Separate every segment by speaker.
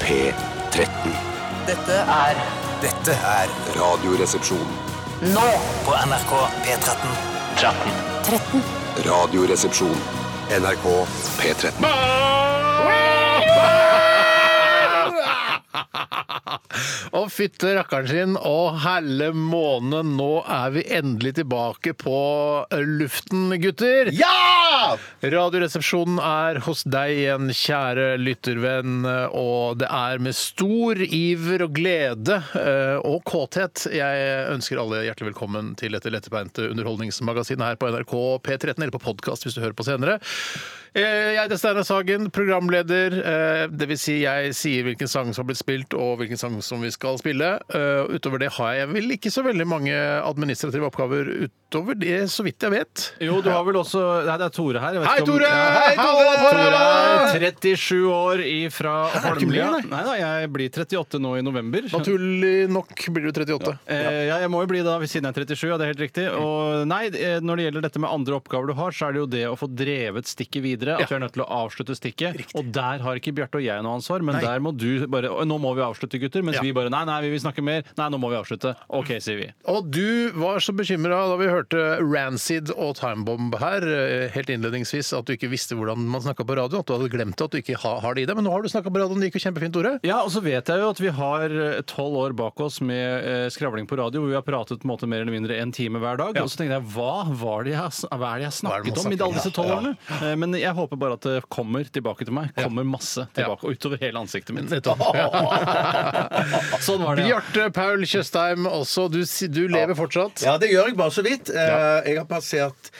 Speaker 1: P13.
Speaker 2: Dette er
Speaker 3: Dette er
Speaker 1: Radioresepsjon.
Speaker 2: nå
Speaker 3: på NRK P13.
Speaker 1: Radioresepsjon. NRK P13.
Speaker 4: Og fytte rakkeren sin, og helle måne, nå er vi endelig tilbake på luften, gutter!
Speaker 5: Ja!
Speaker 4: Radioresepsjonen er hos deg igjen, kjære lyttervenn, og det er med stor iver og glede eh, og kåthet jeg ønsker alle hjertelig velkommen til dette lettbeinte underholdningsmagasinet her på NRK P13, eller på podkast hvis du hører på senere. Eh, Jeg heter Steinar Sagen, programleder. eh, Det vil si, jeg sier hvilken sang som har blitt spilt, og hvilken sang som vi skal spille. Eh, Utover det har jeg vel ikke så veldig mange administrative oppgaver utover det, så vidt jeg vet.
Speaker 6: Jo, du har vel også Nei, det er Tore her. Jeg vet
Speaker 4: Hei,
Speaker 6: ikke om-
Speaker 4: Tore!
Speaker 6: Ja,
Speaker 4: Hei, Tore!
Speaker 6: Tore er 37 år ifra
Speaker 4: er ikke mye,
Speaker 6: Holmlia.
Speaker 4: nei.
Speaker 6: Nei da, jeg blir 38 nå i november.
Speaker 4: Naturlig nok blir du 38.
Speaker 6: Eh, ja, jeg må jo bli da, siden jeg er 37, ja, det er helt riktig. Og nei, eh, når det gjelder dette med andre oppgaver du har, så er det jo det å få drevet stikket videre. At
Speaker 4: Ja.
Speaker 6: du er nødt til å avslutte stikket. Og der har ikke Bjarte og jeg noe ansvar, men
Speaker 4: Nei.
Speaker 6: der må du bare «Å, Nå må vi avslutte, gutter. Mens
Speaker 4: Ja.
Speaker 6: vi bare Nei, nei, vi vil snakke mer. Nei, nå må vi avslutte. OK, sier vi.
Speaker 4: Og du var så bekymra da vi hørte Rancid og Timebomb her, eh, helt innledningsvis, at du ikke visste hvordan man snakka på radio. At du hadde glemt at du ikke ha, har det i deg. Men nå har du snakka på radioen, det gikk jo kjempefint, Tore.
Speaker 6: Ja, og så vet jeg jo at vi har eh, tolv år bak oss med eh, skravling på radio, hvor vi har pratet på en måte mer eller mindre en time hver dag. Og så tenkte jeg, hva var det jeg, hva er det jeg
Speaker 4: Hva er det
Speaker 6: snakket
Speaker 4: man
Speaker 6: om i
Speaker 4: snakker om?
Speaker 6: alle disse tolv årene? Eh, Men jeg håper bare at det kommer tilbake til meg. Kommer masse tilbake, og utover hele ansiktet mitt. sånn var det, ja.
Speaker 4: Bjarte Paul Tjøstheim også, du, si- du lever fortsatt.
Speaker 5: Ja, det gjør jeg bare så vidt. Eh, Jeg har passert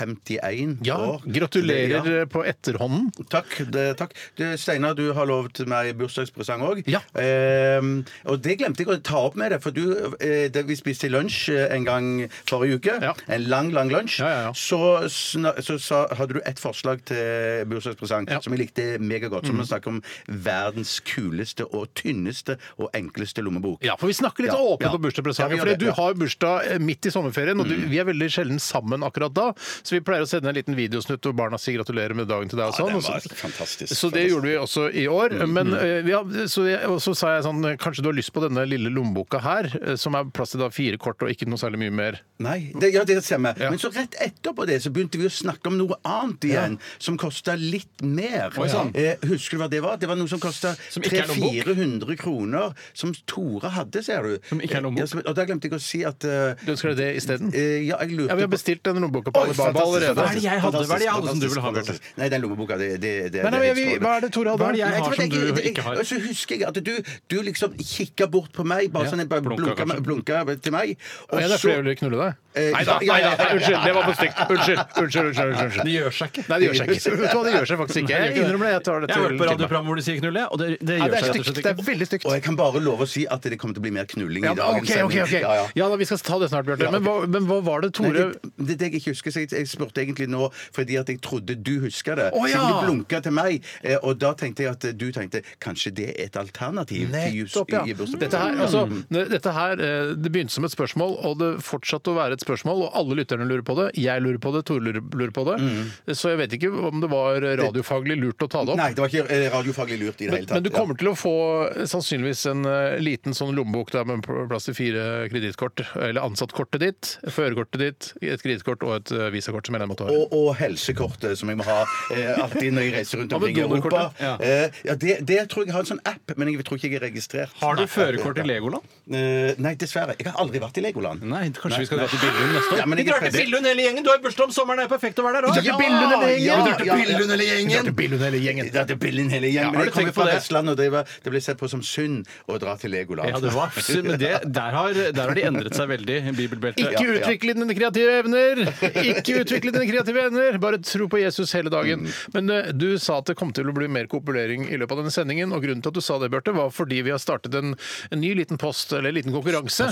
Speaker 5: 51
Speaker 4: Ja,
Speaker 5: år.
Speaker 4: gratulerer
Speaker 5: Det-
Speaker 4: eh, på etterhånden.
Speaker 5: ja, takk. Det, takk. Du, Steinar, du har lovt meg bursdagspresang òg.
Speaker 4: Ja.
Speaker 5: Eh, og det glemte jeg å ta opp med deg, for du, eh, det, vi spiste lunsj eh, en gang forrige uke.
Speaker 4: Ja.
Speaker 5: En lang, lang lunsj.
Speaker 4: Ja, ja, ja.
Speaker 5: Så, sna, så sa, hadde du et forslag til bursdagspresang
Speaker 4: Ja. Mm.
Speaker 5: som jeg likte megagodt. Som å snakke om verdens kuleste og tynneste og enkleste lommebok.
Speaker 4: Ja, for vi snakker litt
Speaker 5: Ja,
Speaker 4: åpent
Speaker 5: ja.
Speaker 4: om
Speaker 5: Ja, vi
Speaker 4: bursdagspresanger.
Speaker 5: gjør
Speaker 4: fordi
Speaker 5: det,
Speaker 4: du
Speaker 5: ja. Mm.
Speaker 4: har jo bursdag eh, midt i sommerferien, og du, vi er veldig sjelden sammen akkurat da. Så vi pleier å sende en liten videosnutt hvor barna sier gratulerer med dagen til deg og sånn.
Speaker 5: den
Speaker 4: og
Speaker 5: var
Speaker 4: så-
Speaker 5: fantastisk,
Speaker 4: Så det
Speaker 5: fantastisk. Mm.
Speaker 4: gjorde vi også i år. Men eh, vi har- så, jeg, og så sa jeg sånn eh, Kanskje du har lyst på denne lille lommeboka her, eh, som er plass til da fire kort og ikke noe særlig mye mer.
Speaker 5: Nei, det, ja, det stemmer.
Speaker 4: Ja.
Speaker 5: Men så rett etterpå det så begynte vi å snakke om noe annet igjen, som kosta litt mer.
Speaker 6: sann.
Speaker 5: eh, husker du hva det var? Det var noe som kosta
Speaker 6: Som ikke er lommebok?
Speaker 5: 300-400 kroner, som Tore hadde, ser du.
Speaker 6: Som ikke er lommebok?
Speaker 5: Ja, som, og da glemte jeg å si at eh,
Speaker 4: Du ønsker deg det isteden?
Speaker 5: eh, Ja, jeg lurte
Speaker 4: Ja, vi har
Speaker 5: på-
Speaker 4: bestilt den lommeboka på
Speaker 5: Oi,
Speaker 4: Alibaba
Speaker 5: fantastisk,
Speaker 4: allerede.
Speaker 6: Hva er det jeg hadde? Hva er det jeg hadde som du
Speaker 5: fantastisk,
Speaker 6: ville ha, Bjarte?
Speaker 5: fantastisk. Nei, den lommeboka, det, det, det,
Speaker 4: Nei, nei,
Speaker 5: det er
Speaker 4: men vi-
Speaker 5: helt strålende.
Speaker 4: hva er det Tore hadde?
Speaker 6: Hva er det jeg
Speaker 5: Nei,
Speaker 6: har
Speaker 5: vet
Speaker 6: som du
Speaker 5: det-
Speaker 6: ikke har?
Speaker 5: Og så husker jeg at du, du liksom kikka bort på meg, bare sånn, bare
Speaker 6: blunka
Speaker 5: blunka,
Speaker 6: kanskje.
Speaker 5: blunka til meg.
Speaker 4: Og jeg er derfor jeg vil knulle deg.
Speaker 5: Eh,
Speaker 4: Nei da,
Speaker 5: ja, ja, ja, ja.
Speaker 4: unnskyld. Det var for stygt. Unnskyld. Unnskyld, unnskyld, unnskyld, unnskyld.
Speaker 6: Det gjør seg ikke.
Speaker 4: Nei, det gjør seg ikke. Vet du hva, det gjør seg faktisk ikke. Jeg innrømmer det. Jeg tar det
Speaker 6: Jeg har
Speaker 4: til
Speaker 6: hørt på
Speaker 4: til meg.
Speaker 6: radioprogram hvor de sier knulle, og det, det
Speaker 4: Ja,
Speaker 6: gjør seg rett
Speaker 4: det er
Speaker 6: og
Speaker 4: stygt.
Speaker 6: slett
Speaker 4: Det er
Speaker 6: ikke.
Speaker 4: veldig stygt.
Speaker 5: Og jeg kan bare love å si at det kommer til å bli mer knulling
Speaker 4: Ja,
Speaker 5: i
Speaker 4: men,
Speaker 5: dagens
Speaker 4: ok, ok, ok.
Speaker 5: sending. Ja, ja.
Speaker 4: Ja da, vi skal ta det snart, Bjarte.
Speaker 5: Ja,
Speaker 4: Men, hva- men hva var det,
Speaker 5: Nei,
Speaker 4: Tore?
Speaker 5: det, det er det jeg ikke husker. Så jeg, jeg spurte egentlig nå fordi at jeg trodde du huska det.
Speaker 4: Å, ja!
Speaker 5: Siden du blunka til meg, eh, og da tenkte jeg at eh, du tenkte kanskje det er et alternativ til jus
Speaker 4: Nettopp, ja.
Speaker 5: i Mm. bursdagen.
Speaker 4: Dette her, altså, n- dette her eh, Det begynte som et spørsmål, og det fortsatte å være et spørsmål. Og alle lytterne lurer på det. Jeg lurer på det, Tore lurer- lurer på det. Så jeg vet ikke om Mm. det var radiofaglig lurt å ta det opp.
Speaker 5: Nei, det var ikke eh, radiofaglig lurt i det
Speaker 4: Men,
Speaker 5: hele
Speaker 4: men
Speaker 5: tatt.
Speaker 4: du kommer til å få sannsynligvis en eh, liten sånn lommebok der med plass til fire kredittkort. Eller ansattkortet ditt, førerkortet ditt, et kredittkort og et eh, visakort som jeg måtte ha.
Speaker 5: Og, og helsekortet, som jeg må ha eh, alltid når jeg reiser rundt
Speaker 4: Hva med
Speaker 5: omkring i Europa.
Speaker 4: donorkortet?
Speaker 5: Ja. Eh, ja, det, det tror jeg jeg har en sånn app, men jeg tror ikke jeg er registrert.
Speaker 6: Har du
Speaker 5: Nei.
Speaker 6: førerkort i Legoland?
Speaker 5: Eh, nei, dessverre. Jeg har aldri vært i Legoland.
Speaker 6: Nei, kanskje vi skal dra til Billund neste år?
Speaker 5: Ja, men
Speaker 6: vi
Speaker 5: jeg
Speaker 6: drar til
Speaker 5: prøvde-
Speaker 6: Billund hele gjengen! Du har jo bursdag om sommeren, det er perfekt å være der òg!
Speaker 5: Ja,
Speaker 4: Billund hele gjengen.
Speaker 5: ja,
Speaker 4: Vi drar til
Speaker 5: ja,
Speaker 4: Billund
Speaker 5: ja.
Speaker 4: Det er til Billund hele gjengen.
Speaker 5: Det er Billund hele gjengen.
Speaker 6: har
Speaker 5: Men jeg
Speaker 6: du
Speaker 5: kommer
Speaker 6: tenkt
Speaker 5: fra
Speaker 6: på det?
Speaker 5: Vestlandet, og det, var, det ble sett på som synd å dra til Legoland.
Speaker 6: Ja, det var men det, der, har, der har de endret seg veldig, bibelbeltet.
Speaker 4: Ikke utvikle dine kreative evner! Ikke utvikle dine kreative evner! Bare tro på Jesus hele dagen. Men eh, du sa at det kom til å bli mer kopulering i løpet av denne sendingen, og grunnen til at du sa det, Bjarte, var fordi vi har startet en, en ny liten post, eller en liten konkurranse,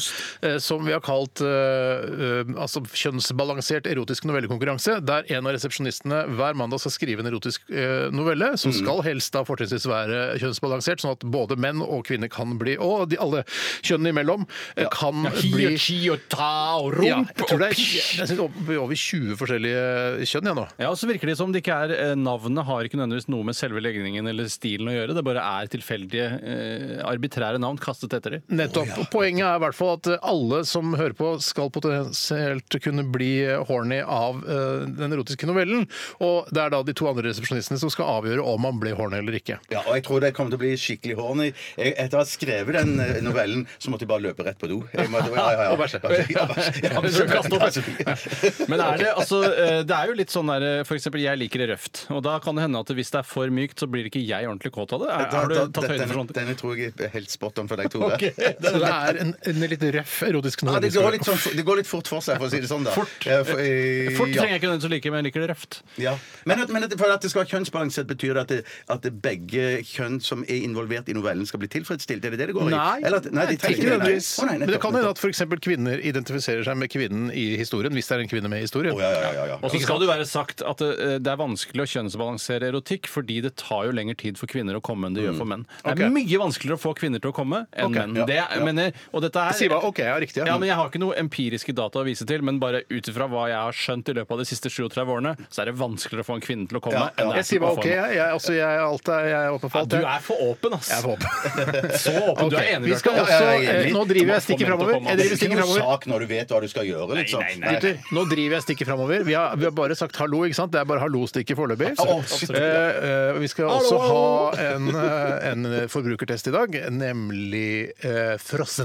Speaker 4: eh, som vi har kalt eh, eh, altså kjønnsbalansert erotisk novellekonkurranse, der en av resepsjonistene hver mandag skal skrive en erotisk eh, novelle, som skal helst da fortrinnsvis være kjønnsbalansert, sånn at både menn og kvinner kan bli, og de, alle kjønnene imellom, eh, kan bli
Speaker 6: og ta og
Speaker 4: ja, jeg tror det er, jeg synes det er over 20 forskjellige kjønn ja, nå.
Speaker 6: Ja, og så virker det som det ikke er eh, Navnet har ikke nødvendigvis noe med selve legningen eller stilen å gjøre. Det bare er tilfeldige, eh, arbitrære navn kastet etter dem.
Speaker 4: Nettopp. Og Poenget er i hvert fall at eh, alle som hører på, skal potensielt kunne bli horny av eh, den erotiske novellen. Og det er da de to andre resepsjonistene som skal avgjøre om man ble horny eller ikke.
Speaker 5: Ja, og jeg tror det kommer til å bli skikkelig horny. Jeg, etter å ha skrevet den eh, novellen, så måtte jeg bare løpe rett på do. Jeg måtte, ja, ja, ja.
Speaker 4: Og bæsje.
Speaker 5: Ja, Altså, bæsje. Ja,
Speaker 6: Så kaste opp.
Speaker 5: bæsje.
Speaker 6: Men er det, altså, eh, det er jo litt sånn der eh, For eksempel, jeg liker det røft. Og da kan det hende at hvis det er for mykt, så blir ikke jeg ordentlig kåt av det. Er,
Speaker 5: Da-
Speaker 6: har du
Speaker 5: da-
Speaker 6: tatt høyde for
Speaker 5: denne,
Speaker 6: sånt?
Speaker 5: denne tror jeg er helt spot on for deg, Tore.
Speaker 4: Så det er en, en litt røff erotisk
Speaker 5: Ja,
Speaker 4: novelle.
Speaker 5: det, går litt sånn, det går litt fort for seg, for å si det sånn. da
Speaker 6: Fort.
Speaker 5: Eh, for, eh,
Speaker 6: Fort
Speaker 5: ja.
Speaker 6: trenger jeg ikke nødvendigvis å like, men jeg liker det røft.
Speaker 5: Ja. Men, at, men at, for at det skal være kjønnsbalansert, betyr det at, det at det begge kjønn som er involvert i novellen, skal bli tilfredsstilt? Er det det det går i?
Speaker 4: Nei,
Speaker 5: Eller at, nei, de trenger
Speaker 4: ikke
Speaker 5: det. Nei.
Speaker 4: nødvendigvis.
Speaker 5: Å, nei,
Speaker 4: Men det kan
Speaker 5: nettopp,
Speaker 4: hende at f.eks. kvinner identifiserer seg med kvinnen i historien, hvis det er en kvinne med i historien.
Speaker 5: nettopp. Å, ja, ja, ja, ja.
Speaker 6: Og så skal det jo være sagt at eh, det er vanskelig å kjønnsbalansere erotikk, fordi det tar jo lengre tid for kvinner å komme enn det gjør for menn. Det
Speaker 4: Mm. Ok.
Speaker 6: er mye vanskeligere å få kvinner til å komme enn
Speaker 4: Ok,
Speaker 6: menn.
Speaker 5: ja,
Speaker 6: Det, er-
Speaker 5: ja.
Speaker 6: men, eh, og dette er,
Speaker 4: Si hva, ok, ja, riktig.
Speaker 6: Ja, men Jeg har ikke noe empiriske data å vise til, men bare ut ifra hva jeg har skjønt i løpet av de siste 37 årene, så er det vanskeligere å få en kvinne til å komme.
Speaker 5: Ja, ja.
Speaker 6: enn det er
Speaker 4: Jeg sier bare
Speaker 6: å få
Speaker 4: ok,
Speaker 6: en mann.
Speaker 4: jeg. jeg, altså, jeg, alt er, jeg er åpen for
Speaker 6: Ja,
Speaker 4: alt.
Speaker 6: du
Speaker 4: jeg.
Speaker 6: er for åpen, ass.
Speaker 4: Jeg er åpen.
Speaker 6: Så åpen. Du
Speaker 4: Ok,
Speaker 6: er enig,
Speaker 4: vi skal
Speaker 6: Bjarte.
Speaker 4: også,
Speaker 5: Ja, ja, jeg er
Speaker 4: eh,
Speaker 5: enig.
Speaker 4: nå driver jeg stikker
Speaker 6: Kom an, kom an.
Speaker 4: framover. Jeg
Speaker 5: Det
Speaker 4: driver
Speaker 5: er ikke
Speaker 4: stikker
Speaker 5: noe
Speaker 4: framover.
Speaker 5: sak når du vet hva du skal gjøre, liksom.
Speaker 6: nei, nei.
Speaker 4: Gutter, nå driver jeg stikket framover. Vi har, vi har bare sagt hallo, ikke sant? Det er bare hallo-stikket foreløpig.
Speaker 5: Absolutt, absolutt.
Speaker 4: Eh, eh, vi skal også ha en, eh, en forbrukertest i dag, nemlig eh,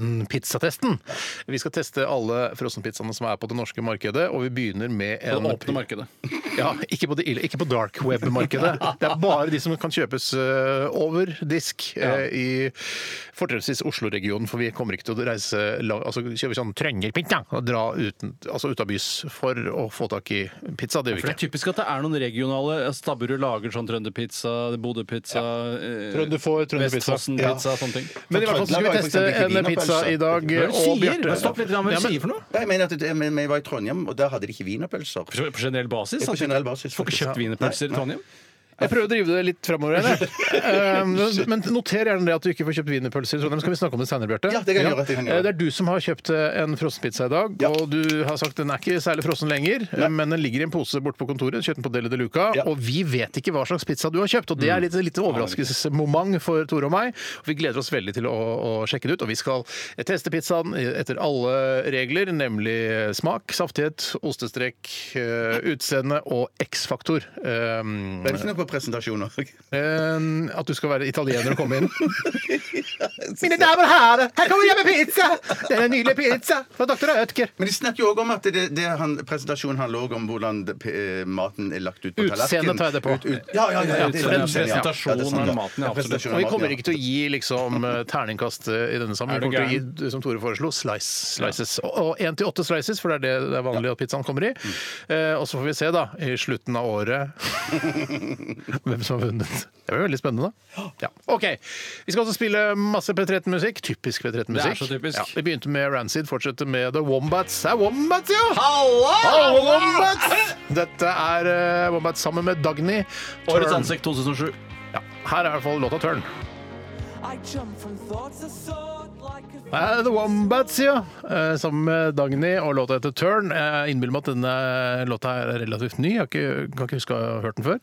Speaker 4: frossenpizzatesten. Vi skal teste alle frossenpizzaene som er på det norske markedet, og vi begynner med
Speaker 6: På
Speaker 4: en
Speaker 6: det åpne markedet.
Speaker 4: Ja, ikke på det ille, ikke på dark web-markedet. Det er bare de som kan kjøpes eh, over disk eh, i fortrinnsvis Oslo-regionen, for vi kommer ikke til å reise lang, altså kjøpe sånn trønderpizza og dra uten, altså ut av bys for å få tak i pizza. Det gjør
Speaker 6: For
Speaker 4: vi
Speaker 6: det er
Speaker 4: ikke.
Speaker 6: typisk at det er noen regionale Stabburud lager sånn trønderpizza, Bodøpizza eh,
Speaker 4: Trønder får trønderpizza.
Speaker 6: Vestfossenpizza, sånne ting.
Speaker 4: Men i hvert fall så skal vi teste
Speaker 5: Trøndelag har for eksempel
Speaker 4: en
Speaker 5: ikke
Speaker 4: pizza
Speaker 5: wienerpølse.
Speaker 4: i dag. eh,
Speaker 6: Hva er det du
Speaker 4: og
Speaker 6: sier?
Speaker 4: Bjarte-
Speaker 6: Stopp litt, hva er det
Speaker 4: Ja,
Speaker 6: du
Speaker 4: men-
Speaker 6: sier for noe?
Speaker 5: Nei, Jeg mener at det, men, men jeg var i Trondheim, og der hadde de ikke wienerpølser.
Speaker 6: På generell basis?
Speaker 5: Ja, på
Speaker 6: sant?
Speaker 5: generell basis,
Speaker 6: Får ikke
Speaker 5: faktisk.
Speaker 6: kjøpt wienerpølser i Trondheim?
Speaker 4: Jeg prøver å drive det litt framover. Um, men noter gjerne det at du ikke får kjøpt wienerpølser i Trondheim. Skal vi snakke om det senere, Bjarte?
Speaker 5: Ja, det kan jeg gjøre, det kan jeg gjøre.
Speaker 4: Eh, Det er du som har kjøpt eh, en frossenpizza i dag,
Speaker 5: Ja.
Speaker 4: og du har sagt den er ikke særlig frossen lenger, eh, men den ligger i en pose borte på kontoret. Kjøpt den på Deli de Luca.
Speaker 5: Ja. Mm.
Speaker 4: Og vi vet ikke hva slags pizza du har kjøpt, og det er litt, litt overraskelsesmoment for Tore og meg. Og vi gleder oss veldig til å, å sjekke det ut, og vi skal teste pizzaen etter alle regler, nemlig smak, saftighet, ostestrek, eh, utseende og X-faktor. Um,
Speaker 5: Det er ikke noe på presentasjon òg.
Speaker 4: Eh, at du skal være italiener og komme inn.
Speaker 5: Mine
Speaker 4: damer og herrer, her kommer jeg med pizza! Det er en nydelig pizza fra dr. Ødker.
Speaker 5: Men de snakker jo òg om at det, det han, presentasjonen handler òg om hvordan det, eh, maten er lagt ut på
Speaker 4: Utseende
Speaker 5: tallerkenen.
Speaker 4: tar jeg det på.
Speaker 5: Ut, ut, ja, ja, ja, ja, det er
Speaker 6: Utseende,
Speaker 5: utseende, ja. Ja, det er
Speaker 6: presentasjonen
Speaker 5: sant, ja.
Speaker 6: av maten, ja,
Speaker 5: Ja,
Speaker 6: absolutt.
Speaker 5: presentasjonen
Speaker 4: Og vi
Speaker 5: av
Speaker 4: kommer
Speaker 5: maten,
Speaker 4: ikke til å gi liksom, eh, terningkast eh, i denne
Speaker 6: Er du
Speaker 4: sammenheng. Vi kommer til å gi, som Tore foreslo, slice, slices. Og én til åtte slices, for det er det det er vanlig at pizzaen kommer i. Eh, og så får vi se, da, i slutten av året hvem som har vunnet. Det blir veldig spennende. Ja. OK. Vi skal også spille masse P13-musikk. Typisk P13-musikk.
Speaker 6: Det er så typisk.
Speaker 4: Ja, vi begynte med Rancid, fortsetter med The Wombats. Det er Wombats, ja!
Speaker 6: Halla!
Speaker 4: Hallo, Wombats! Dette er eh, Wombats sammen med Dagny.
Speaker 6: Årets
Speaker 4: Tørn.
Speaker 6: ansikt 2007.
Speaker 4: Ja, her er i hvert fall låta Tørn. Det er The Wombats, ja. eh, Sammen med Dagny og låta heter Turn. Eh, Jeg innbiller meg at denne låta er relativt ny. Jeg har ikke, kan ikke huske å ha hørt den før.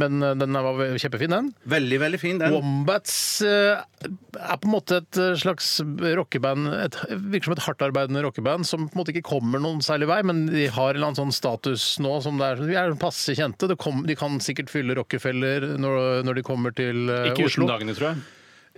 Speaker 4: Men eh, den var kjempefin, den.
Speaker 5: ja. Veldig, veldig fin, den.
Speaker 4: Wombats eh, er på en måte et eh, slags rockeband, et, virker som et hardtarbeidende rockeband som på en måte ikke kommer noen særlig vei, men de har en eller annen sånn status nå som det er, de er passe kjente. Det kom, de kan sikkert fylle Rockefeller når, når de kommer til eh,
Speaker 6: Ikke
Speaker 4: Oslo.
Speaker 6: uten dagene, tror jeg.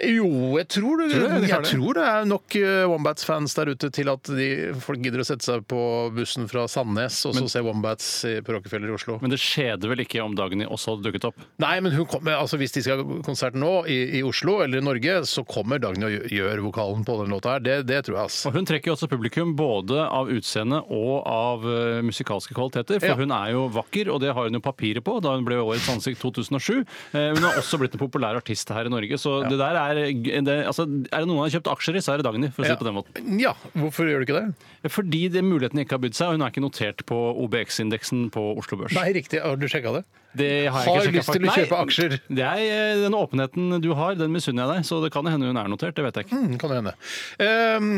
Speaker 4: Jo, jeg tror det.
Speaker 6: Tror du det? De har
Speaker 4: jeg
Speaker 6: det?
Speaker 4: tror det er nok eh, Wombats-fans der ute til at de, folk gidder å sette seg på bussen fra Sandnes og så se Wombats eh, på Rockefeller i Oslo.
Speaker 6: Men det skjedde vel ikke om Dagny også hadde dukket opp?
Speaker 4: Nei, men hun kommer, altså hvis de skal ha konsert nå i, i Oslo eller i Norge, så kommer Dagny og gjø- gjør vokalen på den låta her. Det, det tror jeg, altså.
Speaker 6: Og Hun trekker jo også publikum både av utseende og av eh, musikalske kvaliteter. For
Speaker 4: Ja.
Speaker 6: hun er jo vakker, og det har hun jo papiret på da hun ble Årets ansikt 2007. Eh, hun har også blitt en populær artist her i Norge, så det der er er, det, altså, er det noen han har kjøpt aksjer i, så er det Dagny, for å si det på den måten. Eh,
Speaker 4: Ja, hvorfor gjør du ikke det?
Speaker 6: Fordi det muligheten ikke har bydd seg, og hun er ikke notert på OBX-indeksen på Oslo Børs.
Speaker 4: Nei, riktig. Har du sjekka det?
Speaker 6: Det har
Speaker 4: Har
Speaker 6: jeg ikke sjekket,
Speaker 4: lyst til å
Speaker 6: faktisk.
Speaker 4: kjøpe aksjer.
Speaker 6: Nei, Det er, eh, den åpenheten du har, den misunner jeg deg, så det kan hende hun er notert, det vet jeg ikke.
Speaker 4: Mm, kan det hende. Ehm,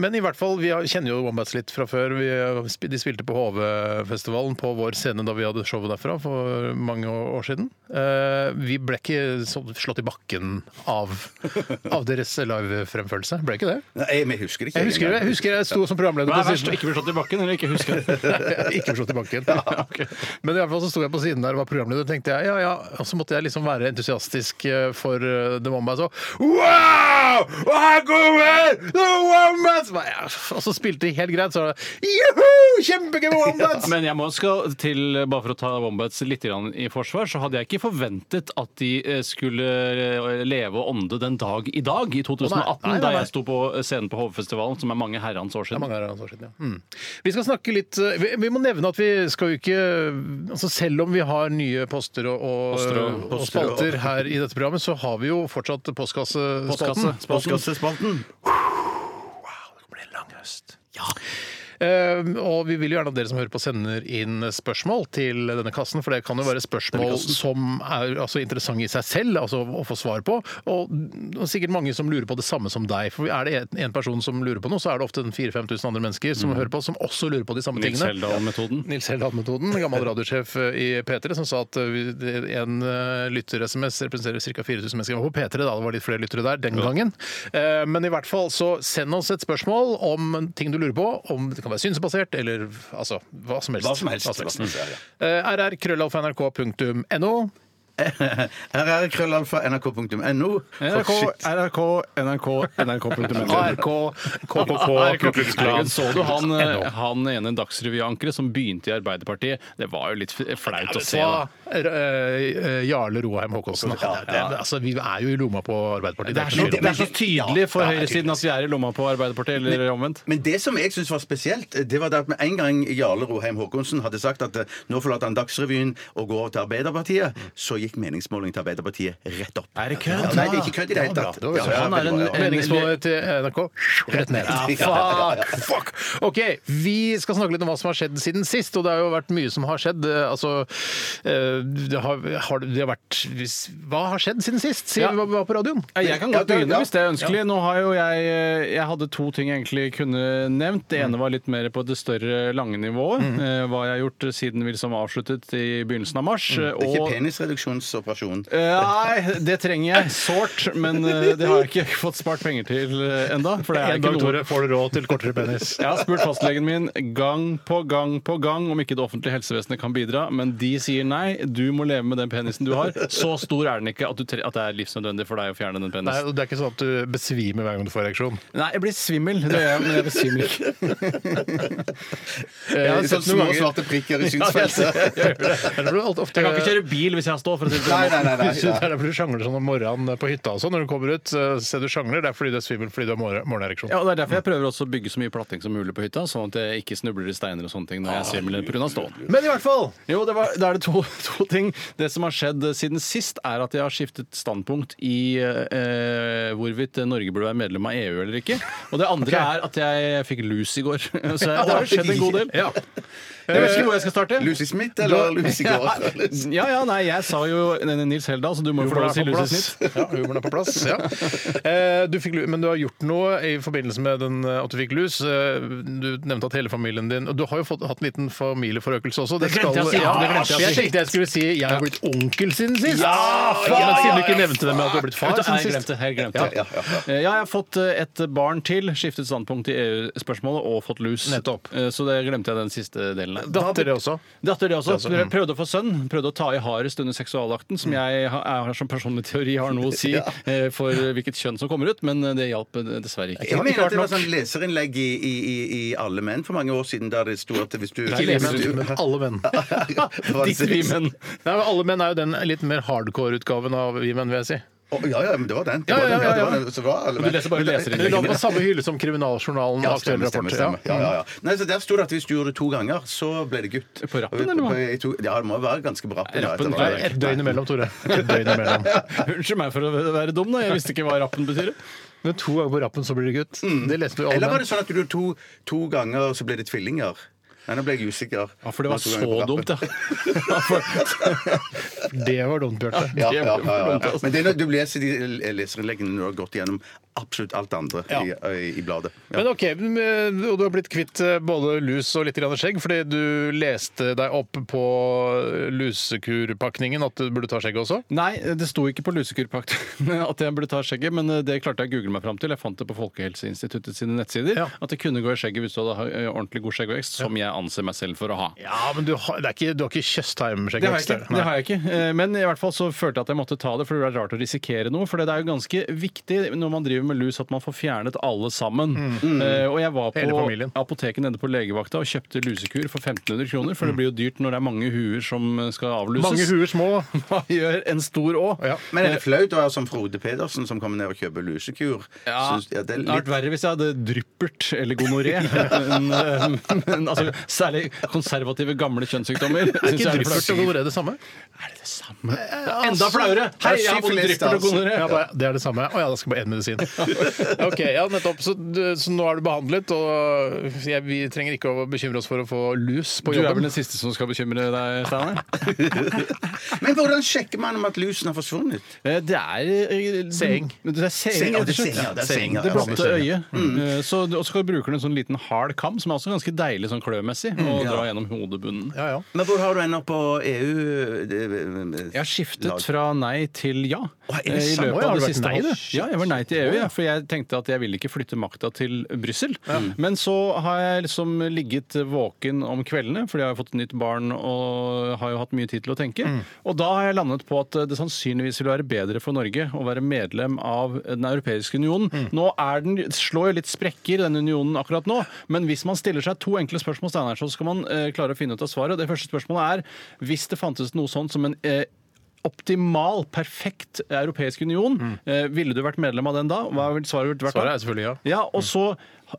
Speaker 4: men i hvert fall, vi har- kjenner jo Wombats litt fra før. Vi, sp- de spilte på HV-festivalen på vår scene da vi hadde showet derfra for mange år siden. Eh, vi ble ikke så- slått i bakken av, av deres live-fremførelse. Ble ikke det?
Speaker 5: Nei, jeg, men jeg husker ikke.
Speaker 4: Jeg husker, jeg husker jeg sto som programleder
Speaker 6: Hva
Speaker 4: på
Speaker 6: er verst,
Speaker 4: siden.
Speaker 6: ikke bli slått i bakken, eller ikke huske det?
Speaker 4: Ikke slått i bakken. Men i hvert fall så sto jeg på siden der og var programleder, og tenkte jeg, ja, ja, og så måtte jeg liksom være entusiastisk eh, for eh, The Wombats. Og wow! Her kommer The Wombats! Hva- ja, Og så spilte de helt greit, så var det juhu! Kjempegøy med Wombats!
Speaker 6: Men jeg må skal til, bare for å ta Wombats litt grann i forsvar, så hadde jeg ikke forventet at de eh, skulle eh, leve og ånde den dag i dag, i 2018,
Speaker 4: Å, nei. Nei, nei, nei.
Speaker 6: da jeg sto på scenen på Hovefestivalen, som er mange herrens år
Speaker 4: Det er
Speaker 6: siden.
Speaker 4: mange her, altså, siden, ja. mm. Vi skal snakke litt eh, Vi, vi må nevne at vi skal jo ikke altså Selv om vi har nye poster og, og,
Speaker 6: Poster og-
Speaker 4: og
Speaker 6: poster og-
Speaker 4: spalter her i dette programmet, så har vi jo fortsatt postkassespalten.
Speaker 6: Postkasse, spalten.
Speaker 4: blir en lang høst. Ja. Eh, og vi vil jo gjerne at dere som hører på, sender inn spørsmål til denne kassen. For det kan jo være spørsmål som er altså, interessante i seg selv altså, å få svar på. Og det er sikkert mange som lurer på det samme som deg. For er det en- en person som lurer på noe, så er det ofte 4000-5000 andre mennesker som hører på, som også lurer på de samme
Speaker 6: Nils
Speaker 4: tingene.
Speaker 6: Heldal-metoden.
Speaker 4: Nils Heldal-metoden, gammel radiosjef i P3, som sa at eh, vi- det- en eh, lytter-SMS representerer ca. 4000 mennesker. Det var på P3, da. Det var litt flere lyttere der den gangen. Eh, Men i hvert fall, så send oss et spørsmål om ting du lurer på. Om det kan være synsbasert, eller altså hva som helst.
Speaker 5: Hva som helst. Hva som helst. ja, ja.
Speaker 4: Eh, rrkrøllalfa.nrk.no.
Speaker 5: rrkrøllalfa.nrk.no.
Speaker 6: NRK,
Speaker 5: NRK,
Speaker 6: NRK,
Speaker 5: nrk.no.
Speaker 4: ARK.
Speaker 6: Herregud, Så du han, eh, han ene Dagsrevy-ankeret som begynte i Arbeiderpartiet? Det var jo litt f- flaut å se. da.
Speaker 4: Fra eh, eh, Jarle Roheim Haakonsen. Ja, det- altså, vi er jo i lomma på Arbeiderpartiet.
Speaker 6: Det er så,
Speaker 4: ikke noe tvil om
Speaker 6: det er så tydelig for høyresiden at vi er i lomma på Arbeiderpartiet, eller omvendt.
Speaker 5: Men det som jeg syns var spesielt, det var det at med en gang Jarle Roheim Haakonsen hadde sagt at eh, nå forlater han Dagsrevyen og går over til Arbeiderpartiet, så gikk meningsmålingen til Arbeiderpartiet rett opp.
Speaker 6: Er det kødd?
Speaker 5: Ja, nei, det er ikke kødd i det hele tatt.
Speaker 4: Det var bra. Det var
Speaker 5: Ja,
Speaker 6: han er
Speaker 5: veldig bra,
Speaker 6: en-
Speaker 5: ja.
Speaker 4: Og meningsmålet til NRK rett ned.
Speaker 5: Ja,
Speaker 4: Fuck! fuck! OK, vi skal snakke litt om hva som har skjedd siden sist, og det har jo vært mye som har skjedd. Eh, Altså eh, Det har, har, det har vært Hva har skjedd siden sist? Sier
Speaker 6: Ja.
Speaker 4: vi hva- hva på radioen?
Speaker 6: Ja, Jeg kan
Speaker 5: Ja,
Speaker 6: godt
Speaker 5: det-
Speaker 6: begynne
Speaker 5: ja.
Speaker 6: hvis det er ønskelig. Nå har jo jeg eh, Jeg hadde to ting jeg egentlig kunne nevnt. Det
Speaker 5: Mm.
Speaker 6: ene var litt mer på det større, lange nivået. eh, Hva jeg har gjort siden vi liksom avsluttet i begynnelsen av mars.
Speaker 5: Mm. Det er
Speaker 6: og-
Speaker 5: ikke penisreduksjonsoperasjon.
Speaker 6: Eh, Nei, det trenger jeg sårt, men eh, det har jeg ikke fått spart penger til eh, enda. For det er ikke noe
Speaker 4: får du råd til kortere penis.
Speaker 6: Jeg har spurt fastlegen min gang på gang på gang om ikke det offentlige helsevesenet kan bidra, men de sier nei. Du må leve med den penisen du har. Så stor er den ikke at, du tre at det er livsnødvendig for deg å fjerne den
Speaker 4: Nei,
Speaker 6: penisen.
Speaker 4: og Det er ikke sånn at du besvimer hver gang du får ereksjon.
Speaker 6: Nei, jeg blir svimmel. Det gjør jeg, men jeg besvimer ikke.
Speaker 4: Jeg har
Speaker 5: Sånn
Speaker 4: sett Eh, noen
Speaker 5: små
Speaker 4: ganger-
Speaker 5: svarte prikker i
Speaker 6: Jeg,
Speaker 5: synsfeltet.
Speaker 4: Det er vel ofte-
Speaker 6: kan ikke kjøre bil hvis jeg står, for å si det på
Speaker 5: Nei,
Speaker 6: den
Speaker 5: nei, nei. nei,
Speaker 4: Det er derfor du sjangler sånn om morgenen på hytta og sånn. Når du kommer ut, eh, ser du sjangler. Det er fordi du er svimmel fordi du har morgen- morgenereksjon.
Speaker 6: Ja, og Det er derfor jeg prøver også å bygge så mye platting som mulig på hytta, sånn at jeg ikke snubler i steiner og sånne ting når jeg er svimmel pga. ståen.
Speaker 4: Men i hvert fall!
Speaker 6: Jo, det var, da er det to, to ting. Det som har skjedd siden sist, er at jeg har skiftet standpunkt i eh, hvorvidt Norge burde være medlem av EU eller ikke. Og det andre er at jeg fikk lus i går. Så jeg, det har skjedd en god del.
Speaker 4: Ja.
Speaker 6: Jeg vet ikke hvor jeg skal starte.
Speaker 5: Lucy Smith eller Lucy Gaard?
Speaker 6: Ja, ja, nei, jeg sa jo Nils Heldal, så du må jo få
Speaker 4: Humoren
Speaker 6: lov
Speaker 4: er
Speaker 6: til å si lus
Speaker 4: på
Speaker 6: i
Speaker 4: plass.
Speaker 6: snitt.
Speaker 4: Ja, humoren er på plass. Ja. Eh, Du fikk, lu- men du har gjort noe i forbindelse med den, eh, at du fikk lus. Eh, Du nevnte at hele familien din og Du har jo fått, hatt en liten familieforøkelse også. Det,
Speaker 6: glemte jeg å si.
Speaker 4: Ja,
Speaker 6: Det glemte jeg å
Speaker 4: jeg
Speaker 6: si.
Speaker 4: tenkte jeg skulle si jeg har blitt onkel siden sist.
Speaker 6: Ja, faen!
Speaker 4: Men siden du ikke nevnte det med at du har blitt far
Speaker 6: Vet du,
Speaker 4: siden
Speaker 6: jeg
Speaker 4: sist.
Speaker 6: glemte, jeg glemte. Ja, jeg har fått eh, et barn til, skiftet standpunkt i EU-spørsmålet og fått lus.
Speaker 4: Nettopp.
Speaker 6: Eh, Så det glemte jeg den siste delen. av.
Speaker 4: Datter, det også.
Speaker 6: Datter, det også. Jeg prøvde å få sønn. Prøvde å ta i hardest under seksualakten, som jeg har jeg har som personlig teori har noe å si eh, for hvilket kjønn som kommer ut, men det hjalp eh, dessverre ikke.
Speaker 5: Jeg mener at det var sånn leserinnlegg i, i, i, i Alle menn for mange år siden der det sto at hvis du
Speaker 4: Ikke
Speaker 5: hvis du-
Speaker 4: leser, men alle menn.
Speaker 5: Hva var det
Speaker 6: Ditt vi
Speaker 5: sist?
Speaker 6: menn.
Speaker 4: Nei, men alle menn er jo den litt mer hardcore-utgaven av vi menn, vil jeg si.
Speaker 5: Å, ja, ja, men det var den. Det
Speaker 4: Ja,
Speaker 5: var
Speaker 4: ja,
Speaker 5: den,
Speaker 4: ja,
Speaker 5: det
Speaker 4: ja.
Speaker 5: var den. Så bra, eller?
Speaker 6: Men du leser bare leserinnleggene.
Speaker 4: Det var på samme hylle som Kriminaljournalen.
Speaker 5: Ja,
Speaker 4: aktuell
Speaker 5: stemmer, stemmer,
Speaker 4: rapport.
Speaker 5: stemmer. Ja,
Speaker 4: Ja.
Speaker 5: ja, ja. Nei, så Der sto det at hvis du gjorde det to ganger, så ble det gutt.
Speaker 6: På rappen, eller hva?
Speaker 5: På- jeg tror- Ja, det må jo være ganske på rappen. ja,
Speaker 6: Rappen,
Speaker 5: etter
Speaker 4: Nei,
Speaker 5: hvert.
Speaker 4: et døgn imellom, Tore. Et døgn imellom.
Speaker 6: Unnskyld meg for å være dum, da. Jeg visste ikke hva rappen betyr.
Speaker 4: Men to ganger på rappen, så blir det gutt. Det leste vi
Speaker 5: Eller
Speaker 4: alle.
Speaker 5: var det sånn at du gjorde to, to ganger, og så ble det tvillinger? Nei, nå ble jeg usikker.
Speaker 6: Ja, for det var
Speaker 5: To ganger på
Speaker 6: så
Speaker 5: rappen.
Speaker 6: dumt, ja. ja. for-
Speaker 4: Det var dumt, Bjarte.
Speaker 5: Ja,
Speaker 6: Det
Speaker 5: ja,
Speaker 6: var
Speaker 5: ja, ja.
Speaker 6: dumt, altså.
Speaker 5: Men det er når du leser de leserinnleggene når du har gått gjennom absolutt alt det andre i, i bladet. Ja.
Speaker 4: Men ok, men, eh, og du har blitt kvitt eh, både lus og litt grann skjegg, fordi du leste deg opp på eh, lusekurpakningen at du burde ta skjegget også?
Speaker 6: Nei, det sto ikke på lusekurpakten at jeg burde ta skjegget, men eh, det klarte jeg å google meg fram til. Jeg fant det på Folkehelseinstituttet sine nettsider.
Speaker 4: Ja.
Speaker 6: At det kunne gå i skjegget hvis du hadde ha- eh, ordentlig god skjeggvekst, som jeg anser meg selv for å ha.
Speaker 4: Ja, men du har, det er ikke, du har ikke Tjøstheim-skjegg?
Speaker 6: Det har, jeg ikke, det har jeg ikke. Eh, Men i hvert fall så følte jeg at jeg måtte ta det, for det er rart å risikere noe. For det er jo ganske viktig når man driver med lus at man får fjernet alle sammen. Eh, Og jeg var
Speaker 4: Mm. Hele
Speaker 6: på
Speaker 4: familien.
Speaker 6: apoteket nede på legevakta og kjøpte lusekur for 1500 kroner, for det blir jo dyrt når det er mange huer som eh, skal avluses.
Speaker 4: Mange huer små.
Speaker 6: Hva gjør en stor å?
Speaker 4: Ja.
Speaker 5: Men er det flaut å være som Frode Pedersen som kommer ned og kjøper lusekur?
Speaker 6: Ja,
Speaker 5: Syns- ja, det
Speaker 6: Det
Speaker 5: er
Speaker 6: hadde vært
Speaker 5: litt...
Speaker 6: verre hvis jeg hadde dryppert eller gonoré. men, eh, men, altså, særlig konservative, gamle kjønnssykdommer. synes
Speaker 4: Er
Speaker 6: jeg
Speaker 4: ikke
Speaker 6: er det
Speaker 4: dryppert og
Speaker 6: flaut.
Speaker 4: gonoré det samme?
Speaker 6: Er det det samme? Enda flauere! Hei, jeg har både
Speaker 5: syfilis,
Speaker 6: dryppert og
Speaker 5: altså.
Speaker 6: gonoré.
Speaker 4: Ja, bare, det er det samme. Å ja, da skal jeg bare én medisin. Ok, ja, nettopp. Så, du- så nå er du behandlet, og jeg, vi trenger ikke å bekymre oss for å få lus på
Speaker 6: Du er vel
Speaker 4: jobben.
Speaker 6: den siste som skal bekymre deg, Steinar?
Speaker 5: Men hvordan sjekker man om at lusen har forsvunnet?
Speaker 6: Eh, Det er eh,
Speaker 4: Seing.
Speaker 6: Det er seing,
Speaker 5: Seing,
Speaker 6: rett
Speaker 5: ja,
Speaker 6: og
Speaker 5: det er
Speaker 6: slett.
Speaker 5: seing, ja, det er seing, ja.
Speaker 6: Det blotte
Speaker 5: Seing,
Speaker 6: øyet. Eh, så- Og så bruker du en sånn liten hard kam, som er også ganske deilig sånn klømessig, å dra gjennom hodebunnen.
Speaker 4: Ja, ja.
Speaker 5: Men hvor har du ennå på E EU det-
Speaker 6: Jeg har skiftet
Speaker 5: lag?
Speaker 6: fra nei til ja.
Speaker 5: Å, er det
Speaker 6: eh, I
Speaker 5: sant?
Speaker 4: Å,
Speaker 6: løpet
Speaker 4: ja,
Speaker 6: av det
Speaker 4: har du vært
Speaker 6: siste
Speaker 4: nei,
Speaker 6: året.
Speaker 4: du?
Speaker 6: Ja, jeg var nei til EU, ja, for jeg tenkte at jeg ville ikke flytte makta til Brussel. Mm. Men så har jeg liksom ligget våken om kveldene, fordi jeg har fått et nytt barn og har jo hatt mye tid til å tenke. Og da har jeg landet på at det sannsynligvis vil være bedre for Norge å være medlem av Den europeiske unionen. Nå er den, slår jo litt sprekker, den unionen akkurat nå, men hvis man stiller seg to enkle spørsmål, Steinar, så skal man eh, klare å finne ut av svaret. Det første spørsmålet er hvis det fantes noe sånt som en eh, optimal, perfekt europeisk union. Eh, ville du vært medlem av den da? Hva ville svaret vært da?
Speaker 4: Mm. Svaret er selvfølgelig ja. Mm.
Speaker 6: Ja, og så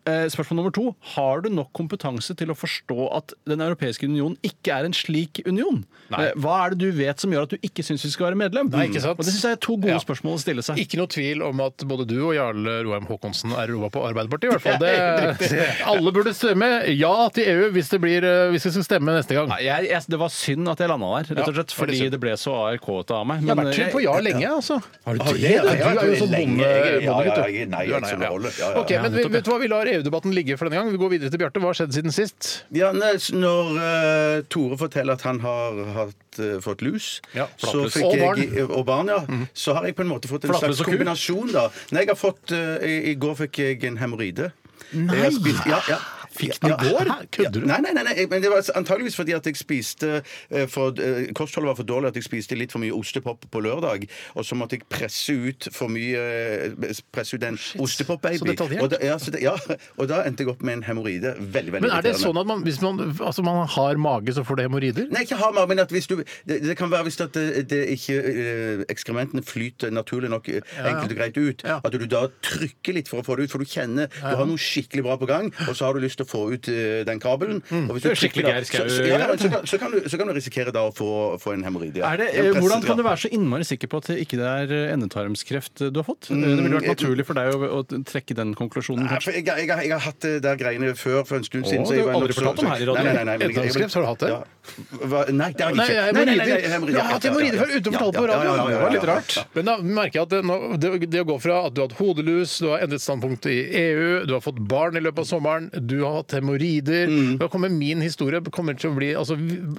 Speaker 6: eh, Spørsmål nummer to. Har du nok kompetanse til å forstå at Den europeiske union ikke er en slik union?
Speaker 4: Nei.
Speaker 6: Eh, hva er det du vet som gjør at du ikke syns vi skal være medlem?
Speaker 4: Nei, ikke sant?
Speaker 6: Og Det syns jeg er to gode
Speaker 4: Ja.
Speaker 6: spørsmål å stille seg.
Speaker 4: Ikke noe tvil om at både du og Jarle Roheim Haakonsen er roa på Arbeiderpartiet, i hvert fall. Det, alle burde stemme ja til EU hvis, det blir, eh, hvis vi skal stemme neste gang.
Speaker 6: Nei, jeg, jeg, det var synd at jeg landa der, rett
Speaker 4: Ja,
Speaker 6: og slett,
Speaker 4: var det
Speaker 6: fordi
Speaker 4: synd.
Speaker 6: det ble så ARK-ete av meg.
Speaker 4: Jeg har
Speaker 6: men eh,
Speaker 4: vært
Speaker 6: jeg-
Speaker 4: på ja lenge, altså.
Speaker 6: Har du
Speaker 5: eh, Har du
Speaker 6: det?
Speaker 5: det?
Speaker 4: Du
Speaker 5: Ja, jeg
Speaker 4: er
Speaker 5: har
Speaker 4: jo
Speaker 5: vært
Speaker 4: sånn
Speaker 5: lenge.
Speaker 4: bonde-
Speaker 5: Jeg- ja,
Speaker 4: bondegutt,
Speaker 5: ja,
Speaker 4: du.
Speaker 5: jeg er nei,
Speaker 4: Du er
Speaker 5: jeg
Speaker 4: nei,
Speaker 5: som
Speaker 4: ja.
Speaker 5: holder. Ja, ja, ja.
Speaker 4: Ok, men vi, vet du hva, vi lar EU-debatten ligge for denne gang. Vi går videre til Bjarte. Hva har skjedd siden sist?
Speaker 5: Ja, nei, s- Når eh, Tore forteller at han har hatt, eh, fått lus
Speaker 4: Ja,
Speaker 5: så
Speaker 4: flatlus.
Speaker 5: fikk
Speaker 4: Og Mhm.
Speaker 5: jeg, og barn, ja, så har jeg på en måte fått en
Speaker 6: Flatlus
Speaker 5: slags
Speaker 6: og ku?
Speaker 5: kombinasjon. da. Nei, jeg har fått, eh, i, I går fikk jeg en hemoroide. Nei! ja, ja. Fikk
Speaker 4: den i går? Kødder du?
Speaker 5: Nei, nei, nei, nei, men det var antageligvis fordi at jeg spiste eh, for, eh, Kostholdet var for dårlig, at jeg spiste litt for mye ostepop på lørdag. Og så måtte jeg presse ut for mye eh, Presse ut en
Speaker 4: så
Speaker 5: ostepop-baby.
Speaker 4: detaljert.
Speaker 5: Og, da- ja, så det- ja, og da endte jeg opp med en hemoroide. Veldig, veldig
Speaker 4: Men er det
Speaker 5: irriterende.
Speaker 4: sånn at man, hvis man, altså man har mage, så får det hemoroider?
Speaker 5: Nei, ikke hamar, men at hvis du Det, det kan være hvis at det, det ikke eh, ekskrementene flyter naturlig nok eh, enkelt og greit ut.
Speaker 4: Ja.
Speaker 5: At du da trykker litt for å få det ut, for du kjenner du har noe skikkelig bra på gang, og så har du lyst til å få ut eh, den kabelen. Og hvis
Speaker 6: Det er
Speaker 5: trykker
Speaker 6: skikkelig
Speaker 5: da-
Speaker 6: Geir Skau-
Speaker 5: så, så, ja, men så, kan- så, kan du- så kan du risikere da å få, få en hemoroide. ja.
Speaker 6: Er det,
Speaker 5: En
Speaker 6: eh, hvordan
Speaker 5: presset,
Speaker 6: kan
Speaker 5: ja.
Speaker 6: du være så innmari sikker på at det ikke er eh, endetarmskreft du har fått? Eh, det ville vært naturlig for deg å, å trekke den konklusjonen.
Speaker 5: Nei,
Speaker 6: kanskje.
Speaker 5: for jeg, jeg, jeg, jeg har hatt det der greiene før for en stund
Speaker 6: Å,
Speaker 5: siden.
Speaker 6: det
Speaker 5: jeg
Speaker 6: har
Speaker 5: var
Speaker 6: aldri
Speaker 5: nok så-
Speaker 6: fortalt om her i radioen.
Speaker 5: Nei, nei, nei, men jeg- jeg-
Speaker 4: Endetarmskreft, har du hatt det?
Speaker 5: Ja. Hva- Nei, det har jeg
Speaker 4: Nei,
Speaker 5: ikke.
Speaker 4: jeg
Speaker 5: Nei,
Speaker 4: er
Speaker 5: nei, nei,
Speaker 4: hemoroider.
Speaker 5: jeg er hemoroider,
Speaker 4: Du
Speaker 5: ja,
Speaker 4: har hatt
Speaker 5: ja, ja,
Speaker 4: hemoroider
Speaker 5: ja,
Speaker 4: før uten å
Speaker 5: ja,
Speaker 4: fortale på
Speaker 5: ja, ja, ja,
Speaker 4: radioen. Det var
Speaker 5: ja,
Speaker 4: litt
Speaker 5: ja,
Speaker 4: rart.
Speaker 5: ja.
Speaker 4: Men da merker jeg at det, nå, det, det å gå fra at du har hatt hodelus, du har endret standpunkt i EU, du har fått barn i løpet av sommeren, du har hatt hemoroider
Speaker 5: Mm.
Speaker 4: Da kommer min historie kommer til å bli altså,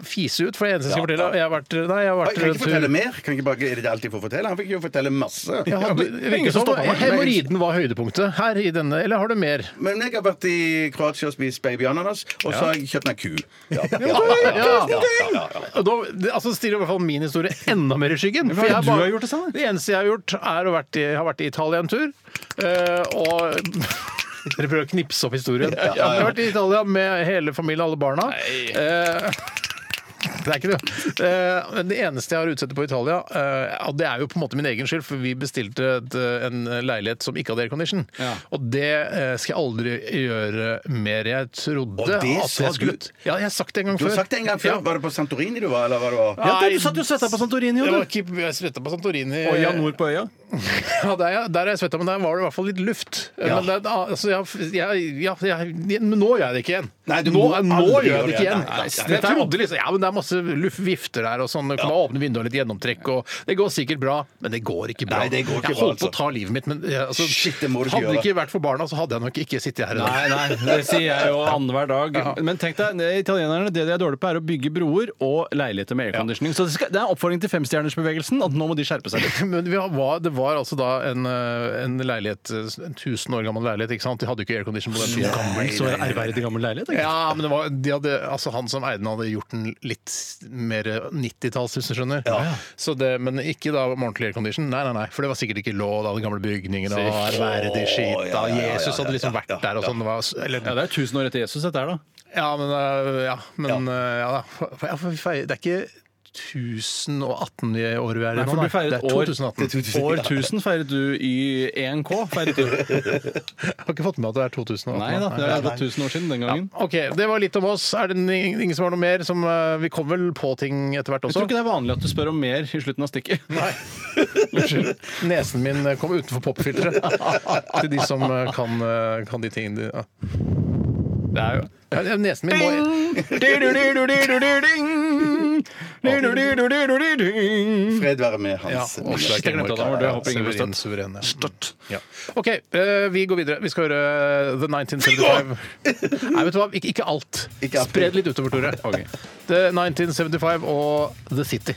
Speaker 4: fise ut, for det eneste jeg skal fortelle Jeg har vært, nei, jeg har
Speaker 5: Oi,
Speaker 4: vært
Speaker 5: Kan jeg ikke
Speaker 4: tur-
Speaker 5: fortelle mer? Kan jeg ikke bare, er det det alt jeg får fortelle? Han fikk jo fortelle masse.
Speaker 4: Ja, du- det virker som om Hemoroiden var høydepunktet her i denne, eller har du mer?
Speaker 5: Men jeg har vært i Kroatia og spist baby ananas, og så har jeg kjøpt meg ku. Ja. Ja,
Speaker 4: ja, ja,
Speaker 5: ja, ja.
Speaker 4: Og Da, det, altså stiller i hvert fall min historie enda mer i skyggen.
Speaker 6: Hva er det
Speaker 4: jeg
Speaker 6: du har gjort, Steinar?
Speaker 4: Det eneste jeg har gjort, er å vært i, har vært i Italia en tur. eh, og Dere prøver å knipse opp historien.
Speaker 5: ja, ja.
Speaker 4: Jeg har vært i Italia med hele familien, alle barna. Eh, det er ikke det. Eh, men det eneste jeg har utsette på Italia, eh, og det er jo på en måte min egen skyld, for vi bestilte et, eh, en leilighet som ikke hadde aircondition.
Speaker 6: Ja.
Speaker 4: Og det eh, skal jeg aldri gjøre mer. Jeg trodde
Speaker 5: Og det
Speaker 4: at
Speaker 5: sa
Speaker 4: jeg skulle
Speaker 5: du?
Speaker 4: Ja, jeg har sagt det en gang
Speaker 5: Du
Speaker 4: før.
Speaker 5: har sagt det en gang før.
Speaker 4: Ja.
Speaker 5: Var det på Santorini du var? Eller var det
Speaker 6: Ja, det- du satt jo og svetta på Santorini, jo,
Speaker 4: Jeg
Speaker 6: du.
Speaker 4: var ikke- Jeg svetta på Santorini.
Speaker 6: Og Jan Nord på øya.
Speaker 4: Ja, der, er- der er jeg svetta, men der var det i hvert fall litt luft. Men, det, altså, jeg, jeg, ja, jeg, men nå gjør jeg det ikke igjen.
Speaker 5: Nei, du
Speaker 4: nå,
Speaker 5: må
Speaker 4: nå
Speaker 5: aldri
Speaker 4: gjør jeg det
Speaker 5: gjøre
Speaker 4: ikke
Speaker 5: det.
Speaker 4: igjen.
Speaker 5: Nei, nei, nei.
Speaker 4: jeg trodde liksom, ja, men det er masse luft, vifter der og sånn. Du kan åpne vinduene litt gjennomtrekk og Det går sikkert bra, men det går ikke bra.
Speaker 5: Nei, det går ikke
Speaker 4: jeg
Speaker 5: bra,
Speaker 4: holdt på
Speaker 5: altså.
Speaker 4: å ta livet mitt, men jeg, altså,
Speaker 5: Shit, det må du ikke
Speaker 4: hadde det
Speaker 5: gjøre.
Speaker 4: ikke vært for barna, så hadde jeg nok ikke sittet her i dag.
Speaker 6: Nei, nei, det sier jeg jo annenhver dag. Men tenk deg, eh, italienerne det de er dårlige på, er å bygge broer og leiligheter med airconditioning. Så det, skal, det er en oppfordring til femstjernersbevegelsen at nå må de skjerpe seg litt.
Speaker 4: Men vi var, det var altså da en, eh, en leilighet, eh, en 1000 år gammel leilighet, ikke sant? De hadde jo ikke aircondition på den tiden.
Speaker 6: Så ærverdig gammel leilighet. ikke?
Speaker 4: Ja, men det var, de hadde, altså han som eide den, hadde gjort den litt mer 90-talls, hvis du skjønner. Så det, men ikke da med ordentlig aircondition. Nei, nei, nei, for det var sikkert ikke lov. Da hadde gamle bygninger og ærverdig skit. Da.
Speaker 5: ja, ja, ja,
Speaker 4: Jesus hadde liksom vært der og sånn. Det var, eller,
Speaker 6: Ja, Det er tusen år etter Jesus, dette her, da.
Speaker 4: ja, men øh, ja, men, øh, ja da. For- for- for vi feirer- Det er ikke 1018 i året vi er i
Speaker 6: Nei,
Speaker 4: nå,
Speaker 6: for
Speaker 4: nei.
Speaker 6: du feiret
Speaker 4: Det er
Speaker 6: år-
Speaker 4: 2018.
Speaker 6: År 1000 feiret du i 1K. Feiret du.
Speaker 4: Jeg har ikke fått med at det er 2018.
Speaker 6: Nei da, det er gått 1000 år siden den gangen.
Speaker 4: OK, det var litt om oss. Er det ingen ingen som har noe mer? Som, øh, vi kom vel på ting etter hvert også?
Speaker 6: Jeg tror ikke det er vanlig at du spør om mer i slutten av stikket.
Speaker 4: Unnskyld. Nesen min kom utenfor popfilteret. Til de som eh, kan, eh, kan de tingene de- ja. Det er jo Ja, Nesen min må
Speaker 5: Fred være med hans
Speaker 4: og
Speaker 5: minne.
Speaker 4: Shit,
Speaker 6: jeg glemte at han var død. Jeg håper ingen ble
Speaker 4: Suveren, suveren, ja. Ja. OK, eh, vi går videre. Vi skal høre eh, The 1975 Nei, vet du hva, ikke, ikke alt.
Speaker 5: Ikke alt.
Speaker 4: Spred litt utover, Tore.
Speaker 6: Ok.
Speaker 4: The 1975 og The City.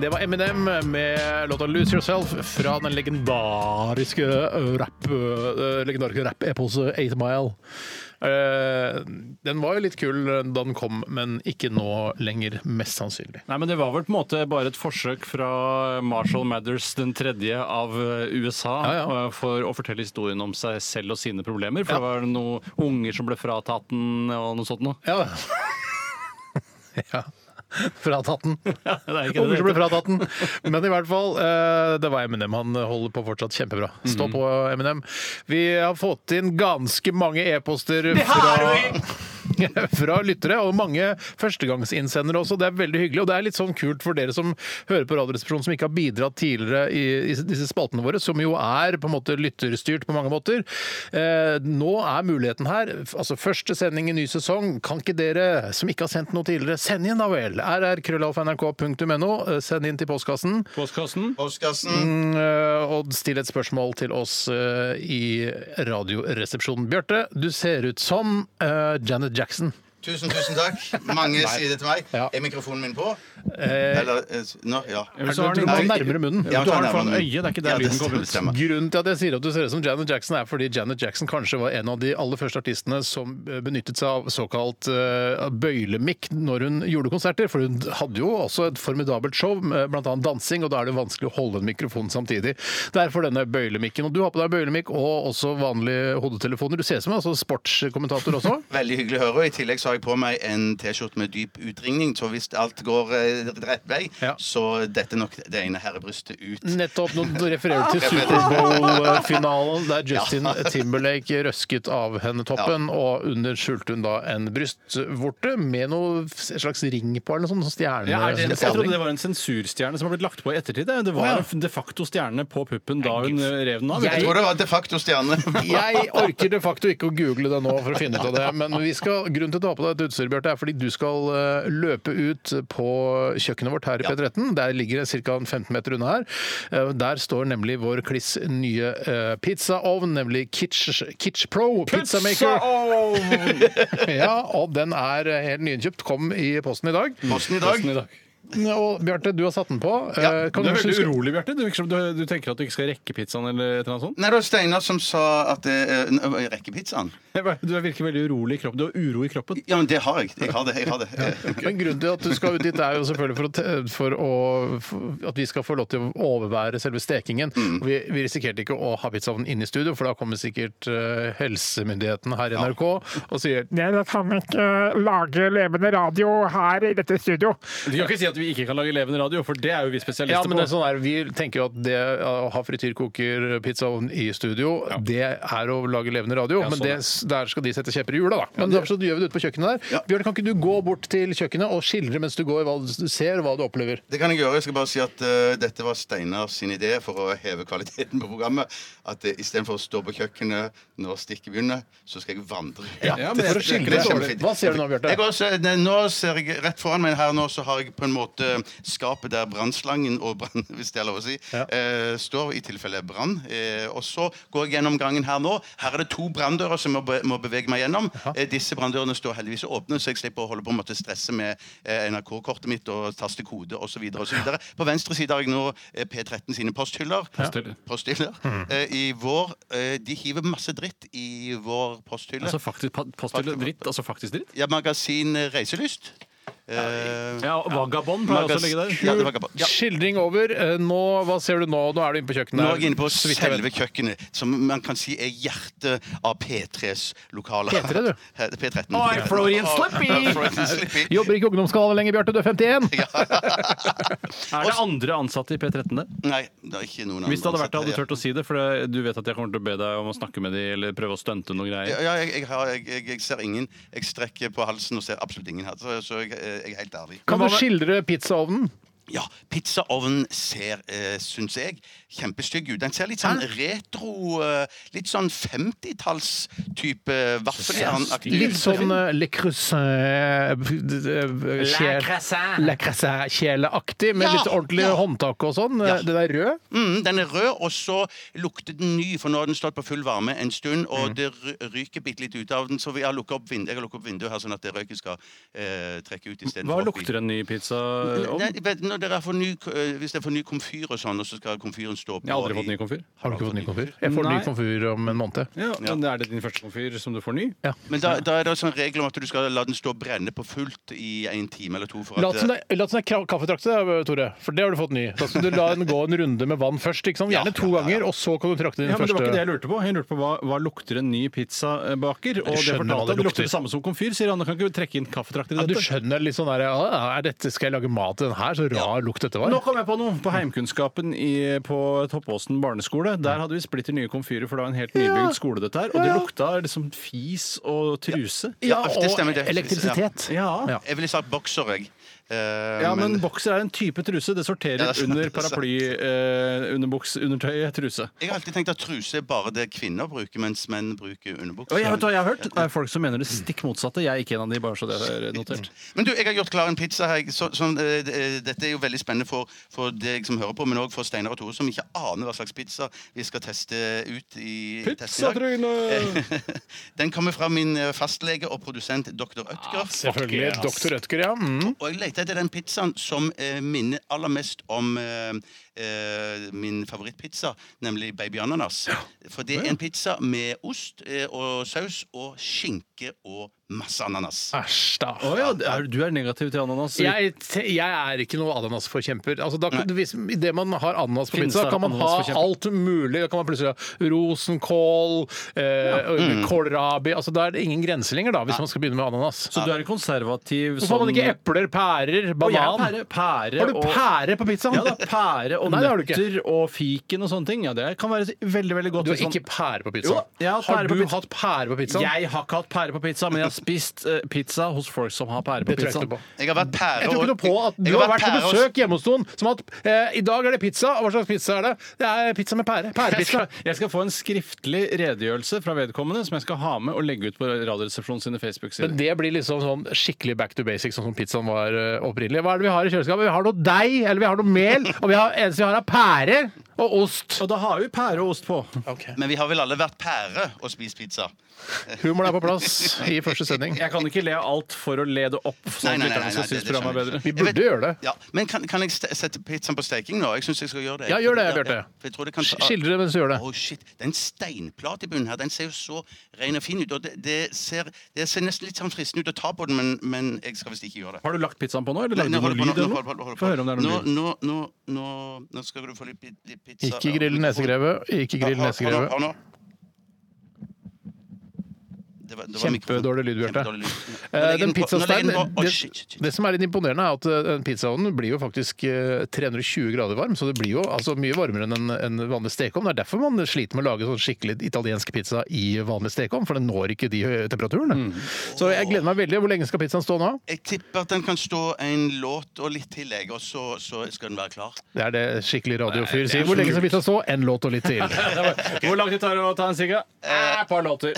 Speaker 4: Det var Eminem med låta 'Lose Yourself' fra den legendariske rap, eh, legendariske rap-eposet 8 Mile. Eh, Den var jo litt kul da den kom, men ikke nå lenger, mest sannsynlig.
Speaker 6: Nei, men Det var vel på en måte bare et forsøk fra Marshall Mathers den tredje av eh, USA
Speaker 4: ja.
Speaker 6: eh, for å fortelle historien om seg selv og sine problemer. For det var noen unger som ble fratatt den og noe sånt noe.
Speaker 4: Ja. ja. Fratatt den.
Speaker 6: Ja, det er ikke det
Speaker 4: Unger
Speaker 6: det
Speaker 4: som ble fratatt den. Men i hvert fall, eh, det var Eminem. Han holder på fortsatt kjempebra.
Speaker 6: Mhm.
Speaker 4: Stå på, eh, Eminem. Vi har fått inn ganske mange e-poster fra, fra lyttere, og mange førstegangsinnsendere også. Det er veldig hyggelig, og det er litt sånn kult for dere som hører på Radioresepsjonen som ikke har bidratt tidligere i, i disse spaltene våre, som jo er på en måte lytterstyrt på mange måter. Eh, nå er muligheten her. Altså første sending i ny sesong. Kan ikke dere som ikke har sendt noe tidligere, send inn da vel? rrkrøllalfa.nrk.no. Eh, Send inn til postkassen.
Speaker 6: Postkassen. Mm.
Speaker 4: Eh, og still et spørsmål til oss eh, i Radioresepsjonen. Bjarte, du ser ut som eh, Janet Jackson.
Speaker 7: Tusen, tusen takk. Mange sier det til meg.
Speaker 4: Ja.
Speaker 7: Er mikrofonen min på?
Speaker 4: Eh,
Speaker 7: Eller eh, s- Nå, ja.
Speaker 6: Eller så
Speaker 4: du,
Speaker 6: har
Speaker 4: du
Speaker 6: den
Speaker 4: må
Speaker 7: Nei.
Speaker 4: nærmere munnen.
Speaker 7: Ja,
Speaker 6: du har
Speaker 7: ta
Speaker 6: den foran
Speaker 7: nærmere.
Speaker 6: øyet, det er ikke der
Speaker 7: Ja,
Speaker 6: lyden kommer
Speaker 7: stemmer,
Speaker 6: ut.
Speaker 7: stemmer.
Speaker 4: Grunnen til at jeg sier at du ser ut som Janet Jackson, er fordi Janet Jackson kanskje var en av de aller første artistene som eh, benyttet seg av såkalt eh, bøylemikk når hun gjorde konserter. For hun hadde jo også et formidabelt show, med bl.a. dansing, og da er det vanskelig å holde en mikrofon samtidig. Derfor denne bøylemikken. Og du har på deg bøylemikk og også vanlige hodetelefoner. Du ser ut som en altså, sportskommentator også.
Speaker 7: Veldig hyggelig å høre. og I tillegg så har jeg på meg en T-skjorte med dyp utringning, så hvis alt går eh, rett vei,
Speaker 4: Ja.
Speaker 7: så detter nok det ene herrebrystet ut.
Speaker 4: Nettopp. Nå refererer du til Superbowl-finalen der Justin Timberlake røsket av henne toppen, og under skjulte hun da en brystvorte med noe slags ring på, eller noe sånt, sånn stjerne...
Speaker 6: Ja, er det, jeg trodde
Speaker 4: stjerning.
Speaker 6: det var en sensurstjerne som har blitt lagt på i ettertid. Det var
Speaker 4: Å, ja.
Speaker 6: en de facto stjerne på puppen da hun eh, rev den av.
Speaker 7: Jeg tror det var de facto stjerne.
Speaker 4: Jeg orker de facto ikke å google det nå for å finne ut av det, men vi skal, grunnen til å ta på deg et utstyr, Bjarte, er fordi du skal eh, løpe ut på kjøkkenet vårt her i P13. Der ligger det ca. 15 meter unna her. Eh, Der står nemlig vår kliss nye eh, pizzaovn, nemlig Kitsch, Kitsch Pro Pizzamaker. Ja, og den er helt nyinnkjøpt. eh, Kom i posten i dag.
Speaker 7: Posten i dag.
Speaker 4: og Bjarte, du har satt den på. Eh, kan
Speaker 6: Du er
Speaker 4: kanskje
Speaker 6: veldig
Speaker 4: huske-
Speaker 6: urolig, Bjarte. Du, virker som du, du tenker at du ikke skal rekke pizzaen eller et eller annet sånt.
Speaker 5: Nei, det var Steinar som sa at eh, n- Rekker pizzaen?
Speaker 6: Du virker veldig urolig i kroppen. Du har uro i kroppen.
Speaker 5: Ja, men det har jeg. Jeg har det. jeg har det.
Speaker 4: Men grunnen til at du skal ut dit, er jo selvfølgelig for, å, te- for, å, for at vi skal få lov til å overvære selve stekingen. Og Vi, vi risikerte ikke å ha pizzaovnen inne i studio, for da kommer sikkert eh, helsemyndigheten her i NRK og sier
Speaker 8: Nei, da kan vi ikke lage levende radio her i dette studio.
Speaker 6: Du kan ikke si at vi ikke kan lage levende radio, for det er jo vi
Speaker 4: ja,
Speaker 6: spesialister
Speaker 4: men det
Speaker 6: på.
Speaker 4: er sånn der, Vi tenker jo at det å ha frityrkoker-pizzaovn i studio, det er å lage levende radio.
Speaker 6: Ja,
Speaker 4: men
Speaker 6: sånn
Speaker 4: det, der skal de sette kjepper i hjula, da. Men derfor så gjør vi det ute på kjøkkenet der.
Speaker 5: Ja.
Speaker 4: Bjørn, kan ikke du gå bort til kjøkkenet og skildre mens du går hva du ser, og hva du opplever?
Speaker 5: Det kan jeg gjøre. Jeg skal bare si at eh, dette var Steinar sin idé for å heve kvaliteten på programmet. At uh, istedenfor å stå på kjøkkenet når stikket begynner, så skal jeg vandre.
Speaker 6: Ja, men
Speaker 4: For å skildre
Speaker 5: kjempefint.
Speaker 4: Hva ser du nå, Bjarte?
Speaker 5: Jeg også, ne, nå ser jeg rett foran meg her nå, så har jeg på en måte skapet der brannslangen og brann, hvis det er lov å si, eh, står, i tilfelle brann. Eh, og så går jeg gjennom gangen her nå. Her er det to branndører som jeg må, be, må bevege meg gjennom. Eh, disse branndørene står heldigvis åpne, så jeg slipper å holde på en måte stresse med eh, NRK-kortet mitt og taste kode osv. videre På venstre side har jeg nå eh, P13 sine posthyller.
Speaker 6: Posthyller.
Speaker 5: Posthyller. Eh, I vår eh, De hiver masse dritt i vår posthylle.
Speaker 6: Altså faktisk pa- posthylle dritt, altså faktisk dritt.
Speaker 5: Ja, magasin eh, Reiselyst. Eh,
Speaker 6: Ja, Vagabond pleier også å ligge der.
Speaker 5: Ja, det var gammelt. ja.
Speaker 4: Skildring over. Eh, Nå, hva ser du nå? Nå er du inne på kjøkkenet.
Speaker 5: Nå er jeg inne på
Speaker 4: Så vidt jeg vet.
Speaker 5: selve kjøkkenet, som man kan si er hjertet av P3s lokaler.
Speaker 4: P3, du?
Speaker 5: He- P13.
Speaker 6: Oi, Freudian slippy!
Speaker 5: Ja, Freudian slippy.
Speaker 4: Jobber ikke i ungdomskanalen lenger, Bjarte. Du er 51!
Speaker 6: Er det andre ansatte i P13 der?
Speaker 5: Nei, det er ikke noen andre
Speaker 6: Hvis det hadde vært det, hadde du
Speaker 5: ansatte.
Speaker 6: turt å si det? For det- du vet at jeg kommer til å be deg om å snakke med de eller prøve å stunte noen
Speaker 5: Ja,
Speaker 6: greier.
Speaker 5: ja, jeg, jeg, har, jeg, jeg, jeg ser ingen. Jeg strekker på halsen og ser absolutt ingen her. Så, så jeg, eh, jeg er helt ærlig.
Speaker 4: Kan du skildre pizzaovnen?
Speaker 5: Ja, pizzaovnen ser, eh, syns jeg, kjempestygg ut. Den ser litt sånn retro eh, Litt sånn 50-tallstype vaffeljernaktig
Speaker 4: Litt sånn eh, Le eh, Creuset-kjeleaktig, med
Speaker 5: Ja,
Speaker 4: litt ordentlig
Speaker 5: ja.
Speaker 4: håndtak og sånn.
Speaker 5: Ja.
Speaker 4: Det der rød.
Speaker 5: Mm, den er rød, og så lukter den ny, for nå har den stått på full varme en stund, og
Speaker 6: Mm.
Speaker 5: det ry- ryker bitte litt ut av den, så vi har lukket opp vind jeg har lukket opp vinduet her, sånn at det røyken skal eh, trekke ut istedenfor
Speaker 6: Hva lukter en ny pizza om?
Speaker 5: Nei, vet, når dere er for ny, k- eh, hvis det er for ny komfyr og sånn, og så skal komfyren stå på
Speaker 6: Jeg har aldri
Speaker 5: i-
Speaker 6: fått ny komfyr.
Speaker 4: Har du ikke fått ny komfyr? Jeg får ny
Speaker 6: Nei.
Speaker 4: komfyr om en måned.
Speaker 6: Ja, men Er det din første komfyr som du får ny?
Speaker 5: Men da, da er det sånn regel om at du skal la den stå og brenne på fullt i en time eller to. For
Speaker 4: Lat
Speaker 5: at,
Speaker 4: som det lat som det er kra- kaffetrakte, da, Tore. For det har du fått ny. Da skal du la den gå en runde med vann først. Ikke sant? Gjerne to ganger, og så kan du trakte din
Speaker 6: Ja, men Det var ikke det
Speaker 4: første.
Speaker 6: jeg lurte på. Jeg lurte på Hva, hva lukter en ny pizzabaker? Og det
Speaker 4: skjønner hva
Speaker 6: fortalte jeg.
Speaker 4: det
Speaker 6: Det
Speaker 4: lukter.
Speaker 6: lukter det samme som komfyr, sier han. Da kan ikke vi trekke inn kaffetrakter i
Speaker 4: Ja, du
Speaker 6: dette.
Speaker 4: skjønner litt sånn der ja, er dette, Skal jeg lage mat til den her? Så rar lukt dette var.
Speaker 6: Nå kom jeg på noe! På Heimkunnskapen i, på Toppåsen barneskole. Der hadde vi splitter nye komfyrer, for det var en helt nybygd skole, dette her. Og det lukta liksom fis og truse.
Speaker 5: Ja, det stemmer, det.
Speaker 4: elektrisitet.
Speaker 6: Ja.
Speaker 5: eh, Jeg ville sagt bokser, jeg. Eh,
Speaker 6: Ja, men, bokser er en type truse. Det sorterer
Speaker 5: Ja, det er sant,
Speaker 6: under
Speaker 5: det er sant.
Speaker 6: paraply, eh, underbuks, undertøyet, truse.
Speaker 5: jeg har alltid tenkt at truse er bare det kvinner bruker, mens menn bruker underbukser.
Speaker 6: Og jeg vet hva jeg har hørt? Det er folk som mener det stikk motsatte. Jeg er ikke en av de, bare så det er notert.
Speaker 5: Mm. Men du, jeg har gjort klar en pizza her. Så, sånn, eh, eh, dette er jo veldig spennende for, for deg som hører på, men òg for Steinar og Tore, som ikke aner hva slags pizza vi skal teste ut i testen i dag. Den kommer fra min eh, fastlege og produsent dr. Ødger.
Speaker 4: Selvfølgelig. Doktor Rødtger, ja. Mm.
Speaker 5: og jeg leter etter den pizzaen som eh, minner aller mest om eh, eh, min favorittpizza, nemlig Baby Ananas. For det er en pizza med ost eh, og saus og skinke og masse ananas.
Speaker 4: Æsj, da.
Speaker 6: Å ja, er, du er negativ til ananas?
Speaker 4: Jeg, te- jeg er ikke noe ananasforkjemper. Altså, da, kan- hvis, I det man har ananas på
Speaker 6: Finnes
Speaker 4: pizza,
Speaker 6: det
Speaker 4: kan man ha
Speaker 6: ananasforkjemper?
Speaker 4: alt mulig. Da kan man plutselig ha rosenkål, eh,
Speaker 6: Mm.
Speaker 4: kålrabi altså, Da er det ingen grenser lenger, da, hvis man skal begynne med ananas.
Speaker 6: Så du er en konservativ
Speaker 4: Hvorfor har man ikke epler, pærer,
Speaker 6: Og jeg
Speaker 4: banan?
Speaker 6: er pære, pære
Speaker 4: Har du
Speaker 6: og-
Speaker 4: pære på pizzaen?
Speaker 6: Ja da, pære og
Speaker 4: Nei, det har du ikke.
Speaker 6: nøtter og fiken og sånne ting. Ja, det kan være veldig, veldig godt.
Speaker 4: Du har
Speaker 6: hvis man-
Speaker 4: ikke pære på
Speaker 6: Sånn- Jo
Speaker 4: pizzaen.
Speaker 6: da, jeg har
Speaker 4: Har
Speaker 6: pære
Speaker 4: du
Speaker 6: på pizza.
Speaker 4: hatt pære på pizzaen?
Speaker 6: Jeg har ikke hatt pære på pizza, men jeg har spist eh, pizza hos folk som har pære på
Speaker 4: Det tror jeg
Speaker 6: pizza.
Speaker 4: ikke noe på.
Speaker 5: Jeg har vært pære
Speaker 4: Jeg tror ikke noe på at
Speaker 5: jeg
Speaker 4: du har vært på
Speaker 5: pære og-
Speaker 4: besøk hjemme hos noen som har hatt eh, I dag er det pizza. og Hva slags pizza er det? Det er pizza med pære.
Speaker 6: Jeg
Speaker 4: Pærepizza.
Speaker 6: skal, jeg skal få en skriftlig redegjørelse fra vedkommende som jeg skal ha med og legge ut på Radioresepsjonen sine Facebook-sider.
Speaker 4: Men det blir liksom sånn skikkelig back to basics, sånn som pizzaen var eh, opprinnelig. Hva er det vi har i kjøleskapet? Vi har noe deig, eller vi har noe mel, og vi har en eneste vi har, er pærer og ost.
Speaker 6: Og da har vi pære og ost på.
Speaker 5: Men vi har vel alle vært pære og spist pizza?
Speaker 4: Humoren er på plass i første sending.
Speaker 6: Jeg kan ikke le av alt for å le det opp. Sånn
Speaker 5: Nei, nei, nei,
Speaker 6: at lytterne
Speaker 5: nei,
Speaker 6: skal
Speaker 5: nei,
Speaker 6: synes
Speaker 5: det- det
Speaker 6: programmet er
Speaker 5: skjønner
Speaker 6: bedre.
Speaker 4: Vi
Speaker 5: jeg
Speaker 4: burde gjøre det.
Speaker 5: Ja, men Kan, kan jeg ste- sette pizzaen på steking nå? Jeg syns jeg skal gjøre det.
Speaker 4: Ja, gjør det, Bjarte.
Speaker 5: for jeg tror det kan ta-
Speaker 4: Skildre mens du gjør det.
Speaker 5: Å, shit. Den steinplate i bunnen her, den ser jo så ren og fin ut. Og det, det, ser, det ser nesten litt sånn fristende ut å ta på den, men, men jeg skal visst ikke gjøre det.
Speaker 6: Har du lagt pizzaen på nå, eller
Speaker 5: Nei,
Speaker 6: lagde
Speaker 5: nå
Speaker 6: du noe
Speaker 5: holder på,
Speaker 6: lyd?
Speaker 5: nå- nå
Speaker 6: eller
Speaker 5: holder på,
Speaker 6: noe?
Speaker 5: holder på.
Speaker 6: Få høre om det er
Speaker 5: Nå,
Speaker 6: noe lyd.
Speaker 5: nå, nå, nå, nå skal du få litt, pi- litt pizza.
Speaker 4: Ikke grill nesegrevet. Ikke grill
Speaker 5: Ja, hør- hør nå,
Speaker 4: nesegrevet.
Speaker 5: hør nå. Det var- det var mikrofon.
Speaker 4: Kjempedårlig lyd, Bjarte.
Speaker 5: Kjempedårlig lyd. Nå
Speaker 4: Eh, Den
Speaker 5: legger den på- nå legger
Speaker 4: pizzasteinen
Speaker 5: den på. Å,
Speaker 4: det,
Speaker 5: shit, shit, shit.
Speaker 4: det som er litt imponerende, er at eh, den pizzaovnen blir jo faktisk eh, 320 grader varm, så det blir jo altså mye varmere enn en, en vanlig stekeovn. Det er derfor man sliter med å lage sånn skikkelig italiensk pizza i vanlig stekeovn, for den når ikke de høye temperaturene.
Speaker 5: Mm.
Speaker 4: Så jeg gleder meg veldig. Hvor lenge skal pizzaen stå nå?
Speaker 5: Jeg tipper at den kan stå en låt og litt til, jeg, og så, så skal den være klar.
Speaker 4: Det er det skikkelig radiofyr sier. Hvor lenge skal pizzaen stå? En låt og litt til.
Speaker 6: Hvor lang tid tar det å ta en sigga? Eh, Et par låter.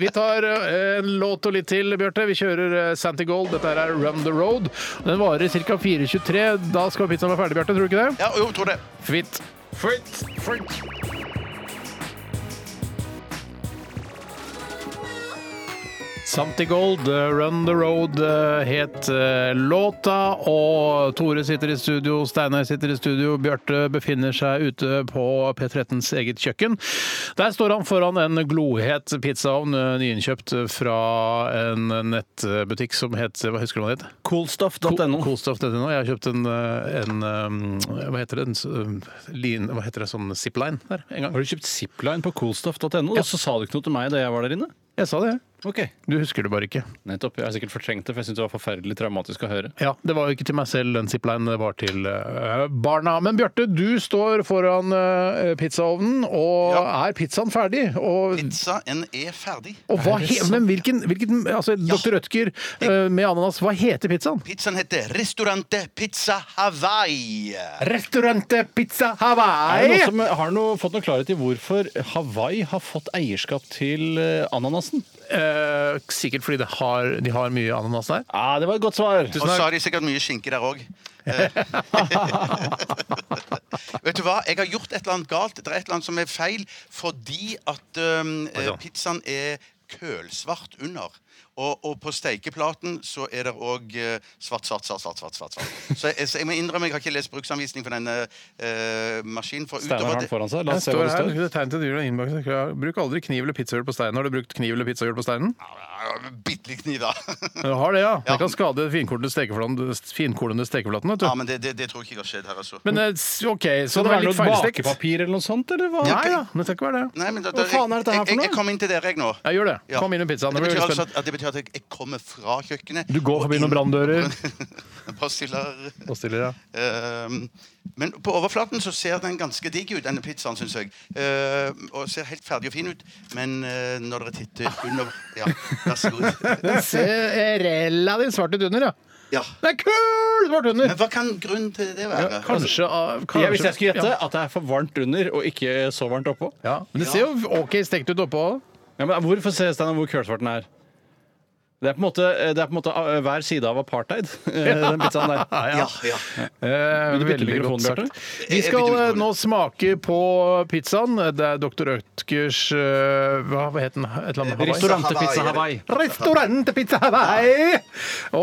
Speaker 4: Vi tar eh, en låt og litt til, Bjarte. Vi kjører eh, Santi Gold. Dette her er Run the Road. Den varer ca. 4.23. Da skal pizzaen være ferdig, Bjarte. Tror du ikke det?
Speaker 5: Ja, jo, tror det.
Speaker 4: Fitt.
Speaker 6: Fritt, fritt.
Speaker 4: Santi Gold, eh, Run the Road eh, het eh, låta, og Tore sitter i studio, Steinar sitter i studio, Bjarte befinner seg ute på P13s eget kjøkken. Der står han foran en glohet pizzaovn, eh, nyinnkjøpt fra en nettbutikk som het Hva husker du hva den het?
Speaker 6: Coolstuff.no.
Speaker 4: Coolstuff.no. Jeg har kjøpt en, eh, en eh, Hva heter det? En, s- eh, lin, hva heter det? Sånn zipline der en gang.
Speaker 6: Har du kjøpt zipline på coolstuff.no? Og så sa du ikke noe til meg da jeg var der inne?
Speaker 4: Jeg sa det, jeg.
Speaker 6: Ok.
Speaker 4: Du husker det bare ikke.
Speaker 6: Nettopp. Jeg har sikkert fortrengt det, for jeg syns det var forferdelig traumatisk å høre.
Speaker 4: Ja, Det var jo ikke til meg selv, den zipline. Det var til eh, barna. Men Bjarte, du står foran eh, pizzaovnen, og er pizzaen ferdig? Og,
Speaker 5: Pizzaen er ferdig.
Speaker 4: og hva he men hvilken, hvilken altså, Dr. Rødtger eh, med ananas, hva heter pizzaen?
Speaker 5: Pizzaen heter Restaurante Pizza Hawaii.
Speaker 4: Restaurante Pizza
Speaker 6: Er det
Speaker 4: Hawaii!
Speaker 6: noen som har noe, fått noe klarhet i hvorfor Hawaii har fått eierskap til eh, ananasen?
Speaker 4: Eh, sikkert fordi det har, de har mye ananas der.
Speaker 6: Ja, Det var et godt svar.
Speaker 5: Og så har de sikkert mye skinke der òg. Vet du hva, jeg har gjort et eller annet galt. Det er et eller annet som er feil fordi at um, eh, pizzaen er kølsvart under. Og, og på steikeplaten så er det òg eh, svart, svart, svart, svart. svart, svart, svart. Så, jeg, så jeg må innrømme, jeg har ikke lest bruksanvisning for denne eh, maskinen. For
Speaker 6: Steinar har
Speaker 5: utover
Speaker 6: den
Speaker 5: det,
Speaker 6: foran seg. La
Speaker 4: Det
Speaker 6: oss se hva
Speaker 4: står
Speaker 6: det
Speaker 4: her,
Speaker 6: står.
Speaker 4: det er tegn til dyr og innbakt, det står. Bruk aldri kniv eller pizzahjul på steinen. Har du brukt kniv eller pizzahjul på steinen?
Speaker 5: Bitte litt kniv, da.
Speaker 4: Du har det, ja. Det
Speaker 5: Ja.
Speaker 4: kan skade finkornede stekeflaten, finkornede stekeflaten vet du.
Speaker 5: ja, men det, det, det tror jeg ikke har skjedd her, altså.
Speaker 4: Men eh, s- OK, så
Speaker 6: Skal det
Speaker 4: det er
Speaker 6: være
Speaker 4: litt
Speaker 6: noe
Speaker 4: feilstekt?
Speaker 6: bakepapir eller noe sånt, eller hva?
Speaker 4: Nei da, men det skal ikke være det.
Speaker 5: Nei, men da,
Speaker 6: Hva
Speaker 5: da,
Speaker 6: faen er dette her
Speaker 5: jeg,
Speaker 6: for noe?
Speaker 5: jeg, jeg kom inn til dere, jeg nå.
Speaker 4: Jeg gjør det.
Speaker 5: Ja.
Speaker 4: Kom inn med pizzaen.
Speaker 5: Det
Speaker 4: Det blir
Speaker 5: betyr,
Speaker 4: veldig
Speaker 5: altså
Speaker 4: spennende.
Speaker 5: at, at det betyr at jeg, jeg kommer fra kjøkkenet.
Speaker 4: Du går
Speaker 5: og
Speaker 4: forbi noen
Speaker 5: inn-
Speaker 4: branndører.
Speaker 5: Pastiller.
Speaker 4: Pastiller, ja.
Speaker 5: Ehm, men på overflaten så ser den ganske digg ut, denne pizzaen, syns jeg. Ehm, og ser helt ferdig og fin ut. Men eh, når dere titter under Ja, vær så god.
Speaker 4: Den ser relativt svart ut under, ja.
Speaker 5: Ja.
Speaker 4: Det er kul svart under!
Speaker 5: Men hva kan grunnen til det være?
Speaker 4: Kanskje, ah, kanskje
Speaker 6: Jeg, hvis jeg skulle gjette at det er for varmt under og ikke så varmt oppå.
Speaker 4: Ja. Men det ser jo OK stekt ut oppå.
Speaker 6: Ja, men Hvorfor ser Steinar hvor kølsvart den er? Det er, på en måte, det er på en måte eh, hver side av apartheid, eh, den pizzaen der.
Speaker 5: ja, Altså, ja.
Speaker 4: Eh,
Speaker 6: Vil du bytte
Speaker 4: veldig
Speaker 6: mikrofon,
Speaker 4: godt sagt.
Speaker 6: Bjarte?
Speaker 4: Vi
Speaker 5: Jeg
Speaker 4: skal
Speaker 5: bytter
Speaker 4: eh,
Speaker 5: mikrofon.
Speaker 4: nå smake på pizzaen. Det er Dr. Ødgers eh, Hva hva het den? Et eller annet med Hawaii?
Speaker 6: Restaurantepizza Hawaii.
Speaker 4: Restaurant Pizza Hawaii!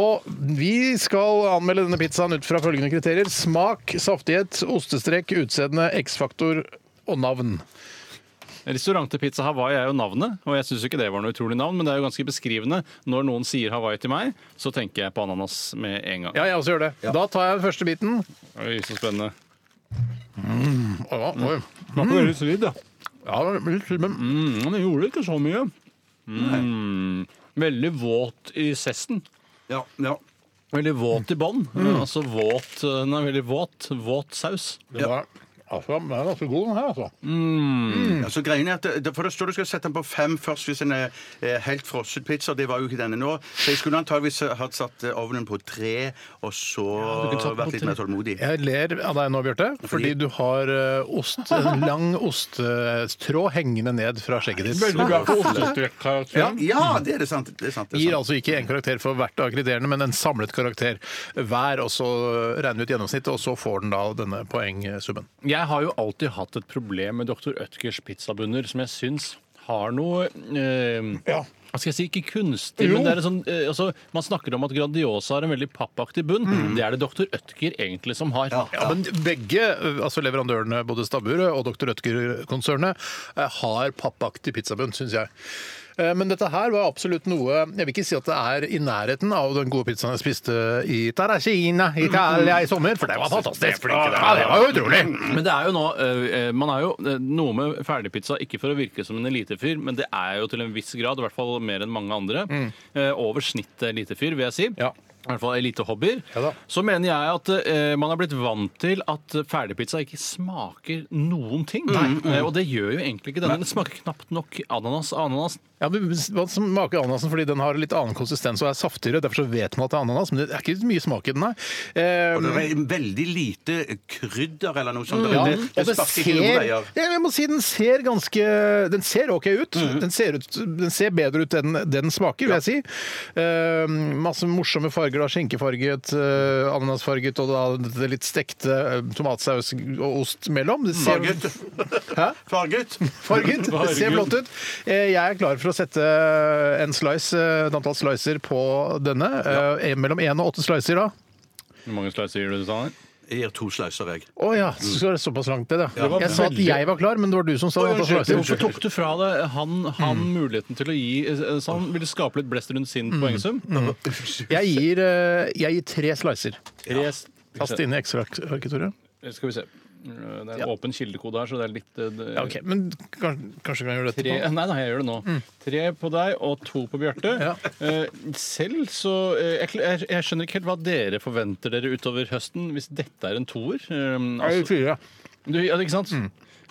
Speaker 4: Og vi skal anmelde denne pizzaen ut fra følgende kriterier. Smak, saftighet, ostestrek, utseende, X-faktor og navn.
Speaker 6: Restaurantepizza Hawaii er jo navnet, og jeg syns ikke det var noe utrolig navn, men det er jo ganske beskrivende. Når noen sier Hawaii til meg, så tenker jeg på ananas med en gang.
Speaker 4: Ja, jeg også gjør det. Da tar jeg den første biten.
Speaker 6: Oi, så spennende.
Speaker 4: Å, oi.
Speaker 6: Smaker veldig solid, da.
Speaker 4: Ja, det er litt sykt, men mm,
Speaker 6: Mm, men det gjorde ikke så mye. Mm, veldig våt i sesten.
Speaker 9: Ja, ja.
Speaker 6: Mm. eh, Veldig våt i bånn. Altså våt Den er veldig våt. Våt saus.
Speaker 4: det var Altså, den er ganske god, den her, altså.
Speaker 5: Altså, greien er at det- For det står du skal sette den på fem først hvis den er eh, helt frosset pizza. Det var jo ikke denne nå. Så jeg skulle antageligvis hatt satt eh, ovnen på tre, og så
Speaker 6: du kunne satt den på
Speaker 5: vært litt
Speaker 6: tre.
Speaker 5: mer tålmodig.
Speaker 4: Jeg ler av deg nå, Bjarte, fordi du har eh, ost, en lang ostetråd hengende ned fra skjegget ditt.
Speaker 6: bra på ostestykkarakter.
Speaker 5: Ja, det er det sant. Det er sant, det
Speaker 4: Gir
Speaker 5: er sant.
Speaker 4: altså ikke én karakter for hvert av kriteriene, men en samlet karakter hver. Og så regner vi ut gjennomsnittet, og så får den da denne poengsummen.
Speaker 6: Jeg har jo alltid hatt et problem med Dr. Ødgers pizzabunner, som jeg syns har noe eh, Hva skal jeg si, ikke kunstig, men det er en sånn, eh, altså, man snakker om at Grandiosa har en veldig pappaktig bunn. Det er det Dr. Ødger egentlig som har.
Speaker 4: Ja, men begge, altså leverandørene, både Stabburet og Dr. Rødtger-konsernet, eh, har pappaktig pizzabunn, syns jeg. Eh, Men dette her var absolutt noe Jeg vil ikke si at det er i nærheten av den gode pizzaen jeg spiste i Tarasina, Italia, i sommer, for det var fantastisk. Ja, det var jo utrolig.
Speaker 6: Men det er jo nå eh, Man er jo eh, noe med ferdigpizza, ikke for å virke som en elitefyr, men det er jo til en viss grad, i hvert fall mer enn mange andre, eh, over snittet elitefyr, vil jeg si.
Speaker 4: Mm. Ja.
Speaker 6: I hvert fall elitehobbyer.
Speaker 4: Ja da.
Speaker 6: så mener jeg at eh, man er blitt vant til at ferdigpizza ikke smaker noen ting. Eh, og det gjør jo egentlig ikke denne. Den smaker knapt nok ananas. Ananas
Speaker 4: Ja, men Hva smaker ananasen? Fordi den har litt annen konsistens og er saftigere. Derfor så vet man at det er ananas, men det er ikke mye smak i den, nei. Eh,
Speaker 5: Og det er veldig lite krydder eller noe sånt.
Speaker 4: Ja,
Speaker 5: Det,
Speaker 4: og det
Speaker 5: sparker
Speaker 4: Mm. ser,
Speaker 5: ikke noen
Speaker 4: ja,
Speaker 5: veier.
Speaker 4: jeg må si den ser ganske Den ser OK ut. Den, ser ut, den ser bedre ut enn den smaker, vil jeg si. Eh, masse morsomme farger. da, Skinkefarget, eh, ananasfarget og da det litt stekte eh, tomatsaus og ost mellom. Det ser,
Speaker 5: Farget.
Speaker 4: Hæ?
Speaker 5: Farget.
Speaker 4: Farget. Det ser flott ut. Eh, Jeg er klar for å sette en slice, eh, et antall slicer på denne. Eh, Mellom én og åtte slicer, da.
Speaker 6: Hvor mange slicer gir du til Sanner?
Speaker 5: Jeg gir to sløyser, jeg.
Speaker 4: Å ja, så skal det såpass langt ned, ja.
Speaker 6: var
Speaker 4: Jeg sa at
Speaker 6: veldig-
Speaker 4: jeg var klar, men det var du som sa antall slicer.
Speaker 6: Hvorfor tok du fra deg han, han
Speaker 4: Mm.
Speaker 6: muligheten til å gi eh, Så han ville skape litt blest rundt sin poengsum?
Speaker 4: Mm. Jeg gir, eh, jeg gir tre slicer.
Speaker 6: Tre s-
Speaker 4: Kast inn i Excel-arket, Tore.
Speaker 6: Eh, Skal vi se. Det er en åpen kildekode her, så det er litt eh, det-
Speaker 4: Ja, ok, Men kanskje, kanskje kan jeg gjøre dette
Speaker 6: Tre,
Speaker 4: på
Speaker 6: nei, nei, jeg gjør det nå. Tre på deg og to på Bjarte. Eh, selv så eh, jeg, jeg, jeg skjønner ikke helt hva dere forventer dere utover høsten hvis dette er en toer. Eh,
Speaker 4: Jeg gir
Speaker 6: altså,
Speaker 4: fire.
Speaker 6: du, ja, ikke sant?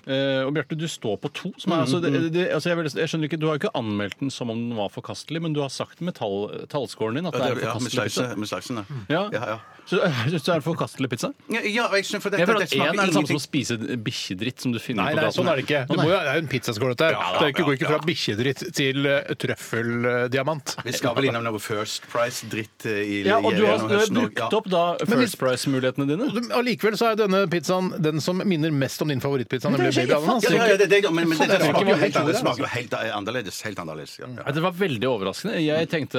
Speaker 6: Eh, og Bjarte, du står på to. Som er, altså, det, det, altså, jeg, vil- jeg skjønner ikke, Du har jo ikke anmeldt den som om den var forkastelig, men du har sagt med tall, tallscoren din at det er en
Speaker 5: Ja, med
Speaker 6: forkastelig pizza.
Speaker 5: sløyse- med sløysene.
Speaker 6: Ja.
Speaker 5: Ja, ja.
Speaker 6: Så, så er det forkastelig pizza?
Speaker 5: Ja, ja, jeg synes for dette,
Speaker 6: Jeg føler
Speaker 5: dette
Speaker 6: at Én er det
Speaker 5: smaker
Speaker 6: samme som
Speaker 5: ingenting.
Speaker 6: å spise bikkjedritt som du finner
Speaker 4: Nei,
Speaker 6: på
Speaker 4: nei,
Speaker 6: gaten.
Speaker 4: sånn er det ikke.
Speaker 6: Å,
Speaker 4: Det,
Speaker 6: nei.
Speaker 4: må, jo- det er jo en pizzaskål, dette her.
Speaker 5: Ja,
Speaker 4: Det er ikke-
Speaker 5: ja,
Speaker 4: går ikke fra
Speaker 5: ja.
Speaker 4: bikkjedritt til eh, trøffeldiamant.
Speaker 5: Vi skal vel innom noe First Price-dritt i
Speaker 6: Ja, og du har,
Speaker 5: gjennom
Speaker 6: du har
Speaker 5: høsten også.
Speaker 6: brukt
Speaker 5: Ja.
Speaker 6: opp da First Price-mulighetene dine.
Speaker 4: Og Allikevel så er denne pizzaen den som minner mest om din favorittpizza, nemlig
Speaker 6: det er
Speaker 4: Baby altså.
Speaker 6: ikke
Speaker 4: Ananas.
Speaker 5: Ja, ja, ja, det, det, men,
Speaker 6: Sånn
Speaker 5: men det,
Speaker 4: Faen, det
Speaker 5: smaker
Speaker 4: var ikke
Speaker 5: jo helt
Speaker 6: altså.
Speaker 4: helt
Speaker 5: annerledes.
Speaker 4: ordet,
Speaker 5: smaker jo helt annerledes, helt annerledes ja.
Speaker 6: Ja, det var veldig overraskende. Jeg tenkte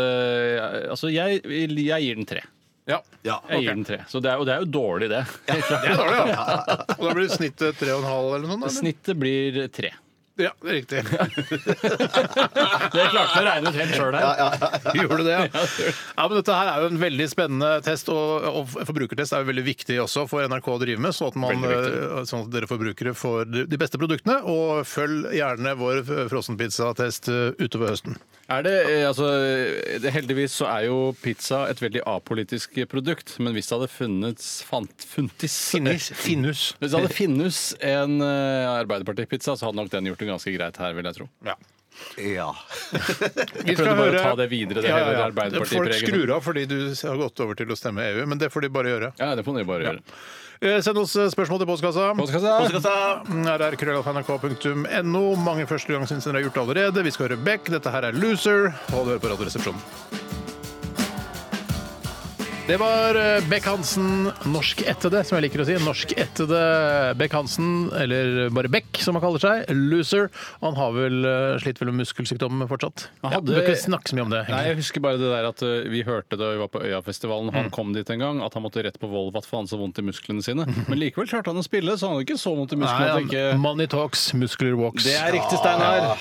Speaker 6: Altså, jeg, jeg gir den tre.
Speaker 4: Ja.
Speaker 5: Ja.
Speaker 6: Jeg gir den tre. Så det er, og det er jo dårlig, det.
Speaker 4: Det er dårlig, ja. Og da blir snittet tre og en halv eller noe sånt? eller?
Speaker 6: Snittet blir tre.
Speaker 4: Ja, det er riktig.
Speaker 6: Det klarte jeg å regne ut helt sjøl her.
Speaker 4: Gjorde du det, ja. ja men dette her er jo en veldig spennende test, og, og forbrukertest er jo veldig viktig også for NRK å drive med, sånn at, man, eh, sånn at dere forbrukere får de de beste produktene. Og følg gjerne vår f- frossenpizzatest eh, utover høsten.
Speaker 6: Er det, eh, altså, det, heldigvis så er jo pizza et veldig apolitisk produkt, men hvis det hadde funnets, fant, funtis
Speaker 4: Finnus.
Speaker 6: Hvis det hadde finnes en eh, Arbeiderparti-pizza, så hadde nok den gjort det ganske greit her, vil jeg tro.
Speaker 4: Ja.
Speaker 5: Ja.
Speaker 4: Vi
Speaker 6: prøvde bare å ta det videre, det hele Arbeiderpartiet
Speaker 4: Folk
Speaker 6: preget.
Speaker 4: skrur av fordi du har gått over til å stemme EU, men det får de bare gjøre.
Speaker 6: Ja, det får dere bare gjøre.
Speaker 4: Eh, Send oss eh, spørsmål til postkassa. Mm,
Speaker 6: Postkassa.
Speaker 4: rr.nrk.no. Mange første gang syns dere har gjort det allerede. Vi skal høre Beck. Dette her er Loser. Hold høre på Radioresepsjonen. Det var eh, Beck Hansen, norskættede, som jeg liker å si. Norskættede Beck Hansen, eller bare Beck, som han kaller seg. Loser. Han har vel eh, slitt vel med muskelsykdom fortsatt.
Speaker 6: Han
Speaker 4: Ja,
Speaker 6: hadde-
Speaker 4: du bør ikke snakke så mye om det.
Speaker 6: Nei, jeg husker bare det der at ø, vi hørte da vi var på Øyafestivalen,
Speaker 4: Mm.
Speaker 6: han kom dit en gang, at han måtte rett på Volvat for han hadde så vondt i musklene sine. Men likevel klarte han å spille, så han hadde ikke så vondt i musklene. at det
Speaker 4: Nei,
Speaker 6: ikke...
Speaker 4: Money talks, muskler walks.
Speaker 6: Det er riktig, Steinar.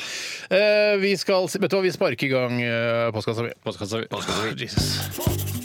Speaker 4: Eh, vi skal, vet du hva, vi sparker i gang eh, postkassa mi.
Speaker 6: Postkassa vi-
Speaker 4: Jesus.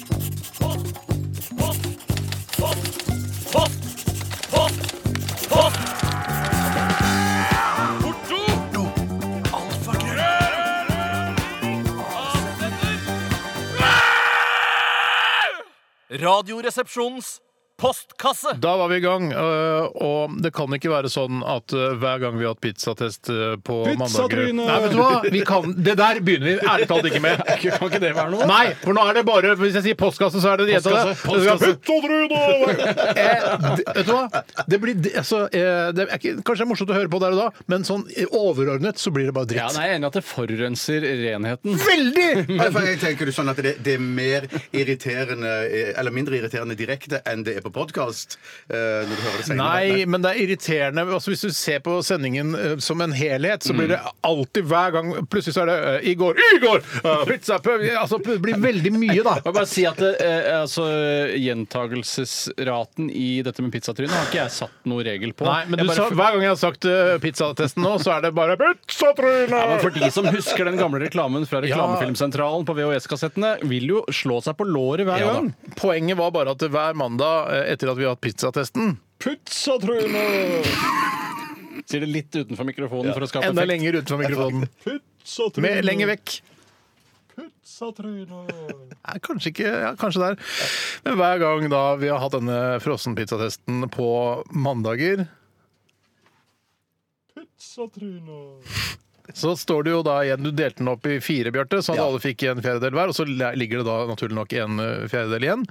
Speaker 10: Radioresepsjonens
Speaker 3: postkasse!
Speaker 4: Da var vi i gang, øh, og det kan ikke være sånn at øh, hver gang vi har hatt pizzatest øh, på mandager
Speaker 6: Pizzatryne!
Speaker 4: Nei, vet du hva? Vi kan, det der begynner vi ærlig talt ikke med.
Speaker 6: Kan ikke det være noe?
Speaker 4: Nei, for nå er det bare Hvis jeg sier postkasse, så er det jenta der. Og så skal- Eh, d- Vet du hva? Det blir, det, altså, eh, det er ikke, kanskje det er morsomt å høre på der og da, men sånn eh, overordnet så blir det bare dritt.
Speaker 6: Ja, nei, jeg er enig i at det forurenser renheten.
Speaker 4: Veldig!
Speaker 5: For jeg tenker du sånn at det, det er mer irriterende eh, Eller mindre irriterende direkte enn det er på podkast. Når du hører det senere.
Speaker 4: Nei, men det er irriterende. Altså, hvis du ser på sendingen eh, som en helhet, så blir det alltid hver gang Plutselig så er det eh, i går, i går! eh, pizza, pø- altså, det blir veldig mye, da.
Speaker 6: Jeg vil bare si at eh, altså, Gjentagelsesraten i dette med pizzatrynet har ikke jeg satt noe regel på.
Speaker 4: Nei, men
Speaker 6: Jeg
Speaker 4: du
Speaker 6: bare
Speaker 4: sa,
Speaker 6: for-
Speaker 4: hver gang jeg har sagt eh, pizzatesten nå, så er det bare pizzatryne!
Speaker 6: Ja, men for de som husker den gamle reklamen fra Reklamefilmsentralen på VHS-kassettene, vil jo slå seg på låret hver
Speaker 4: Ja, da.
Speaker 6: gang.
Speaker 4: Poenget var bare at hver mandag eh, etter at vi har hatt pizzatesten
Speaker 6: Pizzatryne! Sier det litt utenfor mikrofonen for å skape
Speaker 4: Enda
Speaker 6: effekt.
Speaker 4: lenger utenfor mikrofonen. Med, lenger vekk. Nei, kanskje ikke. Ja, kanskje der. Men hver gang da vi har hatt denne frossenpizzatesten på mandager Så står det jo da igjen, Du delte den opp i fire, Bjarte, sånn at alle fikk en fjerdedel hver. Og så le- ligger det da naturlig nok en eh, fjerdedel igjen.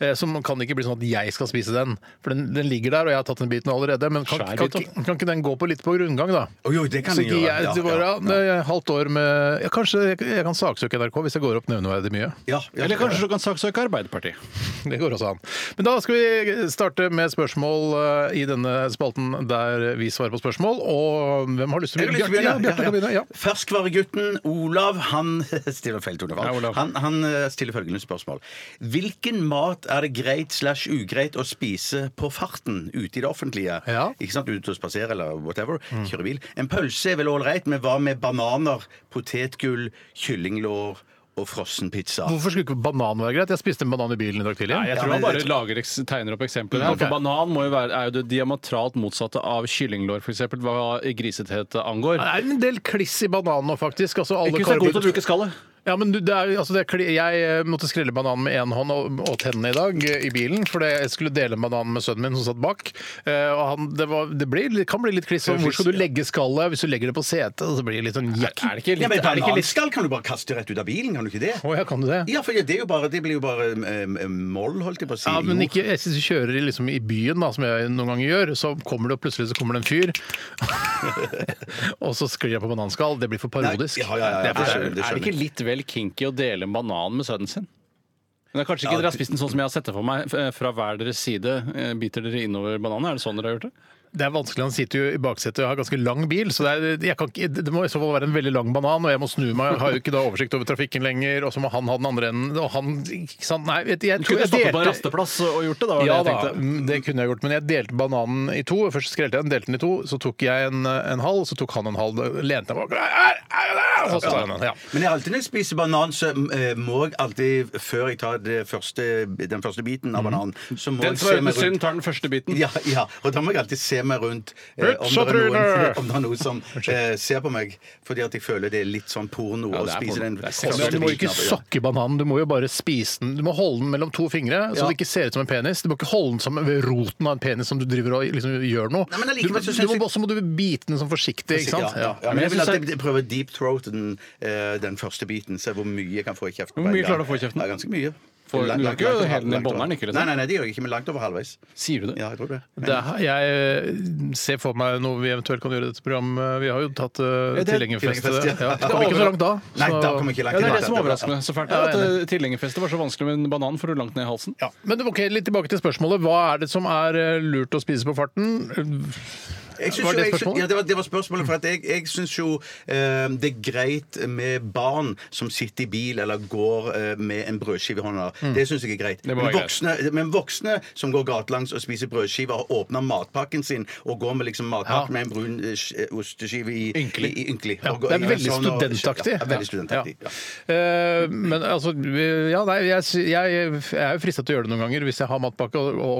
Speaker 4: Eh, Som kan ikke bli sånn at jeg skal spise den. For den, den ligger der, og jeg har tatt den biten allerede. Men kan,
Speaker 6: Skjær
Speaker 4: kan,
Speaker 6: bit,
Speaker 4: ikke- kan ikke den gå på litt på grunngang, da?
Speaker 5: Å jo, det kan
Speaker 4: Så
Speaker 5: den
Speaker 4: ikke
Speaker 5: gjøre.
Speaker 4: jeg,
Speaker 5: Ja,
Speaker 4: det var,
Speaker 5: ja,
Speaker 4: ja, det er halvt år med ja, Kanskje jeg, jeg kan saksøke NRK hvis jeg går opp nevneverdig mye.
Speaker 5: Ja, ja,
Speaker 6: Eller kanskje du kan saksøke Arbeiderpartiet.
Speaker 4: Det går også an. Men da skal vi starte med spørsmål eh, i denne spalten der vi svarer på spørsmål. Og hvem har lyst til å
Speaker 5: Jeg har lyst til
Speaker 4: Ja,
Speaker 5: å begynne.
Speaker 4: Bjarte kan begynne. Ja.
Speaker 5: Ferskvaregutten Olav han stiller feil tonefall.
Speaker 6: Ja, Olav.
Speaker 5: han, han eh, stiller følgende spørsmål. Hvilken mat er det greit slash ugreit å spise på farten ute i det offentlige?
Speaker 4: Ja. Mm.
Speaker 5: Ikke sant, Ute og spasere eller whatever. Kjøre bil. En pølse er vel ålreit, men hva med bananer, potetgull, kyllinglår og frossen pizza?
Speaker 4: Hvorfor skulle ikke banan være greit? Jeg spiste en banan i bilen i dag tidlig.
Speaker 6: Jeg
Speaker 5: Ja,
Speaker 6: tror
Speaker 5: men
Speaker 6: han bare
Speaker 5: det-
Speaker 6: lager, eks- tegner opp eksempler. her,
Speaker 4: Ok.
Speaker 6: For Banan må jo være, er jo det diametralt motsatte av kyllinglår, f.eks. hva grisethet angår.
Speaker 4: Det er en del kliss i bananen nå, faktisk. Altså, alle
Speaker 6: Ikke så god til å
Speaker 4: karbo-
Speaker 6: bruke skallet.
Speaker 4: Ja, men du, det er, jo- altså, det er, kli- jeg eh, måtte skrelle bananen med én hånd og, og tennene i dag eh, i bilen. For jeg skulle dele bananen med sønnen min som satt bak. Eh, og han, det, var, det, blir, det kan bli litt kliss. og Hvor skal du legge skallet? Hvis du legger det på setet, så blir det litt sånn jakk.
Speaker 6: Er det ikke
Speaker 5: Ja, men
Speaker 6: litt, er det ikke litt
Speaker 5: Bananskall kan du bare kaste rett ut av bilen, kan du ikke det?
Speaker 4: Å ja, kan du det?
Speaker 5: Ja, for det, er jo bare, det blir jo bare eh, moll, holdt jeg på å si.
Speaker 4: Ja, men
Speaker 5: Jo.
Speaker 4: ikke, jeg synes du kjører i, liksom, i byen, da, som jeg noen ganger gjør, så kommer det og plutselig så kommer det en fyr, og så sklir jeg på bananskall. Det blir for parodisk.
Speaker 5: Nei, ja, ja, ja,
Speaker 4: Det er for-
Speaker 5: det
Speaker 6: er, det ikke litt vel kinky å dele en banan med sønnen sin? Men det er Kanskje ikke
Speaker 5: Ja,
Speaker 6: dere har
Speaker 5: det-
Speaker 6: spist den sånn som jeg har sett det for meg, f- fra hver deres side. eh, Biter dere innover bananen? Er det sånn dere har gjort det?
Speaker 4: det er vanskelig. Han sitter jo i baksetet og har ganske lang bil, så det, er, jeg kan ikke, det må i så fall være en veldig lang banan, og jeg må snu meg, jeg har jo ikke da oversikt over trafikken lenger, og så må han ha den andre enden, og han ikke sant? Nei, vet, du, jeg tror
Speaker 6: Kunne
Speaker 4: jeg
Speaker 6: stoppet på en
Speaker 4: delte-
Speaker 6: rasteplass og og gjort det, da? Var
Speaker 4: Ja
Speaker 6: det
Speaker 4: da,
Speaker 6: jeg tenkte.
Speaker 4: mm, det kunne jeg gjort, men jeg delte bananen i to. Først skrelte jeg den, delte den i to, så tok jeg en, eh, en halv, så tok han en halv. Da Lente jeg meg bak, «Æ, æ, æ», og så tar jeg den. Ja.
Speaker 5: Men jeg alltid når jeg spiser banan, så eh, må jeg alltid, før jeg tar det første, den første biten av bananen så
Speaker 6: Mhm.
Speaker 5: må
Speaker 6: Den
Speaker 5: jeg
Speaker 6: som er
Speaker 5: se
Speaker 6: uten
Speaker 5: meg
Speaker 6: synd,
Speaker 5: rundt.
Speaker 6: tar den første biten.
Speaker 5: Ja, ja, og da må jeg alltid se meg rundt eh, om, det er noen,
Speaker 4: Pizzatryne!
Speaker 5: om det er noe som eh, ser på meg. Fordi at jeg føler det er litt sånn porno å
Speaker 6: det er porno.
Speaker 5: spise den
Speaker 6: Det er
Speaker 5: første
Speaker 4: Men du må ikke
Speaker 5: av det, ja.
Speaker 4: sokke bananen, du må jo bare spise den. Du må holde den mellom to fingre, så
Speaker 5: Ja.
Speaker 4: det ikke ser ut som en penis. Du må ikke holde den som ved roten av en penis som du driver og liksom gjør noe.
Speaker 5: Nei, men
Speaker 4: du,
Speaker 5: allikevel
Speaker 4: må-
Speaker 5: så
Speaker 4: du
Speaker 5: synes
Speaker 4: må,
Speaker 5: jeg-
Speaker 4: også må du bite den sånn forsiktig, ikke sant?
Speaker 5: Ja, ja, ja.
Speaker 4: Ja.
Speaker 5: Men jeg vil
Speaker 6: synes
Speaker 5: alltid prøve deep throat den, eh, den første biten. Se hvor mye jeg kan få i kjeften.
Speaker 6: Hvor
Speaker 5: på en
Speaker 6: mye
Speaker 5: gang.
Speaker 6: klarer du å få i kjeften?
Speaker 5: Ja, ganske mye.
Speaker 6: Får- du
Speaker 5: Langt-
Speaker 6: har
Speaker 5: langt-
Speaker 6: ikke
Speaker 5: langt-
Speaker 6: hele den i
Speaker 5: langt over.
Speaker 6: bånderen, ikke, liksom?
Speaker 5: Nei, nei, nei, det gjør jeg ikke, men langt over halvveis.
Speaker 6: Sier du det?
Speaker 5: Ja, jeg tror det.
Speaker 4: Det er, jeg ser for meg noe vi eventuelt kan gjøre i dette programmet. Vi har jo tatt uh,
Speaker 6: det-
Speaker 4: tilhengerfest.
Speaker 5: tilhengerfest, ja.
Speaker 4: Ja. Kom ikke så langt da.
Speaker 5: Nei,
Speaker 4: så-
Speaker 5: da kommer jeg ikke
Speaker 6: Ja,
Speaker 5: langt
Speaker 6: det er
Speaker 5: tilbake.
Speaker 6: det som overrasker meg så fælt. er At eh, tilhengerfestet var så vanskelig med en banan for å langt ned i halsen.
Speaker 4: Ja, men ok, litt tilbake til spørsmålet. Hva er det som er eh, lurt å spise på farten?
Speaker 5: Jeg synes
Speaker 4: Var
Speaker 5: jo-
Speaker 4: det
Speaker 5: jeg synes-
Speaker 4: spørsmålet?
Speaker 5: Ja, det var, det var spørsmålet. For at jeg, jeg syns jo eh, det er greit med barn som sitter i bil eller går eh, med en brødskive i hånda.
Speaker 4: Mm.
Speaker 5: Det syns jeg er greit.
Speaker 6: må
Speaker 5: Men
Speaker 6: være greit.
Speaker 5: voksne, men voksne som går gatelangs og spiser brødskiver og åpner matpakken sin og går med liksom
Speaker 4: Ja.
Speaker 5: matpakke med en brun eh, sk- eh, osteskive i
Speaker 4: Ynkelig.
Speaker 5: I, i ynkelig
Speaker 4: Ja,
Speaker 5: og går
Speaker 4: det er
Speaker 5: inn i en
Speaker 4: veldig
Speaker 5: sånn og-
Speaker 4: studentaktig.
Speaker 5: Ja, det er veldig studentaktig. Ja.
Speaker 4: Eh, men altså Ja, nei, jeg, jeg, jeg er jo frista til å gjøre det noen ganger hvis jeg har matpakke, og, og,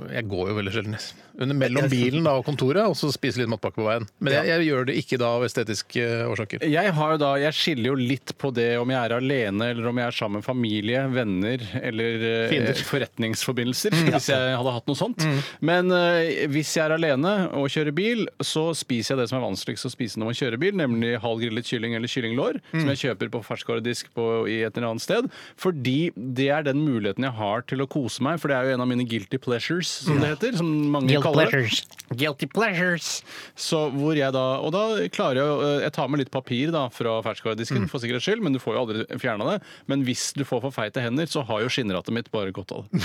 Speaker 4: og jeg går jo veldig sjelden. Under- Mellom bilen da, og kontoret, og så spise litt matpakke på veien. Men jeg, jeg gjør det ikke da av estetiske eh, årsaker.
Speaker 6: Jeg, har jo da, jeg skiller jo litt på det om jeg er alene, eller om jeg er sammen med familie, venner eller eh,
Speaker 4: Fiender.
Speaker 6: forretningsforbindelser. Hvis jeg hadde hatt noe sånt. Men eh, hvis jeg er alene og kjører bil, så spiser jeg det som er vanskeligst å spise når man kjører bil, nemlig halv grillet kylling eller kyllinglår, som jeg kjøper på ferskvaredisk på, i et eller annet sted. Fordi det er den muligheten jeg har til å kose meg, for det er jo en av mine guilty pleasures, som det heter. Som mange kaller det. Guilty pleasures. Så hvor jeg da, og da klarer jeg å- eh, Jeg tar med litt papir da fra ferskvaredisken,
Speaker 4: Mm.
Speaker 6: for sikkerhets skyld, men du får jo aldri fjerna det. Men hvis du får for feite hender, så har jo skinnrattet mitt bare godt av det.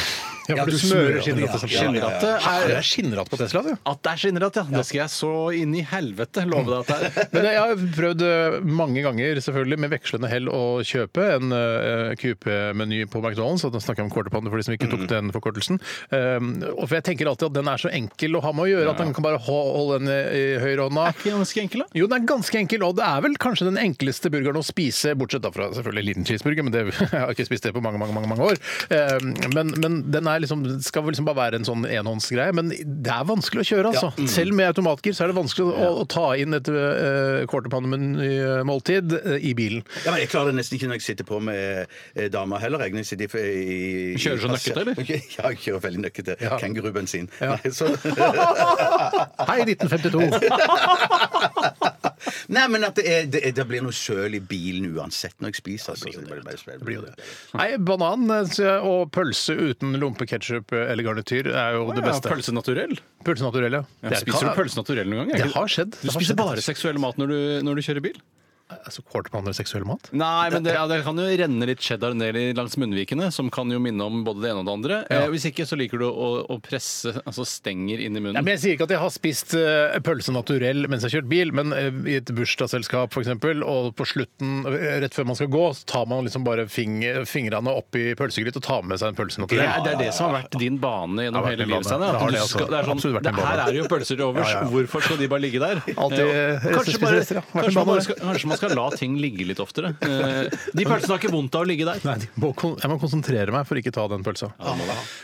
Speaker 4: Ja, for du smører skinnrattet. Skinnrattet er, det er skinnratt på Tesla, du.
Speaker 6: At det er skinnratt, ja! Det skal jeg så inn i helvete love deg at det er.
Speaker 4: Men jeg har prøvd eh, mange ganger selvfølgelig med vekslende hell å kjøpe en eh, QP-meny på McDonald's. og Da snakker jeg om quarter pounder for de som ikke tok den forkortelsen. Um, og for Jeg tenker alltid at den er så enkel å ha med å gjøre at man kan bare ho- holde den i i høyrehånda.
Speaker 6: Er ikke ganske enkel, da?
Speaker 4: Jo, den er ganske enkel, og det er vel kanskje den enkleste burgeren å spise, bortsett da fra selvfølgelig liten cheeseburger, men det, jeg har ikke spist det på mange, mange mange, mange år. Um, Men, men den er liksom, det skal vel liksom bare være en sånn enhåndsgreie, men det er vanskelig å kjøre, altså.
Speaker 6: Mm.
Speaker 4: Selv med automatgir så er det vanskelig å, å ta inn et uh, quarterpannemen-måltid i bilen.
Speaker 5: Ja, men Jeg klarer det nesten ikke når jeg sitter på med eh, dama heller. Jeg Når jeg sitter i, f- i, i
Speaker 6: Kjører du
Speaker 4: sånn
Speaker 6: så nøkkete, eller?
Speaker 5: Ja, jeg kjører veldig nøkkete. Kengurubensin. Nei, så-
Speaker 4: Hei, 1952!
Speaker 5: Nei, men at det, er, det, er- det blir noe søl i bilen uansett når jeg spiser. altså. Så det blir bare-
Speaker 4: Det blir jo det. Nei, banan eh, og pølse uten lompe, ketsjup eller garnityr er jo det beste.
Speaker 6: Pølse naturell.
Speaker 4: Pølse naturell, ja.
Speaker 6: Ja,
Speaker 4: Det er-
Speaker 6: spiser du pølse naturell noen gang? Er
Speaker 4: Det
Speaker 6: ikke-
Speaker 4: har skjedd.
Speaker 6: Du
Speaker 4: Det har
Speaker 6: spiser
Speaker 4: skjedd.
Speaker 6: bare seksuell mat når du, når du kjører bil?
Speaker 4: Altså quarterpanner seksuell mat?
Speaker 6: Nei, men det, ja, det kan jo renne litt cheddar ned i- langs munnvikene, som kan jo minne om både det ene og det andre.
Speaker 4: Ja.
Speaker 6: Eh, hvis ikke, så liker du å, å presse altså stenger inn i munnen.
Speaker 4: Ja, men jeg sier ikke at jeg har spist eh, pølse naturell mens jeg har kjørt bil, men eh, i et bursdagsselskap f.eks., og på slutten, eh, rett før man skal gå, så tar man liksom bare finger, fingrene oppi pølsegryt og tar med seg en pølse
Speaker 6: det,
Speaker 4: naturell.
Speaker 6: er, det er det som har vært din bane gjennom
Speaker 4: Det har vært
Speaker 6: hele
Speaker 4: min
Speaker 6: livet.
Speaker 4: bane.
Speaker 6: Steiner,
Speaker 4: Det
Speaker 6: at du
Speaker 4: har det, altså.
Speaker 6: skal- det er sånn,
Speaker 4: Absolutt vært
Speaker 6: det
Speaker 4: min
Speaker 6: her
Speaker 4: bane.
Speaker 6: er jo pølser til overs, hvorfor skal de bare ligge der?
Speaker 4: Alltid
Speaker 6: Ja.
Speaker 4: resten
Speaker 6: kanskje,
Speaker 4: spiser
Speaker 6: bare,
Speaker 4: rester, ja. Vært min
Speaker 6: kanskje, man
Speaker 4: bane,
Speaker 6: bare
Speaker 4: det.
Speaker 6: skal, kanskje man skal la ting ligge litt oftere. Eh, De pølsene har ikke vondt av å ligge der.
Speaker 4: Nei, de må kon jeg må konsentrere meg for ikke ta den pølsa.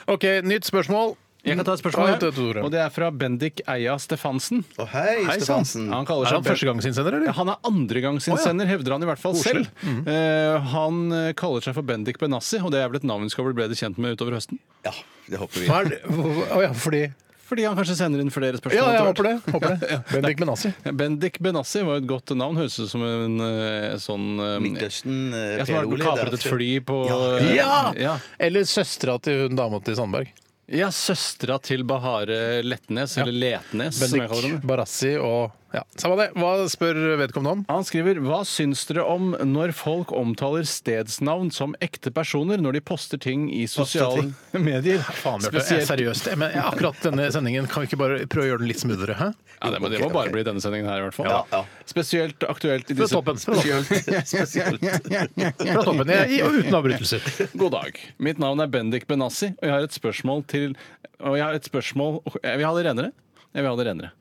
Speaker 4: OK, nytt spørsmål.
Speaker 6: Jeg kan ta et spørsmål,
Speaker 4: Ja,
Speaker 6: her,
Speaker 4: ta et ord, ja.
Speaker 6: og det er fra Bendik Eia Stefansen.
Speaker 5: Å, hei,
Speaker 4: Hei, sann.
Speaker 5: Stefansen.
Speaker 6: Han kaller
Speaker 4: Mm. Er
Speaker 6: seg
Speaker 4: han førstegangsinnsender,
Speaker 6: Ja,
Speaker 4: eller?
Speaker 6: han er andregangsinnsender, hevder han i hvert fall
Speaker 4: Koselig. Mm.
Speaker 6: selv. Eh, han eh, kaller seg for Bendik Benassi, og det er vel et navn vi skal bli bedre kjent med utover høsten?
Speaker 5: Ja, det håper vi.
Speaker 4: Hva er det? Hvor- Å ja, fordi
Speaker 6: Fordi han kanskje sender inn flere spørsmål.
Speaker 4: Ja, jeg
Speaker 6: etter
Speaker 4: håper det.
Speaker 6: hvert.
Speaker 4: Håper det. Bendik Benassi.
Speaker 6: Bendik Benassi var jo et godt navn. Høres ut som en eh, sånn eh,
Speaker 5: Midtøsten, eh,
Speaker 6: ja, Som har kapret et fly på eh,
Speaker 4: Ja!
Speaker 6: ja.
Speaker 4: Eller søstera til hun dama til Sandberg.
Speaker 6: ja søstera til Bahare Letnes, eller Letnes, som jeg kaller henne.
Speaker 4: Bendik Barassi og ja, Samme det. Hva spør vedkommende om?
Speaker 6: Han skriver Hva syns dere om når folk omtaler stedsnavn som ekte personer når de poster ting i sosiale medier?
Speaker 4: Faen, Bjarte. Jeg er seriøst. Men akkurat denne sendingen kan vi ikke bare prøve å gjøre den litt smoothere? Hæ?
Speaker 6: Ja, det, må, det må bare bli denne sendingen her, i hvert fall.
Speaker 5: Ja, ja.
Speaker 6: Spesielt aktuelt i
Speaker 4: Fra
Speaker 6: disse
Speaker 4: toppen. Fra toppen. Fra toppen. Jeg, og uten avbrytelser.
Speaker 6: God dag. Mitt navn er Bendik Benassi, og jeg har et spørsmål til Og jeg har et spørsmål Jeg vil ha det renere. Jeg vil ha det renere.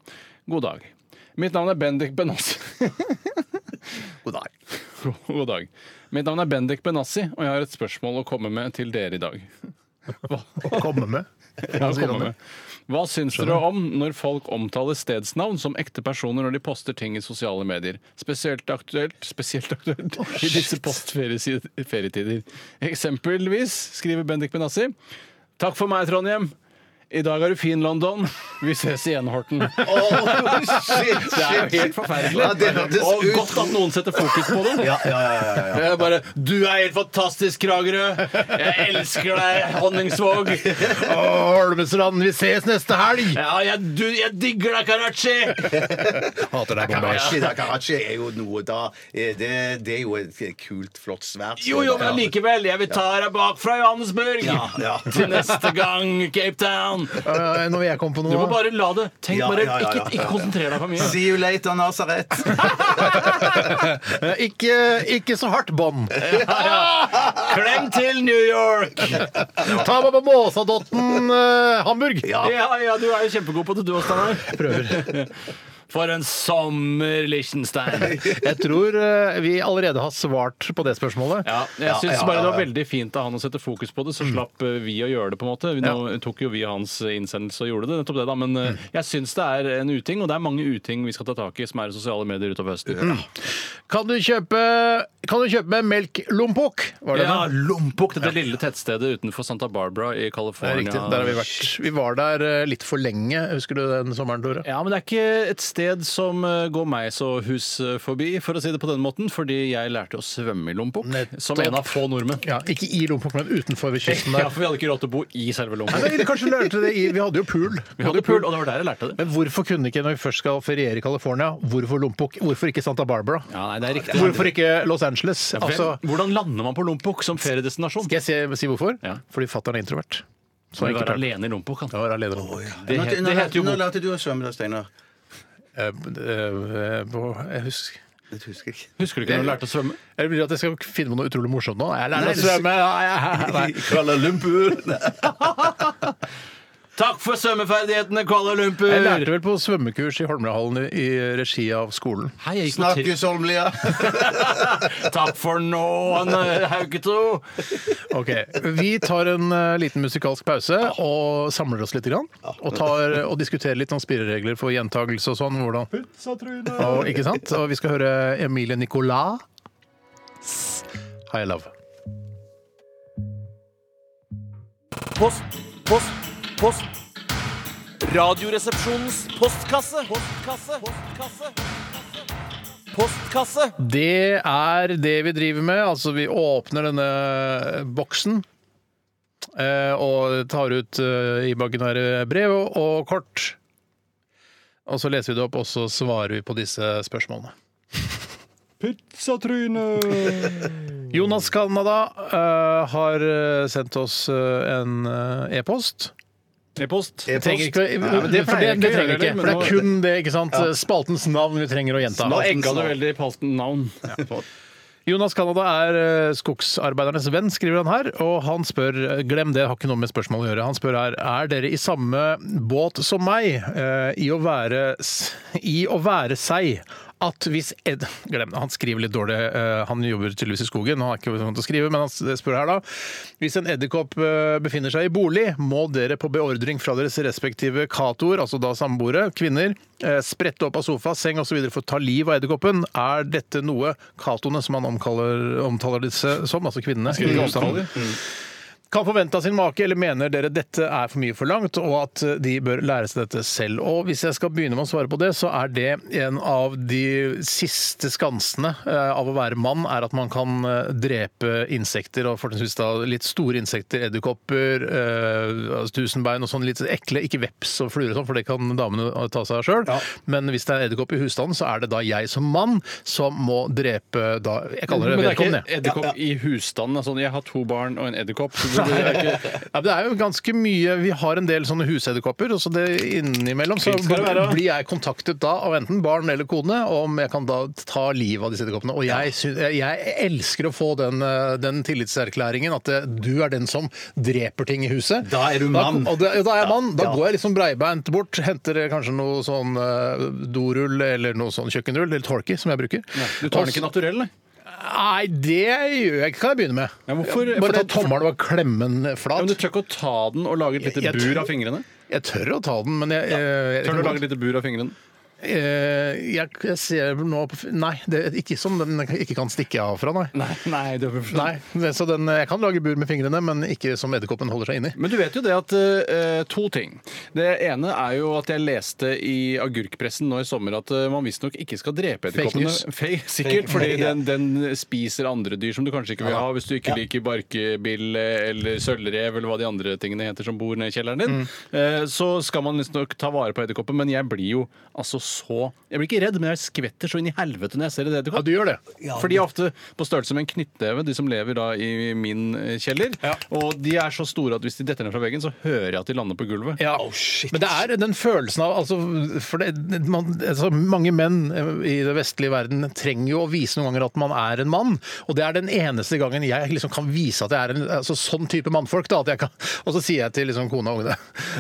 Speaker 6: God dag. Mitt navn er Bendik Benassi. God dag. God dag. Mitt navn er Bendik Benassi, og jeg har et spørsmål å komme med til dere i dag. Hva,
Speaker 4: Å komme med.
Speaker 6: Ja, komme med. Hva syns dere om når folk omtaler stedsnavn som ekte personer når de poster ting i sosiale medier? Spesielt aktuelt, spesielt aktuelt i disse postferietider. Eksempelvis skriver Bendik Benassi Takk for meg, Trondheim. I dag er du fin, London. Vi ses igjen, Horten. Det er jo helt forferdelig.
Speaker 5: Ja, det hørtes
Speaker 6: og
Speaker 5: ut-
Speaker 6: godt at noen setter fokus på det.
Speaker 5: Ja, ja, ja, ja, ja.
Speaker 6: Det er bare Du er helt fantastisk, Kragerø! Jeg elsker deg, Honningsvåg!
Speaker 4: Å, Holmestrand, vi ses neste helg!
Speaker 6: Ja, jeg, du, jeg digger deg, Karachi!
Speaker 4: Hater deg,
Speaker 5: Karachi, da, Karachi er jo noe da eh, Det, det er jo et kult, flott, svært sted.
Speaker 6: Jo, jo, men likevel. Jeg vil ta deg bakfra, Johannesburg!
Speaker 5: Ja, ja.
Speaker 6: Til neste gang, Cape Town!
Speaker 4: Bomberg. Når jeg kom på
Speaker 6: Du må
Speaker 4: noe
Speaker 6: bare la det. Tenk
Speaker 5: Ja,
Speaker 6: bare,
Speaker 5: ja, ja, ja.
Speaker 6: Ikke, ikke konsentrer deg for mye.
Speaker 5: See you later, Nazaret.
Speaker 4: Eh, ikke, ikke så hardt bånd.
Speaker 6: Klem til New York!
Speaker 4: Ta meg på Måsadotten eh, Hamburg.
Speaker 6: Ja, ja, du er jo kjempegod på det, du også, Steinar.
Speaker 4: Prøver.
Speaker 6: For en sommer, Liechtenstein!
Speaker 4: Jeg tror eh, vi allerede har svart på det spørsmålet.
Speaker 6: Ja, jeg synes bare det var veldig fint av han å sette fokus på det, så slapp eh, vi å gjøre det, på en måte. Nå tok jo vi hans innsendelse og gjorde det, nettopp det, da. Men eh, jeg syns det er en uting, og det er mange uting vi skal ta tak i som er i sosiale medier utover høsten.
Speaker 4: Kan du kjøpe, kan du kjøpe med melk lompok? Var det
Speaker 6: Ja,
Speaker 4: det?
Speaker 6: Lompok, dette lille tettstedet utenfor Santa Barbara i
Speaker 4: Det er
Speaker 6: California.
Speaker 4: riktig. Der har vi vært. Vi var der eh, litt for lenge, husker du den sommeren, Tore?
Speaker 6: Ja, men det er ikke et sted som eh, går meg så hus eh, forbi, for å si det på den måten, fordi jeg lærte å svømme i Lompok,
Speaker 4: Nettopp.
Speaker 6: som en av få nordmenn.
Speaker 4: Ja, ikke i lompok, men utenfor ved kysten
Speaker 6: Ja,
Speaker 4: der.
Speaker 6: for vi hadde ikke råd til å bo i selve
Speaker 4: Nei,
Speaker 6: Lompok.
Speaker 4: men kanskje lærte det i Vi hadde jo pool.
Speaker 6: Vi hadde pool, og det var der jeg lærte det.
Speaker 4: Men hvorfor kunne ikke, når vi først skal feriere i California, hvorfor lompok? Hvorfor ikke Santa Barbara?
Speaker 6: Ja, nei, det er riktig.
Speaker 4: Hvorfor ikke Los Angeles?
Speaker 6: Hvem-
Speaker 4: Altså,
Speaker 6: Hvordan lander man på Lompok som feriedestinasjon?
Speaker 4: skal jeg si, si hvorfor?
Speaker 6: Ja.
Speaker 4: Fordi fatter'n er introvert. Så
Speaker 6: Skal
Speaker 4: enkelt
Speaker 6: være
Speaker 4: er det.
Speaker 6: alene i altså? Lompok? han.
Speaker 4: Ja, være alene.
Speaker 6: Det, het, det heter jo
Speaker 5: Nå
Speaker 6: bok.
Speaker 5: lærte du å svømme, da, Steinar.
Speaker 4: Eh, eh, eh, Jeg husker
Speaker 5: Det husker jeg ikke.
Speaker 6: Husker du ikke når du lærte å svømme?
Speaker 4: Jeg vil at jeg skal finne på noe utrolig morsomt nå. Jeg lærer
Speaker 5: Nei,
Speaker 4: å svømme! Nei, nei.
Speaker 5: Kuala Lumpur.
Speaker 6: Takk for svømmeferdighetene, Kuala Lumpur!
Speaker 4: Jeg lærte vel på svømmekurs i Holmlia-hallen i- i regi av skolen.
Speaker 6: Hei, jeg gikk på tri-
Speaker 5: Snakkes, Holmlia.
Speaker 6: Takk for nå, Anne Hauketo!
Speaker 4: Ok, Vi tar en eh, liten musikalsk pause og samler oss litt. Grann, og, tar, og diskuterer litt sånn spilleregler for gjentagelse og sånn. Hvordan. Og, ikke sant? og vi skal høre Emilie Nicolas. High Love.
Speaker 10: Post, post, post. Radioresepsjonens postkasse. Postkasse. Postkasse. Postkasse.
Speaker 4: Det er det vi driver med. Altså, vi åpner denne boksen. eh, Og tar ut eh, imaginære brev og- og kort. Og så leser vi det opp, og så svarer vi på disse spørsmålene. Pizzatryne! Jonas Canada eh, har eh, sendt oss eh, en eh, e-post.
Speaker 6: E-post.
Speaker 4: Vi trenger ikke å-
Speaker 6: men
Speaker 4: Det
Speaker 6: det
Speaker 4: for det-
Speaker 6: pleier ikke å
Speaker 4: det trenger vi
Speaker 6: gjøre det,
Speaker 4: ikke.
Speaker 6: men
Speaker 4: For det er
Speaker 6: nå-
Speaker 4: kun det, ikke sant? Eh, Spaltens navn vi trenger å gjenta.
Speaker 6: Nå egga du veldig palten navn.
Speaker 4: Jonas Canada er eh, skogsarbeidernes venn, skriver han her. Og han spør eh, Glem det, har ikke noe med spørsmålet å gjøre. Han spør her er dere i samme båt som meg eh, i å være, s- i å være seg. At hvis Ed Glem det, han skriver litt dårlig. eh, Han jobber tydeligvis i skogen, han er ikke sånn til å skrive, men han s- spør her, da. Hvis en edderkopp eh, befinner seg i bolig, må dere på beordring fra deres respektive katoer, altså da samboere, kvinner, eh, sprette opp av sofa, seng osv. for å ta liv av edderkoppen. Er dette noe katoene, som han omkaller, omtaler disse som, altså kvinnene, i avstanden, kan forvente av sin make, eller mener dere dette er for mye forlangt, og at de bør lære seg dette selv? Og hvis jeg skal begynne med å svare på det, så er det en av de siste skansene eh, av å være mann, er at man kan eh, drepe insekter, og fortrinnsvis da litt store insekter, edderkopper, eh, altså tusenbein og sånn litt ekle, ikke veps og fluer og sånn, for det kan damene ta seg av sjøl. Men hvis det er edderkopp i husstanden, så er det da jeg som mann som må drepe da Jeg kaller
Speaker 6: Men det
Speaker 4: det
Speaker 6: er
Speaker 4: vedkommende.
Speaker 6: ikke edderkopp i husstanden. Altså, jeg har to barn og en edderkopp. så det er ikke-
Speaker 4: Ja, men det er jo ganske mye Vi har en del sånne husedderkopper, og så det innimellom så
Speaker 6: Fint skal det være, da.
Speaker 4: blir jeg kontaktet da av enten barn eller kone om jeg kan da ta livet av disse edderkoppene. Og jeg, syn- jeg elsker å få den, eh, den tillitserklæringen at eh, du er den som dreper ting i huset.
Speaker 5: Da er du mann.
Speaker 4: Da, og det, ja, da er jeg mann. Da går jeg liksom breibeint bort, henter kanskje noe sånn eh, dorull eller noe sånn kjøkkenrull eller tolki som jeg bruker.
Speaker 6: Du tar den
Speaker 4: Og
Speaker 6: ikke naturell, nei?
Speaker 4: Nei, det gjør jeg ikke, kan jeg begynne med.
Speaker 6: Ja, hvorfor- for
Speaker 4: Bare ta
Speaker 6: det-
Speaker 4: tommelen og klemme den
Speaker 6: Ja,
Speaker 4: flat.
Speaker 6: men du tør ikke å ta den og lage et lite
Speaker 4: Jeg- jeg
Speaker 6: bur
Speaker 4: tør-
Speaker 6: av fingrene?
Speaker 4: Jeg tør å ta den, men jeg, eh, jeg,
Speaker 6: Tør du å lage et lite bur av fingrene?
Speaker 4: Eh, jeg, jeg ser nå på f- Nei, det er ikke som den ikke kan stikke av fra, nei.
Speaker 6: Nei, nei, det er for
Speaker 4: Nei, det- så den, Jeg kan lage bur med fingrene, men ikke som edderkoppen holder seg inni.
Speaker 6: Men du vet jo det at eh, to ting. Det ene er jo at jeg leste i agurkpressen nå i sommer at eh, man visstnok ikke skal drepe
Speaker 4: Fake
Speaker 6: edderkoppene.
Speaker 4: news.
Speaker 6: Fake, sikkert, fordi den, den spiser andre dyr som du kanskje ikke vil ha hvis du ikke liker barkebille eller sølvrev eller hva de andre tingene heter som bor nede i kjelleren
Speaker 4: Mm.
Speaker 6: din. Eh, så skal man visstnok ta vare på edderkoppen, men jeg blir jo altså så Jeg blir ikke redd, men jeg skvetter så inn i helvete når jeg ser en
Speaker 4: Ja,
Speaker 6: edderkopp.
Speaker 4: du gjør det.
Speaker 6: For de er ofte på størrelse med en knyttneve, de som lever da i min eh, kjeller. Og de er så store at hvis de detter ned fra veggen, så hører jeg at de lander på gulvet.
Speaker 4: Ja.
Speaker 5: Oh,
Speaker 4: Men det er den følelsen av altså, for det, man, altså, Mange menn i den vestlige verden trenger jo å vise noen ganger at man er en mann. Og det er den eneste gangen jeg liksom kan vise at jeg er en altså, sånn type mannfolk. Da, at jeg kan, og så eh, sier jeg til liksom, kona og ungene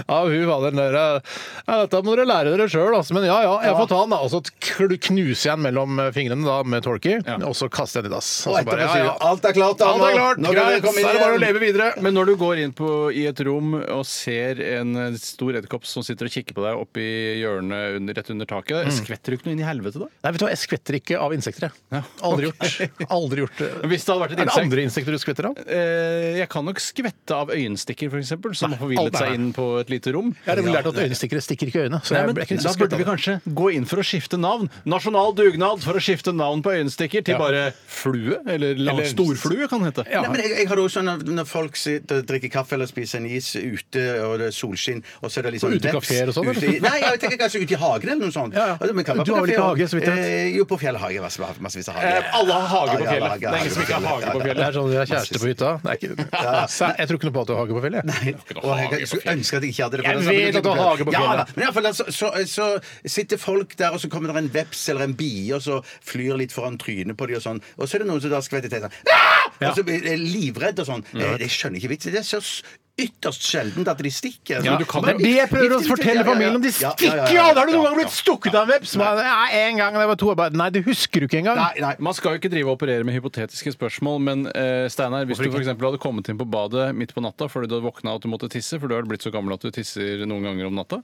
Speaker 4: Ja, hun var den der Ja, dette må dere lære dere sjøl, altså. Men ja ja, jeg har fått ta den, da, og så kl- knuser jeg den mellom eh, fingrene da, med Torky,
Speaker 6: Ja.
Speaker 4: og så kaster jeg den i dass. Og så
Speaker 5: Og etterpå
Speaker 4: bare, ja,
Speaker 5: sier
Speaker 4: ja.
Speaker 5: du alt er klart, da.
Speaker 4: Alt er klart!
Speaker 5: Nå kan dere
Speaker 4: Greit!
Speaker 5: komme
Speaker 4: Så
Speaker 5: inn
Speaker 4: er det bare å
Speaker 5: igjen.
Speaker 4: leve videre.
Speaker 6: Men når du går inn på, i et rom og ser en eh, stor edderkopp som sitter og kikker på deg oppi hjørnet under, rett under taket, skvetter du ikke noe inn i helvete da?
Speaker 4: Nei, vet du hva, jeg skvetter ikke av insekter, jeg. Aldri gjort. Aldri gjort det.
Speaker 6: Men hvis det hadde vært et
Speaker 4: Er det
Speaker 6: insekt-
Speaker 4: andre insekter du skvetter av?
Speaker 6: Eh, jeg kan nok skvette av øyestikker, f.eks., som
Speaker 4: Nei,
Speaker 6: har forvillet
Speaker 4: alt er der.
Speaker 6: seg inn på et lite rom.
Speaker 4: Jeg har nemlig lært at øyenstikkere stikker ikke i øynene. Så
Speaker 6: Nei,
Speaker 4: jeg
Speaker 6: men
Speaker 4: ble ikke
Speaker 6: da
Speaker 4: så skvettet
Speaker 6: burde
Speaker 4: av
Speaker 6: vi
Speaker 4: det.
Speaker 6: kanskje gå inn for å skifte navn. Nasjonal dugnad for å skifte navn på øyenstikker til
Speaker 4: Ja.
Speaker 6: bare flue. Eller, lang-
Speaker 4: Eller-
Speaker 6: storflue, kan det hete.
Speaker 4: Ja.
Speaker 5: Nei, men jeg, jeg har det også sånn at Når folk sitter og drikker kaffe eller spiser en is ute, og det er solskinn og så er det liksom
Speaker 4: På utekaféer og sånn,
Speaker 5: ute
Speaker 4: eller?
Speaker 5: i- Nei, jeg tenker kanskje ute i hagen eller noe sånt.
Speaker 4: Ja, ja.
Speaker 5: Og det- men kan være
Speaker 4: Du
Speaker 5: på
Speaker 4: har vel ikke
Speaker 5: kafé også.
Speaker 4: hage, så vidt jeg vet?
Speaker 5: Eh, jo, på fjellet har jeg masse- massevis av hage.
Speaker 6: Eh, alle har hage på
Speaker 5: Ja, ja,
Speaker 6: fjellet.
Speaker 5: hage,
Speaker 6: Det er ingen som ikke har
Speaker 5: på
Speaker 6: hage
Speaker 5: fjellet.
Speaker 6: på
Speaker 5: Ja, ja.
Speaker 6: fjellet.
Speaker 4: Det er sånn at vi har kjæreste på hytta. Det er ikke... Sæ- Jeg tror ikke noe på at du har hage på fjellet. jeg.
Speaker 5: Og jeg skulle ønske at jeg ikke hadde det.
Speaker 4: Jeg
Speaker 5: den sammenhengen.
Speaker 4: vet at du har hage på
Speaker 5: Ja,
Speaker 4: fjellet.
Speaker 5: da. men i alle fall, så, så, så sitter folk der, og så kommer det en veps eller en bie, og så flyr litt foran trynet på dem, og sånn. Og så er det noen som da skvetter til sånn «Ah!» Og så blir de livredd og sånn. Jeg, jeg skjønner ikke vitsen. Det er så s- ytterst sjeldent at de stikker.
Speaker 6: Ja, men du kan-
Speaker 4: Det er det jeg prøver å fortelle familien. De stikker jo! Har du noen gang blitt stukket av en veps? Nei, en gang da jeg var to. Jeg bare, Nei, det husker du ikke engang.
Speaker 5: Nei, nei.
Speaker 6: Man skal jo ikke drive og operere med hypotetiske spørsmål, men eh, Steinar, hvis du for eksempel hadde kommet inn på badet midt på natta fordi du hadde våkna og at du måtte tisse, for du har blitt så gammel at du tisser noen ganger om natta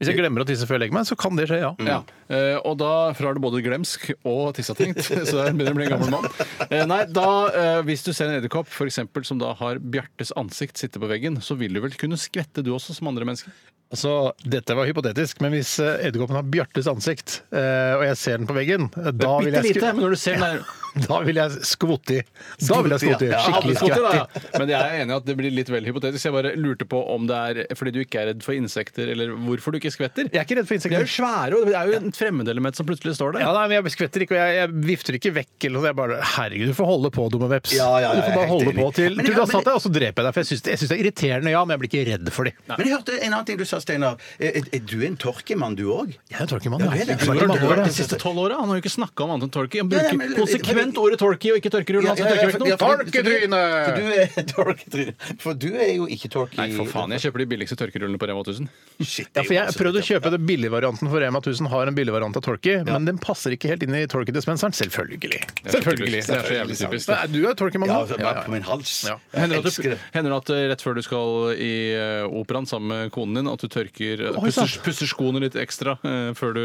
Speaker 4: Hvis jeg glemmer å tisse før jeg legger meg, så kan det skje, ja.
Speaker 6: Ja. Eh, og da, for da er du både glemsk og tissetrengt, så da begynner du å bli en gammel mann. Eh, nei, da, eh, hvis du ser en edderkopp for eksempel, som da har Bjartes ansikt sitte på veggen, så vil du vel kunne skvette du også, som andre mennesker?
Speaker 4: Altså, dette var hypotetisk, men hvis eh, edderkoppen har Bjartes ansikt, eh, og jeg ser den på veggen, eh, da vil jeg,
Speaker 6: Bittelite, men
Speaker 4: sku-
Speaker 6: når du ser den der
Speaker 4: da vil jeg skvotte i. Da vil jeg skvotte i.
Speaker 6: Ja, alle
Speaker 4: Skikkelig
Speaker 6: skal til,
Speaker 4: skvett i.
Speaker 6: da. Men jeg er enig i at det blir litt vel hypotetisk. Jeg bare lurte på om det er fordi du ikke er redd for insekter, eller hvorfor du ikke skvetter.
Speaker 4: Jeg er ikke redd for
Speaker 6: De er jo
Speaker 4: insekter.
Speaker 6: svære, og det er jo en fremmedelement som plutselig står der.
Speaker 4: Ja, nei, men Jeg skvetter ikke, og jeg, jeg vifter ikke vekk. eller noe. Jeg bare, Herregud, du får holde på, dumme veps.
Speaker 5: Ja, ja, ja,
Speaker 4: du får
Speaker 5: jeg
Speaker 4: bare
Speaker 5: er
Speaker 4: holde
Speaker 5: helt
Speaker 4: på
Speaker 5: enig.
Speaker 4: til
Speaker 5: Men
Speaker 4: til du
Speaker 5: jeg-
Speaker 4: har
Speaker 5: men-
Speaker 4: satt deg, og så dreper jeg deg. For jeg syns det, jeg synes det er irriterende, ja, men jeg blir ikke redd for dem.
Speaker 5: Men jeg hørte en annen ting du sa, Steinar. Er, er- er du en torkemann, du òg?
Speaker 4: Jeg er en tråkig mann.
Speaker 5: Ja, det er
Speaker 4: jeg. Jeg er
Speaker 5: det. Du har
Speaker 4: ikke mange år,
Speaker 5: vært
Speaker 6: De
Speaker 4: jeg.
Speaker 6: siste tolv åra. Han har jo ikke snakka om annet enn torky. Han
Speaker 5: Nei, nei,
Speaker 6: bruker
Speaker 5: men-
Speaker 6: konsekvent ordet torky og ikke altså tørkerull. Han tørker vekk noe.
Speaker 5: For du er torketryne. For du er jo ikke torke...
Speaker 6: Nei, for faen. Jeg kjøper de billigste tørkerullene på Rema 1000.
Speaker 5: Shit,
Speaker 4: Ja,
Speaker 5: det er
Speaker 4: for
Speaker 5: jo
Speaker 4: Jeg
Speaker 5: absolutt-
Speaker 4: prøvde å kjøpe den billigvarianten for Rema 1000 har en billigvariant av Torky, men den passer ikke helt inn i Torky-dispenseren. Selvfølgelig.
Speaker 6: er typisk. Det er så jævlig typisk, det.
Speaker 4: Nei, Du er Torky-mann. da.
Speaker 5: Ja, altså,
Speaker 4: Ja,
Speaker 5: bare på min hals.
Speaker 4: Ja.
Speaker 5: Jeg
Speaker 6: Hender det at
Speaker 5: elsker
Speaker 6: du,
Speaker 5: det.
Speaker 6: hender det at eh, rett før du skal i eh, operaen sammen med konen din, at du tørker eh,
Speaker 4: Oi,
Speaker 6: pusser,
Speaker 4: sant.
Speaker 6: pusser skoene litt ekstra eh, før du,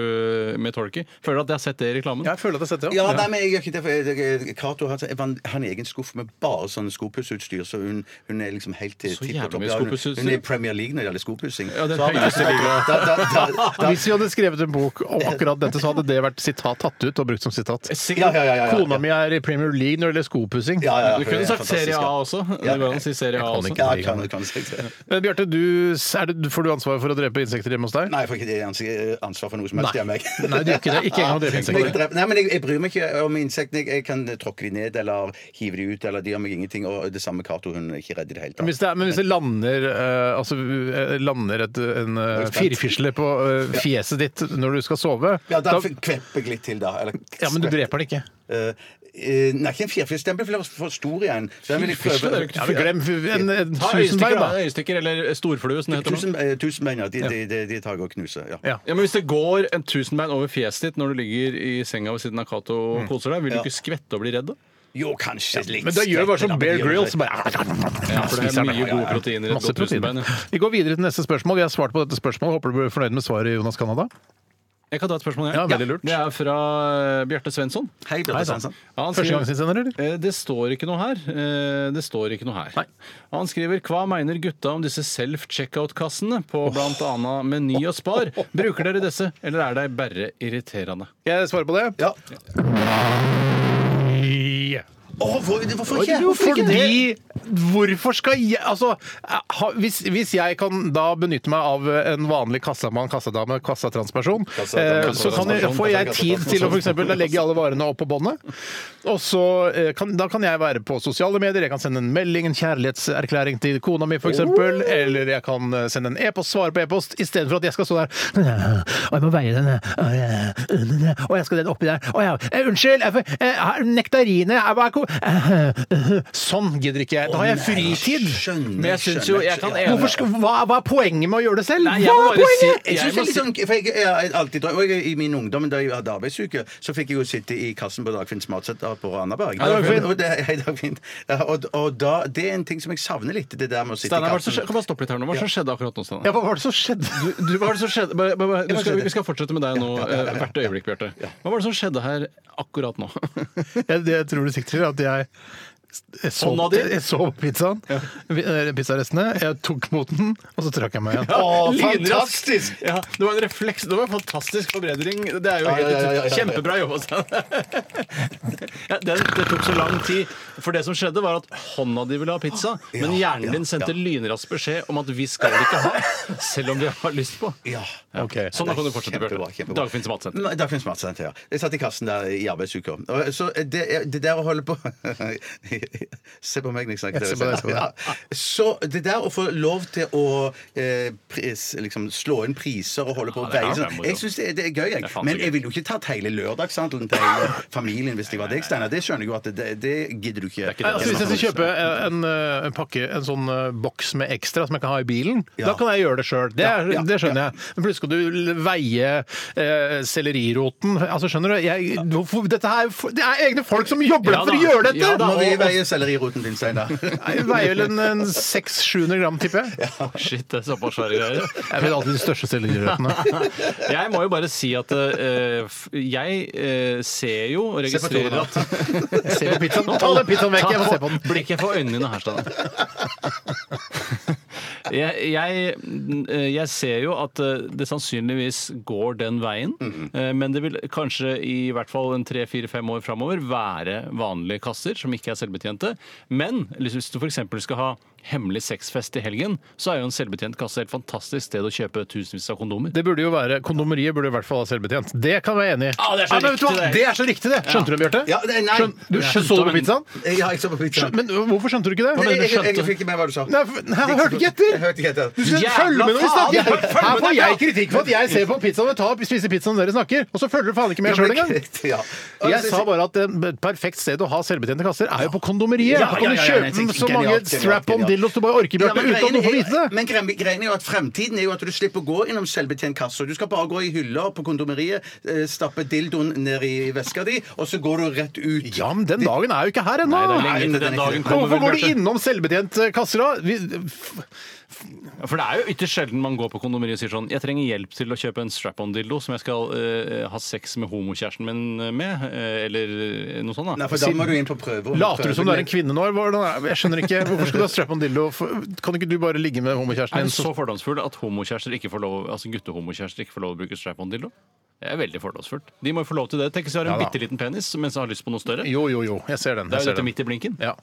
Speaker 6: med torky? Føler du at jeg har sett det i reklamen?
Speaker 4: ja. Jeg føler at jeg har sett det.
Speaker 5: Ja, nei, men jeg gjør ikke det. for jeg- jeg- Cato har han har en egen skuff med bare sånn skopusseutstyr, så hun, hun er liksom helt til
Speaker 6: Så jævlig mye
Speaker 5: Ja, hun,
Speaker 6: skopusseutstyr.
Speaker 5: hun er i Premier League når det gjelder skopussing.
Speaker 6: Ja, den
Speaker 5: Så har vi-
Speaker 6: høyeste
Speaker 5: Da- da- da- da-
Speaker 4: Hvis vi hadde skrevet en bok om akkurat dette, så hadde det vært sitat tatt ut og brukt som sitat.
Speaker 5: Ja, ja, ja, ja, ja.
Speaker 4: Kona mi er i Premier League når det gjelder skopussing.
Speaker 5: Ja, ja, ja,
Speaker 6: Du
Speaker 5: hun
Speaker 6: kunne
Speaker 5: er
Speaker 6: sagt Serie
Speaker 5: fantastisk,
Speaker 6: A
Speaker 5: ja.
Speaker 6: også.
Speaker 5: Ja,
Speaker 6: Det går an å si Serie A
Speaker 4: jeg kan
Speaker 6: også.
Speaker 4: ikke.
Speaker 5: Ja, kan, kan, sagt det.
Speaker 4: Men Eh, Bjarte, du, er det, får du ansvaret for å drepe insekter hjemme hos deg?
Speaker 5: Nei, jeg får ikke det ans- ansvar for noe som helst.
Speaker 4: Nei.
Speaker 5: jeg, meg.
Speaker 4: Nei, du gjør ikke det. Ikke engang å drepe
Speaker 5: Men jeg,
Speaker 4: insekter.
Speaker 5: dreper- nei, men jeg, jeg bryr meg ikke om insektene. Jeg, jeg kan tråkke de ned eller hive de ut. Eller de gjør meg ingenting. Og det samme med Cato. Hun er ikke redd i det hele
Speaker 4: Men hvis det,
Speaker 5: tatt.
Speaker 4: er, men hvis det lander, eh, altså, eh, lander et, en eh, firfisle på eh, fjeset ditt når du skal sove
Speaker 5: Ja, da
Speaker 4: da-
Speaker 5: kvepper jeg litt til, da. Eller,
Speaker 4: ja, Men du dreper den ikke.
Speaker 5: Eh, eh, nei, ikke en firfisstempel, for den var for stor igjen. Så den vil jeg prøve-
Speaker 6: Firfisle, det er jo ikke
Speaker 4: Ja, men glem en, en
Speaker 6: Ta
Speaker 4: tusenbein,
Speaker 6: øyestikker, da.
Speaker 4: da.
Speaker 6: øyestikker eller storflue, som det heter. nå.
Speaker 5: Tusen, eh, tusenbein, ja. De, de, de, de tar jeg og knuser. Ja.
Speaker 4: Ja.
Speaker 6: Ja, men Hvis det går en tusenbein over fjeset ditt når du ligger i senga ved siden av Cato
Speaker 4: Mm.
Speaker 6: og koser deg, vil du
Speaker 5: Ja.
Speaker 6: ikke skvette og bli redd? da?
Speaker 5: Jo, kanskje litt.
Speaker 4: Men da gjør vi bare som
Speaker 5: skrekk,
Speaker 4: Bear
Speaker 5: da, men de gjør
Speaker 4: Grylls.
Speaker 5: det.
Speaker 4: Bare,
Speaker 6: for det er
Speaker 4: spiser den.
Speaker 6: mye
Speaker 4: Ja, ja, ja.
Speaker 6: gode proteiner i et
Speaker 4: Masse
Speaker 6: godt
Speaker 4: proteiner.
Speaker 6: tusenbein, ja.
Speaker 4: Vi går videre til neste spørsmål. Vi har svart på dette spørsmålet. Håper du blir fornøyd med svaret, Jonas Canada.
Speaker 6: Jeg kan ta et spørsmål, jeg.
Speaker 4: Ja, veldig lurt.
Speaker 6: Det er fra eh, Bjarte Svensson.
Speaker 5: Hei, Bjarte
Speaker 4: Hei, da.
Speaker 5: Svensson.
Speaker 6: Ja, han skriver-
Speaker 4: Førstegangsinnsender, eller?
Speaker 6: Eh, Det står ikke noe her. Eh, Det står ikke noe her. Han skriver hva mener gutta om disse self-checkout-kassene på blant bl.a. Meny og Spar? Bruker dere disse, eller er de bare irriterende?
Speaker 4: Jeg svarer på det.
Speaker 5: Ja. Åh, hvor, hvorfor ikke? Hvorfor ikke?
Speaker 4: Fordi Hvorfor skal jeg Altså, ha- hvis, hvis jeg kan da benytte meg av en vanlig kassamann, kassadame, kassatransperson, eh, så kan jeg, får jeg tid til å f.eks. legge alle varene opp på båndet. Og så eh, kan, da kan jeg være på sosiale medier, jeg kan sende en melding, en kjærlighetserklæring til kona mi f.eks., eksempel
Speaker 6: Oh.
Speaker 4: eller jeg kan eh, sende en e-post, svare på e-post, istedenfor at jeg skal stå der Og jeg må veie den Og jeg skal den oppi der Å ja, eh, unnskyld! Jeg, får- eh, her- nektarine er bare ko- Sånn gidder ikke jeg. Da har jeg fritid.
Speaker 5: Skjønner,
Speaker 6: Men jeg syns jo Jeg kan
Speaker 4: Hvorfor skal, hva, hva er poenget med å gjøre det selv?
Speaker 6: Nei, jeg
Speaker 4: Hva
Speaker 6: må
Speaker 4: er
Speaker 6: bare si-
Speaker 4: poenget?
Speaker 5: Jeg synes
Speaker 6: må
Speaker 5: det er litt sånn, for jeg, jeg, har alltid, drømt- og jeg, I min ungdom, da jeg hadde arbeidsuke, så fikk jeg jo sitte i kassen på Dagfinns matsenter på Randaberg.
Speaker 4: Ja, det var fint.
Speaker 5: og, det, hei, Dagfinn. Ja, og, og da, det er en ting som jeg savner litt, det der med å sitte
Speaker 6: Steinar, hva er det
Speaker 5: i
Speaker 6: som
Speaker 5: kassen.
Speaker 6: skje- kan bare stoppe litt her nå? Hva er det som skjedde akkurat nå? Steinar?
Speaker 4: Ja, hva var det som skjedde?
Speaker 6: Du, hva er det som skjedde? Bare, bare, bare, du skal, vi skal fortsette med deg nå eh, hvert øyeblikk, Bjarte. Hva var det som skjedde her akkurat nå?
Speaker 4: Jeg, det jeg tror du sikter til, at jeg jeg så,
Speaker 6: Hånda di?
Speaker 4: jeg så på pizzaen, vi- eh, pizzarestene, jeg tok mot den, og så trakk jeg meg igjen.
Speaker 6: Lynraskt! Ja, det var en refleks. Det var en fantastisk forbedring. Det er jo helt
Speaker 5: ja, ja, ja, ja.
Speaker 6: kjempebra jobba. Steinar. Ja, den, det tok så lang tid. For det som skjedde, var at hånda di ville ha pizza, men hjernen din sendte lynrask beskjed om at vi skal ikke ha, selv om vi har lyst på.
Speaker 5: Ja.
Speaker 4: Ok.
Speaker 6: Sånn da kan du fortsette,
Speaker 5: Kjempebra,
Speaker 6: Bjarte.
Speaker 5: kjempebra.
Speaker 6: Dagfinns matsenter.
Speaker 5: Nei, Dagfinn Smartsenter, ja. Jeg satt i kassen der i arbeidsuka. Og Så eh, det, det der å holde på Se på meg når jeg snakker.
Speaker 4: Jeg ser på deg, jeg ser på deg.
Speaker 5: Ja. Så det der å få lov til å eh, pris, liksom, slå inn priser og holde på å
Speaker 6: det er
Speaker 5: veie
Speaker 6: klart det er
Speaker 5: sånn
Speaker 6: moro.
Speaker 5: Jeg syns det, det er
Speaker 6: Det
Speaker 5: gøy,
Speaker 6: er
Speaker 5: jeg.
Speaker 6: faen så
Speaker 5: Men
Speaker 6: gøy.
Speaker 5: jeg ville jo ikke tatt hele lørdagshandelen til hele familien hvis jeg var deg, Steinar. Det skjønner jeg jo at det, det gidder du ikke.
Speaker 6: ikke det.
Speaker 4: Nei, Altså, hvis jeg skal kjøpe en, eh, en pakke, en sånn eh, boks med ekstra som jeg kan ha i bilen,
Speaker 5: Ja.
Speaker 4: da kan jeg gjøre det sjøl. Det, er-
Speaker 5: Ja, ja,
Speaker 4: det skjønner jeg. Men plutselig skal du l- veie eh, selleriroten. Altså, skjønner du? Jeg, hvorfor, dette her, det er egne folk som jobber
Speaker 6: Ja
Speaker 4: der for å
Speaker 6: da.
Speaker 4: gjøre dette!
Speaker 6: Ja da.
Speaker 5: Må vi veie selleriruten din, Steinar?
Speaker 4: Nei, vi veier vel en, en 600-700 gram, tipper jeg.
Speaker 6: Shit, det er såpass svære greier.
Speaker 4: Jeg vet alltid de største sellerirøttene.
Speaker 6: Jeg må jo bare si at eh, f- jeg eh, ser jo og
Speaker 5: Se på
Speaker 6: registrerer
Speaker 5: Tore,
Speaker 6: at eh,
Speaker 4: Se på pizzaen. Ta den pizzaen vekk, jeg må se på den.
Speaker 6: Blikket for øynene dine her, Steinar. Jeg, jeg, eh, jeg ser jo at eh, det sannsynligvis går den veien,
Speaker 4: Mhm.
Speaker 6: eh, men det vil kanskje i hvert fall en tre-fire-fem år framover være vanlige kasser som ikke er selvbetjente. Men hvis du f.eks. skal ha hemmelig sexfest i helgen, så er jo en selvbetjent kasse et fantastisk sted å kjøpe tusenvis av kondomer.
Speaker 4: Det burde jo være, Kondomeriet burde i hvert fall ha selvbetjent. Det kan jeg være enig i.
Speaker 6: Ja, det er så
Speaker 4: men vet du
Speaker 6: riktig,
Speaker 4: hva?
Speaker 6: det.
Speaker 4: det er så riktig, det! Skjønte du det, Bjarte?
Speaker 5: Ja, det- nei.
Speaker 4: Skjøn- du, skjønte du på pizzaen?
Speaker 5: Ja, jeg så på pizzaen.
Speaker 4: Skjøn- Men hvorfor skjønte du ikke det?
Speaker 5: Jeg, jeg, jeg,
Speaker 6: skjønte.
Speaker 5: fikk ikke med hva du sa.
Speaker 4: Nei, for- nei, jeg hørte ikke etter.
Speaker 5: Jeg hørte ikke etter.
Speaker 4: Du skal
Speaker 6: Jævla
Speaker 4: følge med når vi
Speaker 6: faen!
Speaker 4: snakker!
Speaker 6: Følg med
Speaker 4: Her får
Speaker 6: deg,
Speaker 4: jeg
Speaker 6: da!
Speaker 4: kritikk for at jeg ser på pizzaen og tar, spiser pizzaen når dere snakker, og så følger du faen ikke med sjøl engang!
Speaker 5: Ja.
Speaker 4: Jeg sa bare at eh, et perfekt sted å ha selvbetjente kasser er jo på kondomeriet.
Speaker 5: Ja,
Speaker 4: Da kan
Speaker 5: ja,
Speaker 4: du
Speaker 5: ja, ja, jeg
Speaker 4: kjøpe
Speaker 5: tenker
Speaker 4: så mange
Speaker 5: genialt, genialt,
Speaker 4: strap-on
Speaker 5: genialt.
Speaker 4: dillos du bare orker,
Speaker 5: Ja,
Speaker 4: Bjarte, uten
Speaker 5: men
Speaker 4: at
Speaker 5: greien
Speaker 4: noen får vite
Speaker 5: er-
Speaker 4: det.
Speaker 5: men greien- greien er jo at fremtiden er jo at du slipper å gå innom selvbetjent kasse. Du skal bare gå i hyller på kondomeriet, eh, stappe dildoen ned i veska di, og så går du rett ut.
Speaker 4: Ja, men den dagen er jo ikke her ennå!
Speaker 6: Nei, det er
Speaker 5: Nei,
Speaker 6: lenge til
Speaker 5: den er
Speaker 6: den
Speaker 5: ikke
Speaker 6: dagen
Speaker 5: det.
Speaker 6: kommer.
Speaker 4: Hvorfor
Speaker 6: vel,
Speaker 4: går de
Speaker 6: Bjarte?
Speaker 4: innom selvbetjent eh, kasser da? Vi- f-
Speaker 6: Ja, For det er jo ytterst sjelden man går på kondomeriet og sier sånn Jeg trenger hjelp til å kjøpe en strap-on-dildo som jeg skal eh, ha sex med homokjæresten min med, eh, eller eh, noe sånt. da.
Speaker 5: Nei, for da må du inn på prøve. og
Speaker 4: Later du som du er en
Speaker 5: prøve-
Speaker 4: kvinne nå? eller hvordan er- Jeg skjønner ikke. Hvorfor skal du ha strap-on dillo? For- Kan ikke du bare ligge med homokjæresten
Speaker 6: Er
Speaker 4: din?
Speaker 6: du så fordomsfull at homokjærester ikke får lov, altså guttehomokjærester ikke får lov å bruke strap-on-dildo? Det er veldig fordomsfullt. De må jo få lov til det. Tenk hvis de har en
Speaker 4: Ja da.
Speaker 6: bitte liten penis mens de har lyst på noe større.
Speaker 4: Jo, jo, jo. Jeg ser den.
Speaker 6: Det er jo
Speaker 4: Jeg ser
Speaker 6: dette
Speaker 4: den.
Speaker 6: midt i blinken.
Speaker 4: Ja.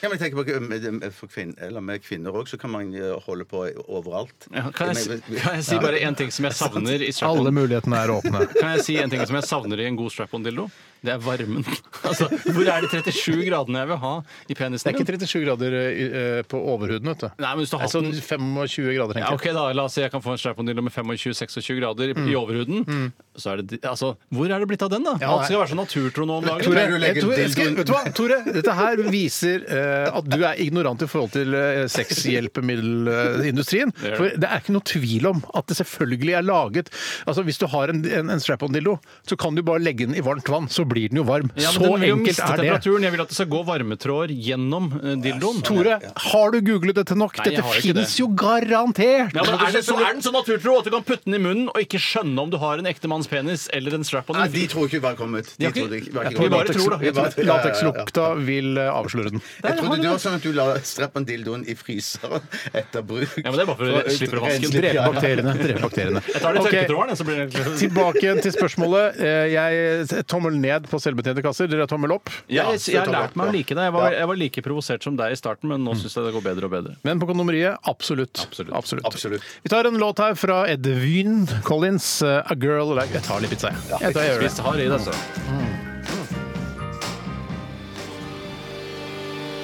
Speaker 5: Ja, men jeg tenker på, eh, med, med- for kvinner, eller med kvinner òg, så kan man eh, holde på overalt. Eh,
Speaker 6: Ja, kan, jeg,
Speaker 5: Men-
Speaker 6: si- kan jeg si bare én ting som jeg savner i
Speaker 4: Alle
Speaker 6: strap-on?
Speaker 4: mulighetene er åpne.
Speaker 6: Kan jeg si en ting som jeg savner i en god strap-on-dildo? Det er varmen. Altså, hvor er de 37 gradene jeg vil ha i
Speaker 4: Det
Speaker 6: penisen?
Speaker 4: er
Speaker 6: min?
Speaker 4: ikke 37 grader eh, på overhuden, vet du.
Speaker 6: Nei, men hvis du har hatt
Speaker 4: Altså
Speaker 6: den
Speaker 4: 25 grader,
Speaker 6: Ja,
Speaker 4: tenker jeg.
Speaker 6: ok Mm. da, La oss si jeg kan få en strap-on-dildo med 25-26 grader i, i overhuden. Så er det, altså, hvor er det blitt av den, da?
Speaker 4: Ja,
Speaker 6: Alt skal være så naturtro nå om dagen.
Speaker 4: Tore,
Speaker 5: du legger
Speaker 4: eh, Tore,
Speaker 5: dildoen-
Speaker 4: skal- vet du hva? Tore, dette her viser eh, at du er ignorant i forhold til eh, sexhjelpemiddelindustrien.
Speaker 6: er det.
Speaker 4: For det er ikke noe tvil om at det selvfølgelig er laget Altså, Hvis du har en, en, en strap-on-dildo, så kan du bare legge den i varmt vann, så blir den jo varm.
Speaker 6: Ja, men
Speaker 4: så
Speaker 6: den vil jo
Speaker 4: enkelt
Speaker 6: miste
Speaker 4: er det.
Speaker 6: temperaturen. Jeg vil at det skal gå varmetråder gjennom eh, dildoen.
Speaker 4: Tore, har du googlet dette nok?
Speaker 6: Nei, jeg
Speaker 4: dette
Speaker 6: har ikke
Speaker 4: finnes
Speaker 6: det.
Speaker 4: jo garantert!
Speaker 6: Ja, men er, det så, er den så naturtro at du kan putte den i munnen og ikke skjønne om du har en ekte manns penis eller en strap-on?
Speaker 5: Nei, de tror ikke vi var kommet. De
Speaker 6: Ja, ok.
Speaker 5: trodde ikke, var
Speaker 6: Jeg
Speaker 5: ikke
Speaker 6: tror vi
Speaker 5: kommet.
Speaker 6: bare tror, da. Jeg
Speaker 5: Vi bare- ja, ja, ja, ja.
Speaker 4: Latekslukta vil eh, avsløre den.
Speaker 5: Jeg trodde det var sånn at du la strap-on-dildoen i fryseren etter bruk.
Speaker 6: Ja, men det er bare for å slippe å vaske den.
Speaker 5: rense-
Speaker 4: Drepe bakteriene. Drepe bakteriene.
Speaker 6: Jeg tar den
Speaker 4: Ok,
Speaker 6: i tørketråden, jeg, så blir det
Speaker 4: Tilbake igjen til spørsmålet. Eh, Jeg Tommel ned på selvbetjente kasser. Dere har tommel opp.
Speaker 6: Jeg, jeg, har
Speaker 5: så tar vi
Speaker 6: lært meg å
Speaker 5: opp, ja.
Speaker 6: like deg. Jeg var, jeg var like provosert som deg i starten, men nå syns jeg det går bedre og bedre.
Speaker 4: Men på kondomeriet absolutt.
Speaker 6: Absolutt.
Speaker 5: Absolutt.
Speaker 4: Vi tar en låt her fra Edwin Collins, eh, 'A Girl Like Jeg tar litt pizza, jeg. jeg. Tar, jeg gjør det.
Speaker 6: Spist hard i deg, så.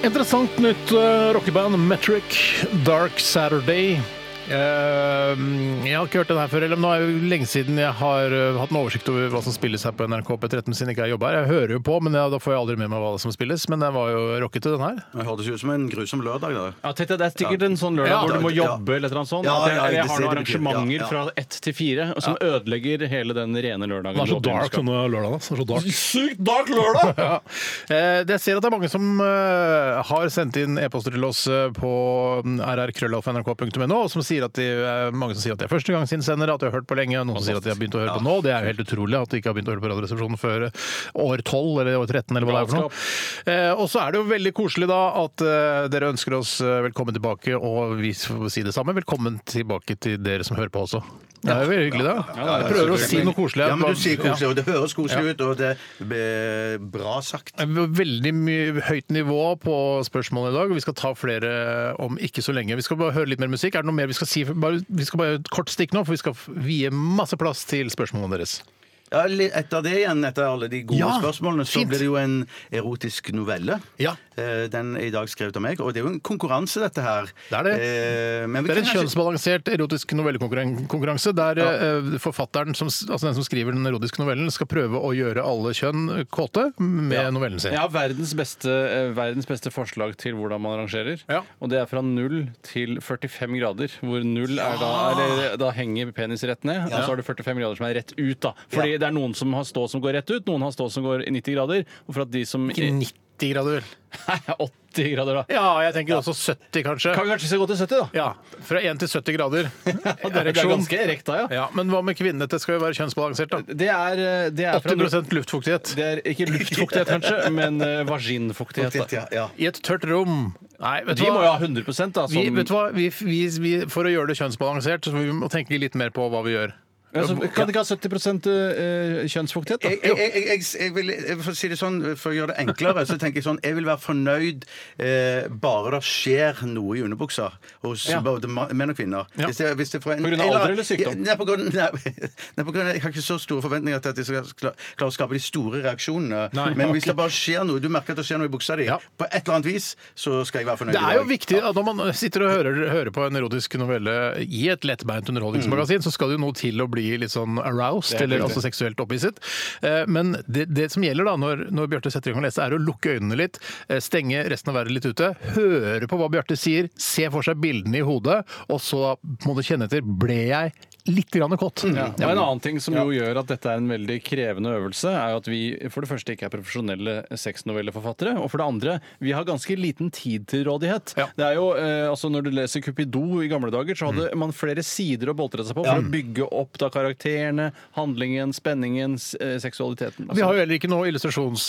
Speaker 4: Interessant nytt eh, rockeband, Metric, Dark Saturday. Eh, Jeg har ikke hørt den her før, eller men nå er det jo lenge siden jeg har eh, hatt en oversikt over hva som spilles her på NRK P13, siden jeg ikke jeg jobba her. Jeg hører jo på, men jeg, da får jeg aldri med meg hva som spilles. Men den var jo rockete, den her.
Speaker 5: Det hørtes ut som en grusom lørdag. da.
Speaker 6: Ja, tenk deg, Det er sikkert en sånn lørdag
Speaker 4: Ja.
Speaker 6: hvor du må
Speaker 5: Ja.
Speaker 6: jobbe eller et eller annet sånt.
Speaker 5: Ja,
Speaker 6: at jeg,
Speaker 5: ja,
Speaker 6: eller jeg
Speaker 5: det
Speaker 6: har
Speaker 5: ser
Speaker 6: noen
Speaker 5: det betyr.
Speaker 6: arrangementer
Speaker 5: Ja, ja.
Speaker 6: fra ett til fire som ødelegger hele den rene lørdagen.
Speaker 4: Den er så
Speaker 6: du
Speaker 4: dark,
Speaker 6: skal-
Speaker 4: sånne lørdagene. Den er så dark.
Speaker 6: Sykt dark lørdag!
Speaker 4: Ja. Eh, Jeg ser at det er mange som eh, har sendt inn e-poster til oss eh, på rrkrøllalfa.nrk.no, og som sier at de, eh, mange som sier at de er førstegangsinnsendere, at de har hørt på lenge, og noen som sier at de har begynt å høre på nå. Det er jo helt utrolig at de ikke har begynt å høre på Radioresepsjonen før eh, år 12 eller år 13 eller hva det er for noe. Eh, Og så er det jo veldig koselig da at eh, dere ønsker oss eh, velkommen tilbake, og vi får si det samme. Velkommen tilbake til dere som hører på også. Det er jo veldig hyggelig, det. Jeg prøver å si noe koselig. her.
Speaker 5: Ja, men du sier
Speaker 4: Ja.
Speaker 5: koselig, og det høres koselig ut, og det er bra sagt.
Speaker 4: Veldig mye høyt nivå på spørsmålene i dag. og Vi skal ta flere om ikke så lenge. Vi skal bare høre litt mer musikk. Er det noe mer vi skal si? Bare- Vi skal bare et kort stikk nå, for vi skal f- vie masse plass til spørsmålene deres.
Speaker 5: Ja, li- etter det igjen, etter alle de gode
Speaker 4: Ja,
Speaker 5: spørsmålene, så
Speaker 4: fint.
Speaker 5: blir det jo en erotisk novelle.
Speaker 4: Ja.
Speaker 5: Eh, Den er i dag skrevet av meg, og det er jo en konkurranse, dette her.
Speaker 4: Det er det.
Speaker 5: Eh, Men vi
Speaker 4: Det er en
Speaker 5: kan kanskje-
Speaker 4: kjønnsbalansert erotisk novellekonkurranse der eh, forfatteren, som, s- altså den som skriver den erotiske novellen, skal prøve å gjøre alle kjønn kåte med novellen sin.
Speaker 6: Jeg har verdens beste, eh, verdens beste forslag til hvordan man arrangerer.
Speaker 4: Ja.
Speaker 6: Og det er fra 0 til 45 grader. Hvor 0 er da eller, eh, Da henger penis rett ned, og så har du 45 grader som er rett ut. da Fordi det er noen som har stå som går rett ut, noen har stå som går i 90 grader. Og for at de som
Speaker 4: Ikke 90 grader.
Speaker 6: Nei, 80 grader, da.
Speaker 4: Ja, jeg tenker også 70 kanskje.
Speaker 6: Kan vi kanskje gå til 70, da.
Speaker 4: Ja, Fra 1 til 70 grader.
Speaker 6: Det er, det er ganske erekt da, ja.
Speaker 4: Ja, Men hva med kvinnene? Det skal jo være kjønnsbalansert, da.
Speaker 6: Det er, eh, det er fra
Speaker 4: 80 sånn luftfuktighet.
Speaker 6: Det er ikke luftfuktighet, kanskje, men eh, vaginfuktighet. da.
Speaker 5: Ja, ja.
Speaker 4: I et tørt rom. Nei, vet du
Speaker 6: De må jo
Speaker 4: hva?
Speaker 6: ha 100 da.
Speaker 4: Vi,
Speaker 6: Som,
Speaker 4: vet du hva? Vi, vi, vi, for å gjøre det kjønnsbalansert, så må vi må tenke litt mer på hva vi gjør.
Speaker 6: Ja, så kan de ikke ha 70 eh, kjønnsfuktighet, da?
Speaker 5: Jeg, jeg, jeg, jeg, jeg vil, jeg- for å si det sånn, for å gjøre det enklere, så tenker jeg sånn Jeg vil være fornøyd eh, bare det skjer noe i underbuksa hos både ma- menn og kvinner.
Speaker 4: Ja.
Speaker 5: Hvis det, hvis det får en,
Speaker 6: På grunn av alder eller sykdom?
Speaker 5: Nei, på grunn, nei, nei, på grunn av, jeg har ikke så store forventninger til at jeg skal kla- klare å skape de store reaksjonene.
Speaker 4: Nei,
Speaker 5: Men
Speaker 4: ok.
Speaker 5: hvis det bare skjer noe, du merker at det skjer noe i buksa di,
Speaker 4: Ja.
Speaker 5: på et eller annet vis, så skal jeg være fornøyd.
Speaker 4: Det
Speaker 5: i
Speaker 4: er jo
Speaker 5: dag.
Speaker 4: viktig at når man sitter og hører, hører på en erotisk novelle i et lettbeint underholdningsmagasin, så skal det jo noe til å bli litt sånn aroused, eller altså seksuelt opphisset. Eh, Men det, det som gjelder da når, når Bjarte setter i gang å lese, er å lukke øynene litt, eh, stenge resten av verden litt ute, høre på hva Bjarte sier, se for seg bildene i hodet, og så må du kjenne etter ble jeg litt grann kåt.
Speaker 6: Ja. Og en annen ting som jo gjør at dette er en veldig krevende øvelse, er jo at vi for det første ikke er profesjonelle sexnovelleforfattere, og for det andre, vi har ganske liten tid til rådighet.
Speaker 4: Ja.
Speaker 6: Det er jo, eh, altså Når du leser Cupido i gamle dager, så
Speaker 4: Mm.
Speaker 6: hadde man flere sider å boltre seg på for å bygge opp da karakterene, handlingen, spenningen, s- eh, seksualiteten.
Speaker 4: Vi har jo heller ikke noen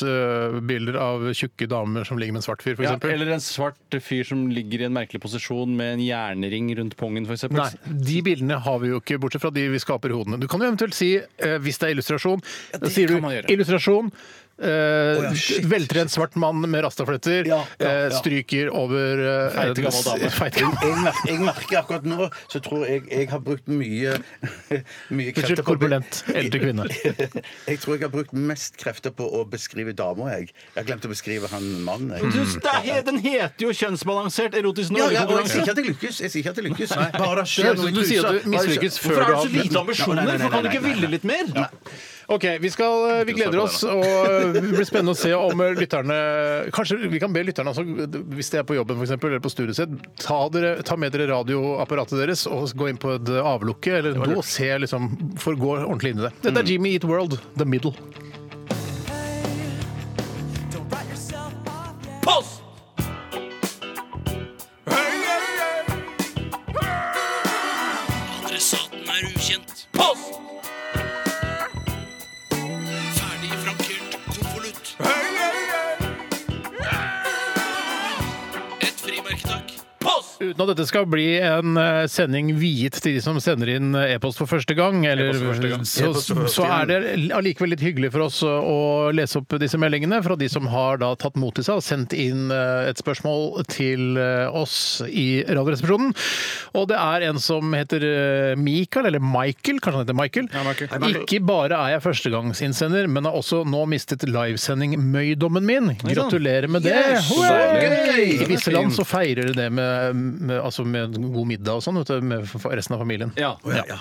Speaker 4: illustrasjonsbilder av tjukke damer som ligger med en svart fyr, f.eks.
Speaker 6: ja, eller en svart fyr som ligger i en merkelig posisjon med en jernring rundt pungen, f.eks.
Speaker 4: Nei, de bildene har vi jo ikke, bortsett fra de vi skaper i hodene. Du kan jo eventuelt si, eh, hvis det er illustrasjon Da
Speaker 6: det
Speaker 4: sier
Speaker 6: kan man gjøre.
Speaker 4: du illustrasjon. Eh, veltrent svart mann med rastafletter
Speaker 5: Ja, ja,
Speaker 4: eh,
Speaker 5: ja.
Speaker 4: stryker over eh,
Speaker 6: Feite gammel dame.
Speaker 4: en s- feite gammel-
Speaker 5: Jeg, mer, jeg merker akkurat nå så tror jeg jeg har brukt mye, mye
Speaker 4: Unnskyld,
Speaker 5: krefter på-
Speaker 4: korpulent eldre kvinne.
Speaker 5: Jeg tror jeg har brukt mest krefter på å beskrive damer. Jeg Jeg har glemt å beskrive han mannen. jeg.
Speaker 6: Du, det er he- Den heter jo kjønnsbalansert erotisk
Speaker 5: Ja, ja, og jeg
Speaker 6: novellekonkurranse.
Speaker 5: sier ikke at jeg lykkes. Jeg sier ikke at jeg lykkes. Bare det
Speaker 4: Det
Speaker 5: skjer
Speaker 4: høres
Speaker 5: noe i
Speaker 4: ut som du sier at du
Speaker 5: trusa. Bare det
Speaker 4: mislykkes
Speaker 5: skjer-
Speaker 4: før
Speaker 6: Hvorfor er
Speaker 4: du
Speaker 6: det så lite ambisjoner?
Speaker 5: Nei, nei, nei,
Speaker 6: Hvorfor kan du ikke
Speaker 5: nei, nei,
Speaker 6: ville litt mer?
Speaker 4: Ok, vi, skal, eh, vi gleder oss, og eh, det blir spennende å se om eh, lytterne Kanskje vi kan be lytterne, altså, hvis de er på jobben for eksempel, eller på studiet sitt, ta, dere, ta med dere radioapparatet deres og gå inn på et avlukke eller en do og se, liksom, for å gå ordentlig inn i det. Dette er Jimmy Eat World, The Middle.
Speaker 10: Post! Adressaten er ukjent. Post! Ferdig frankert konvolutt. Et frimerke, takk. Post!
Speaker 4: Uten at dette skal bli en eh, sending viet til de som sender inn eh, e-post for første gang, eller, Så,
Speaker 5: E-post for første
Speaker 4: så er det allikevel litt hyggelig for oss å, å lese opp disse meldingene fra de som har da tatt mot til seg og sendt inn eh, et spørsmål til eh, oss i Radioresepsjonen. Og det er en som heter eh, Michael, eller Michael, kanskje han heter Michael. Ikke bare er jeg førstegangsinnsender, men har også nå mistet livesending-møydommen min. Gratulerer med det!
Speaker 6: Yes!
Speaker 4: Hooray!
Speaker 6: Så gøy!
Speaker 4: I visse land så feirer de det med med, altså med en god middag og sånn vet du, med f- resten av familien.
Speaker 6: Ja.
Speaker 4: Ja.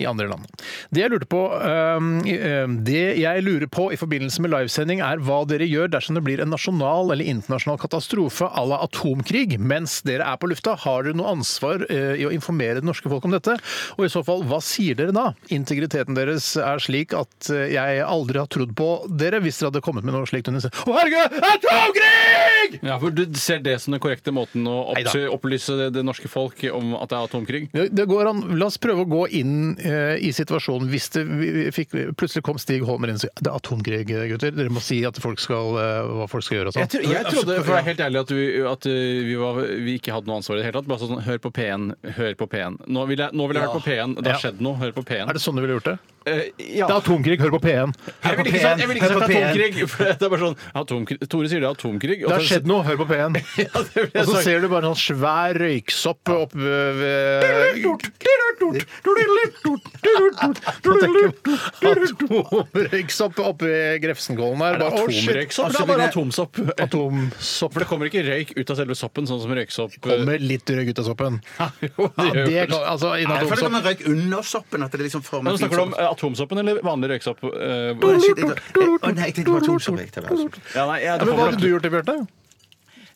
Speaker 4: I andre land. Det jeg lurte på øhm, i- øhm, Det jeg lurer på i forbindelse med livesending, er hva dere gjør dersom det blir en nasjonal eller internasjonal katastrofe à la atomkrig mens dere er på lufta. Har dere noe ansvar øh, i å informere det norske folk om dette? Og i så fall, hva sier dere da? Integriteten deres er slik at øh, jeg aldri har trodd på dere hvis dere hadde kommet med noe slikt under Å, herregud! Atomkrig!
Speaker 6: Ja, for Du ser det som den korrekte måten å
Speaker 4: Neida.
Speaker 6: oppsø- opplyse det, det norske folk om at det er atomkrig?
Speaker 4: Det det går an, La oss prøve å gå inn eh, i situasjonen hvis det vi- vi fikk, plutselig kom Stig Holmer inn og sa det er atomkrig, gutter. Dere må si at folk skal, eh, hva folk skal gjøre og sånn.
Speaker 6: Jeg, tro, jeg trodde for å være helt ærlig at vi, at eh, vi, var, vi ikke hadde noe ansvar i det hele tatt. Bare sånn Hør på P1, hør på P1. Nå vil jeg, nå vil jeg høre på P1. Det
Speaker 4: Ja.
Speaker 6: har skjedd noe. Hør på P1.
Speaker 4: Er det sånn du ville gjort det?
Speaker 6: Eh, ja.
Speaker 4: Det er atomkrig, hør på
Speaker 6: Jeg
Speaker 4: P1.
Speaker 6: ville ikke
Speaker 5: Hør på
Speaker 6: sagt, jeg ville ikke sagt
Speaker 5: P1, hør på P1.
Speaker 6: atomkrig. For det er bare sånn atomkrig. Tore sier det er atomkrig. og
Speaker 4: Det har
Speaker 6: så-
Speaker 4: skjedd noe, hør på P1.
Speaker 6: Ja, det ville jeg
Speaker 4: Og så
Speaker 6: sagt.
Speaker 4: ser du bare en sånn svær røyksopp oppe ved Atomrøyksopp oppe ved Grefsenkollen her.
Speaker 6: Er det
Speaker 4: Bare, «Å, shit,
Speaker 6: atomrøyksopp?
Speaker 4: altså,
Speaker 6: Det er bare
Speaker 4: mine-
Speaker 6: atomsopp.
Speaker 4: Atomsopp.
Speaker 6: For det kommer ikke røyk ut av selve soppen, sånn som røyksopp
Speaker 4: Kommer litt røyk ut av soppen.
Speaker 6: Jo, det
Speaker 4: Ja,
Speaker 6: gjør
Speaker 4: det
Speaker 6: vel-
Speaker 4: kan, altså, i
Speaker 5: Jeg føler det
Speaker 4: atomsopp.
Speaker 5: kommer røyk under soppen. At det liksom former
Speaker 6: Men nå snakker du om
Speaker 5: fint
Speaker 6: eh, atomsoppen eller vanlig røyksopp? eh,
Speaker 5: sopp.
Speaker 6: hvor-
Speaker 5: Shit, jeg tar- Å nei, jeg tenkte på atomsopp. jeg, det var altså.
Speaker 6: Ja, nei, jeg-
Speaker 4: Ja,
Speaker 6: det
Speaker 4: men hva
Speaker 6: kommer
Speaker 4: hadde
Speaker 6: nok-
Speaker 4: du gjort det, Bjarte?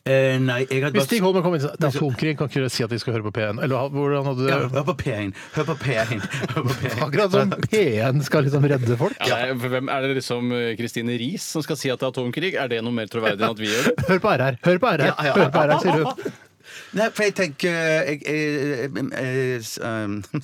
Speaker 5: Eh, Nei, jeg hadde
Speaker 6: altså-
Speaker 4: Hvis Stig
Speaker 5: bare
Speaker 4: Holmen kom inn og sa det er atomkrig, kan ikke dere si at vi skal høre på P1? Eller ha- hvordan hadde
Speaker 5: Ja, Hør på P1. Hør på P1. Hør på P1.
Speaker 4: Akkurat som P1 skal liksom redde folk.
Speaker 6: Ja, nei, for hvem, er det liksom eh, Kristine Riis som skal si at det er atomkrig? Er det noe mer troverdig enn at vi gjør det?
Speaker 4: Hør på RR! Hør på RR!
Speaker 5: Ja, ja.
Speaker 4: Hør på RR, sier hun.
Speaker 5: Nei, for jeg tenker jeg, jeg, jeg, jeg,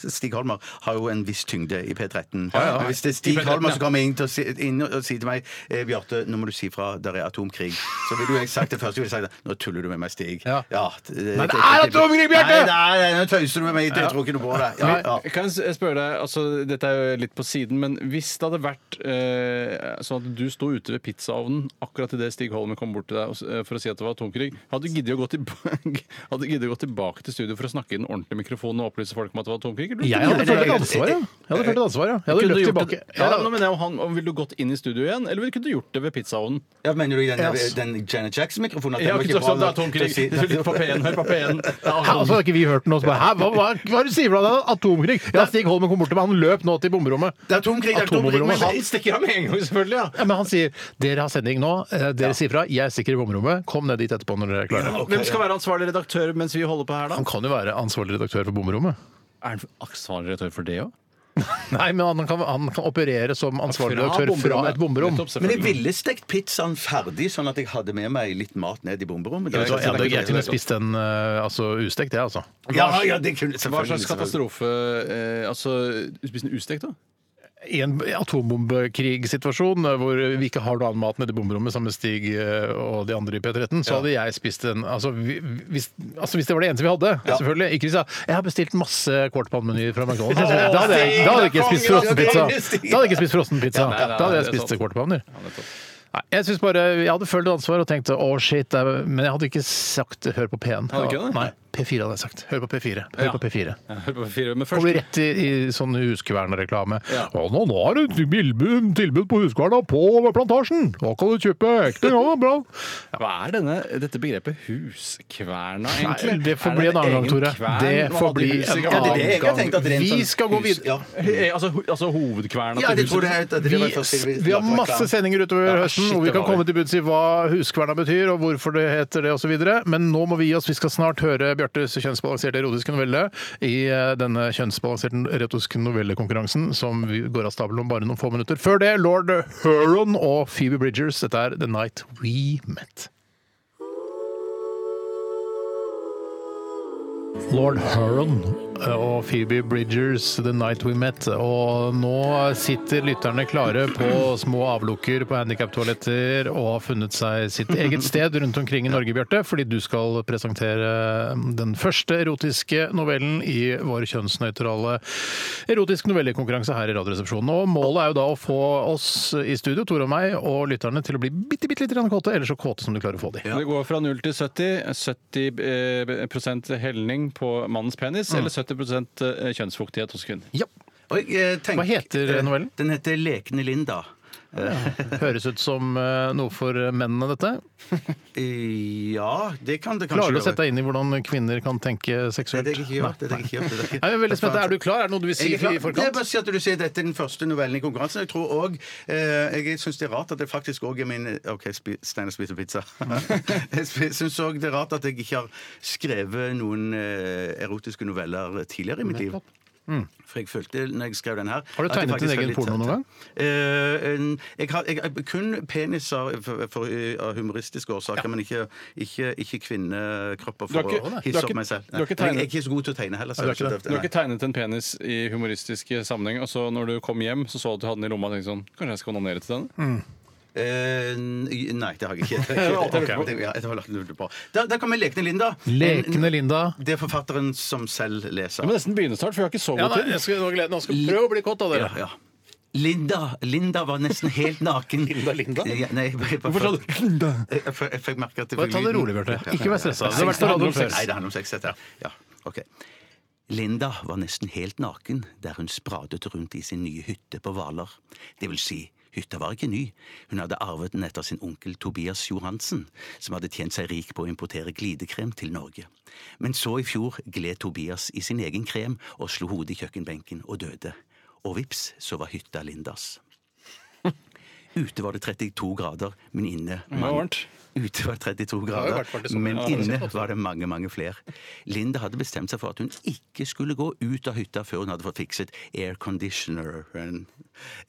Speaker 5: Stig Holmer har jo en viss tyngde i P13.
Speaker 6: ja.
Speaker 5: Men Hvis det er
Speaker 6: I
Speaker 5: Stig
Speaker 6: P13,
Speaker 5: Holmer
Speaker 6: ja.
Speaker 5: som kommer inn, til å si, inn og sier til meg eh, Bjarte, nå må du si fra, der er atomkrig. Så ville jo jeg sagt det første. ville jeg sagt, Nå tuller du med meg, Stig.
Speaker 4: Ja.
Speaker 5: det, det,
Speaker 4: Men det er atomkrig, Bjarte!
Speaker 5: Nei, nei, nei, nå tøyser du med meg. Jeg tror ikke noe på det. Ja, ja.
Speaker 6: Jeg kan s- spørre deg, altså, Dette er jo litt på siden, men hvis det hadde vært eh, sånn at du sto ute ved pizzaovnen akkurat idet Stig Holmen kom bort til deg og s- eh, for å si at det var atomkrig, hadde du giddet å gå, tilba- hadde du giddet å gå tilbake til studio for å snakke i den ordentlige mikrofonen og opplyse folk om at det var atomkrig? eller?
Speaker 4: Jeg hadde følt et ansvar, ja. Jeg hadde følt et ansvar, ja. Jeg
Speaker 6: Kunne
Speaker 4: hadde
Speaker 6: du
Speaker 4: løpt
Speaker 6: gjort
Speaker 4: tilbake.
Speaker 6: det- Ja, men nå
Speaker 4: Ja,
Speaker 6: mener jeg om han, om ville du gått inn i studio igjen, eller ville kunne du gjort det ved pizzaovnen?
Speaker 5: Ja, mener du i den,
Speaker 4: Yes.
Speaker 5: den Janet Jackson-mikrofonen? at den
Speaker 6: Ja,
Speaker 5: var
Speaker 6: ikke
Speaker 5: bra
Speaker 6: sånn, det er
Speaker 5: nok til å
Speaker 6: atomkrig.
Speaker 5: si-
Speaker 6: Lytt på P1, hør på P1. Det er
Speaker 4: Hæ, altså,
Speaker 6: atomkrig.
Speaker 4: har ikke vi hørt noe som bare Hæ, hva, hva, hva er det du sier for noe? Atomkrig? Ja, Stig Holmen kom bort til meg, han løp nå til bomrommet.
Speaker 5: Det er atomkrig, det er atomkrig,
Speaker 4: Atomoverrommet.
Speaker 5: men
Speaker 6: Han stikker av med en gang, selvfølgelig. ja.
Speaker 4: Ja, men han sier dere har sending nå, eh, dere sier fra, jeg stikker i bomrommet, kom ned dit etterpå når dere er klare.
Speaker 6: Hvem skal være ansvarlig redaktør mens vi holder på her, da?
Speaker 4: Han kan jo være ansvarlig redaktør for bomrommet.
Speaker 6: Er han ansvarlig redaktør for det òg?
Speaker 4: Nei, men han kan, han kan operere som ansvarlig redaktør fra et bomberom.
Speaker 5: Men jeg ville stekt pizzaen ferdig, sånn at jeg hadde med meg litt mat ned i bomberommet.
Speaker 4: Jeg vet hva, jeg, jeg kunne spist den eh, altså, ustekt, jeg, altså.
Speaker 5: Ja, ja, det kunne
Speaker 6: Hva slags
Speaker 5: selvfølgelig, selvfølgelig.
Speaker 6: katastrofe eh, Altså, spis en ustekt, da?
Speaker 4: I en atombombekrigssituasjon eh, hvor vi ikke har noe annen mat nede i bomberommet sammen med Stig eh, og de andre i P13, så hadde jeg spist den altså, vi- hvis, altså hvis det var det eneste vi hadde, selvfølgelig. Ikke hvis jeg, jeg har bestilt masse quarterpound-menyer fra McDonald's. jeg sier det. Da hadde jeg, da hadde jeg ikke spist frossenpizza. Da hadde jeg ikke spist frossenpizza.
Speaker 6: nei, nei,
Speaker 4: Da hadde jeg
Speaker 6: det er sant.
Speaker 4: spist quarterpounder. Nei, jeg synes bare, jeg hadde følt ansvar og tenkte å shit, det er, men jeg hadde ikke sagt hør på P1.
Speaker 6: Hadde ikke det?
Speaker 4: Nei, P4 hadde jeg sagt. Hør på P4. Hør
Speaker 6: Ja.
Speaker 4: på P4.
Speaker 6: Hør på fire, men
Speaker 4: Kommer
Speaker 6: først
Speaker 4: rett i, i sånn Huskverna-reklame. Ja.
Speaker 6: Ja.
Speaker 4: nå, nå er det tilbud, tilbud på Huskverna på Plantasjen! Da kan du kjøpe ekte ja, bra.
Speaker 6: Hva er denne, dette begrepet huskverna, egentlig?
Speaker 4: Nei, det får
Speaker 6: Er
Speaker 4: bli en
Speaker 6: en
Speaker 4: annen gang,
Speaker 6: egen
Speaker 4: Tore.
Speaker 6: kvern
Speaker 4: Det
Speaker 6: man
Speaker 4: får
Speaker 6: hadde i
Speaker 4: bli
Speaker 6: huset i
Speaker 4: en
Speaker 6: gamle
Speaker 5: Ja, det er
Speaker 4: annen
Speaker 5: det jeg har tenkt. At det er en
Speaker 4: Vi
Speaker 5: sånn
Speaker 4: skal gå
Speaker 5: hus-
Speaker 4: videre.
Speaker 5: Ja.
Speaker 6: Eh, Altså, ho- altså hovedkverna
Speaker 5: Ja,
Speaker 6: til
Speaker 5: det tror
Speaker 6: huset?
Speaker 5: jeg at det
Speaker 4: Vi,
Speaker 5: var først til-
Speaker 4: vi har masse sendinger utover
Speaker 5: Ja,
Speaker 4: høsten
Speaker 5: shit,
Speaker 4: hvor vi
Speaker 5: det
Speaker 4: kan
Speaker 5: var
Speaker 4: komme til bunns i hva huskverna betyr og hvorfor det heter det osv. Men nå må vi gi oss. Vi skal snart høre Bjartes kjønnsbalanserte erotiske novelle i eh, denne kjønnsbalanserte erotiske novellekonkurransen som vi går av stabelen om bare noen få minutter. Før det, lord Huron og Phoebe Bridgers. Dette er The Night We Met. Lord Huron eh, og Phoebe Bridgers, 'The Night We Met'. Og nå sitter lytterne klare på små avlukker på handikaptoaletter og har funnet seg sitt eget sted rundt omkring i Norge, Bjarte, fordi du skal presentere den første erotiske novellen i vår kjønnsnøytrale erotisk novellekonkurranse her i Radioresepsjonen. Og målet er jo da å få oss i studio, Tore og meg, og lytterne til å bli bitte, bitte litt grann kåte, eller så kåte som du klarer å få de.
Speaker 6: Det går fra 0 til 70. 70 eh, prosent helning på mannens penis,
Speaker 4: Mm.
Speaker 6: eller 70 prosent, eh, kjønnsfuktighet hos kvinnen.
Speaker 4: Ja.
Speaker 5: Og jeg, eh, tenk-
Speaker 4: Hva heter
Speaker 5: eh,
Speaker 4: novellen?
Speaker 5: Den heter Lekne Linda.
Speaker 4: Høres ut som eh, noe for mennene, dette.
Speaker 5: Eh, Ja, det kan det kanskje
Speaker 4: Klarer du å
Speaker 5: gjøre.
Speaker 4: sette deg inn i hvordan kvinner kan tenke
Speaker 5: Nei,
Speaker 4: seksuelt?
Speaker 5: det er ikke gjort. Det er ikke gjort. det er ikke-
Speaker 4: Nei, jeg er veldig spent. Er du klar? Er det noe du vil si
Speaker 5: Jeg er klar.
Speaker 4: i
Speaker 5: Jeg
Speaker 4: forkant?
Speaker 5: bare sier at du sier dette er den første novellen i konkurransen. Jeg tror også, eh, jeg syns det er rart at det faktisk òg er min OK, spi- Steinar spiser pizza. jeg syns òg det er rart at jeg ikke har skrevet noen eh, erotiske noveller tidligere i mitt liv. For jeg følte når jeg skrev den her
Speaker 4: Mm. Har du
Speaker 5: at jeg
Speaker 4: tegnet
Speaker 5: faktisk
Speaker 4: din egen
Speaker 5: har litt-
Speaker 4: porno noen gang?
Speaker 5: Eh, en- jeg har jeg, jeg- kun peniser for, for, eh, av humoristiske årsaker, men ikke, ikke, ikke kvinnekropper for
Speaker 6: har ikke- du
Speaker 5: å
Speaker 6: har
Speaker 5: hisse opp
Speaker 6: ikke-
Speaker 5: meg selv.
Speaker 6: du har ikke
Speaker 5: Nei. Men
Speaker 6: tegnet-
Speaker 5: jeg er ikke så god til å tegne heller. så
Speaker 4: Nei, du har ikke
Speaker 5: jeg har ikke
Speaker 4: det.
Speaker 5: døvd-
Speaker 6: Du har
Speaker 5: nei.
Speaker 6: ikke tegnet en penis i humoristisk sammenheng, og så når du kom hjem, så så du at du hadde den i lomma og tenkte sånn Kanskje jeg skal onanere til den?
Speaker 5: Eh, nei, det har jeg ikke. Det
Speaker 6: var alt jeg lurte på.
Speaker 5: Ja, det var alt jeg lurte på. Da, da kommer Lekne Linda.
Speaker 4: Lekne Linda.
Speaker 5: Det er forfatteren som selv leser.
Speaker 6: Jeg må nesten begynne snart, for jeg har ikke så
Speaker 4: Ja,
Speaker 6: god
Speaker 4: nei,
Speaker 6: tid.
Speaker 4: jeg skal, nå gleder- nå skal jeg prøve å bli kåt av
Speaker 5: Ja,
Speaker 4: dere.
Speaker 5: ja. Linda Linda var nesten helt naken.
Speaker 4: Linda, Linda?
Speaker 5: Ja, nei, jeg, jeg,
Speaker 6: Hvorfor sa du Linda?
Speaker 5: Jeg, jeg, jeg, fikk merke at det
Speaker 4: Bare ta det
Speaker 5: lyden-
Speaker 4: rolig, Bjarte.
Speaker 5: Ja,
Speaker 4: Ikke vær stressa.
Speaker 5: ja,
Speaker 4: Det har vært på radioen
Speaker 5: ja.
Speaker 4: før.
Speaker 5: Nei, det handler om sex, dette. Ja, ok. Linda var nesten helt naken der hun spradet rundt i sin nye hytte på Hvaler. Det vil si, hytta var ikke ny. Hun hadde arvet den etter sin onkel Tobias Johansen, som hadde tjent seg rik på å importere glidekrem til Norge. Men så i fjor gled Tobias i sin egen krem og slo hodet i kjøkkenbenken og døde. Og vips, så var hytta Lindas. Ute var det 32 grader, men inne
Speaker 6: var varmt.
Speaker 5: Ute var det 32
Speaker 4: jo
Speaker 5: grader,
Speaker 4: vært varmt i sommer.
Speaker 5: men
Speaker 4: Ja, det har vi
Speaker 5: inne
Speaker 4: sett også.
Speaker 5: var det mange, mange flere. Linda hadde bestemt seg for at hun ikke skulle gå ut av hytta før hun hadde fått fikset airconditioneren.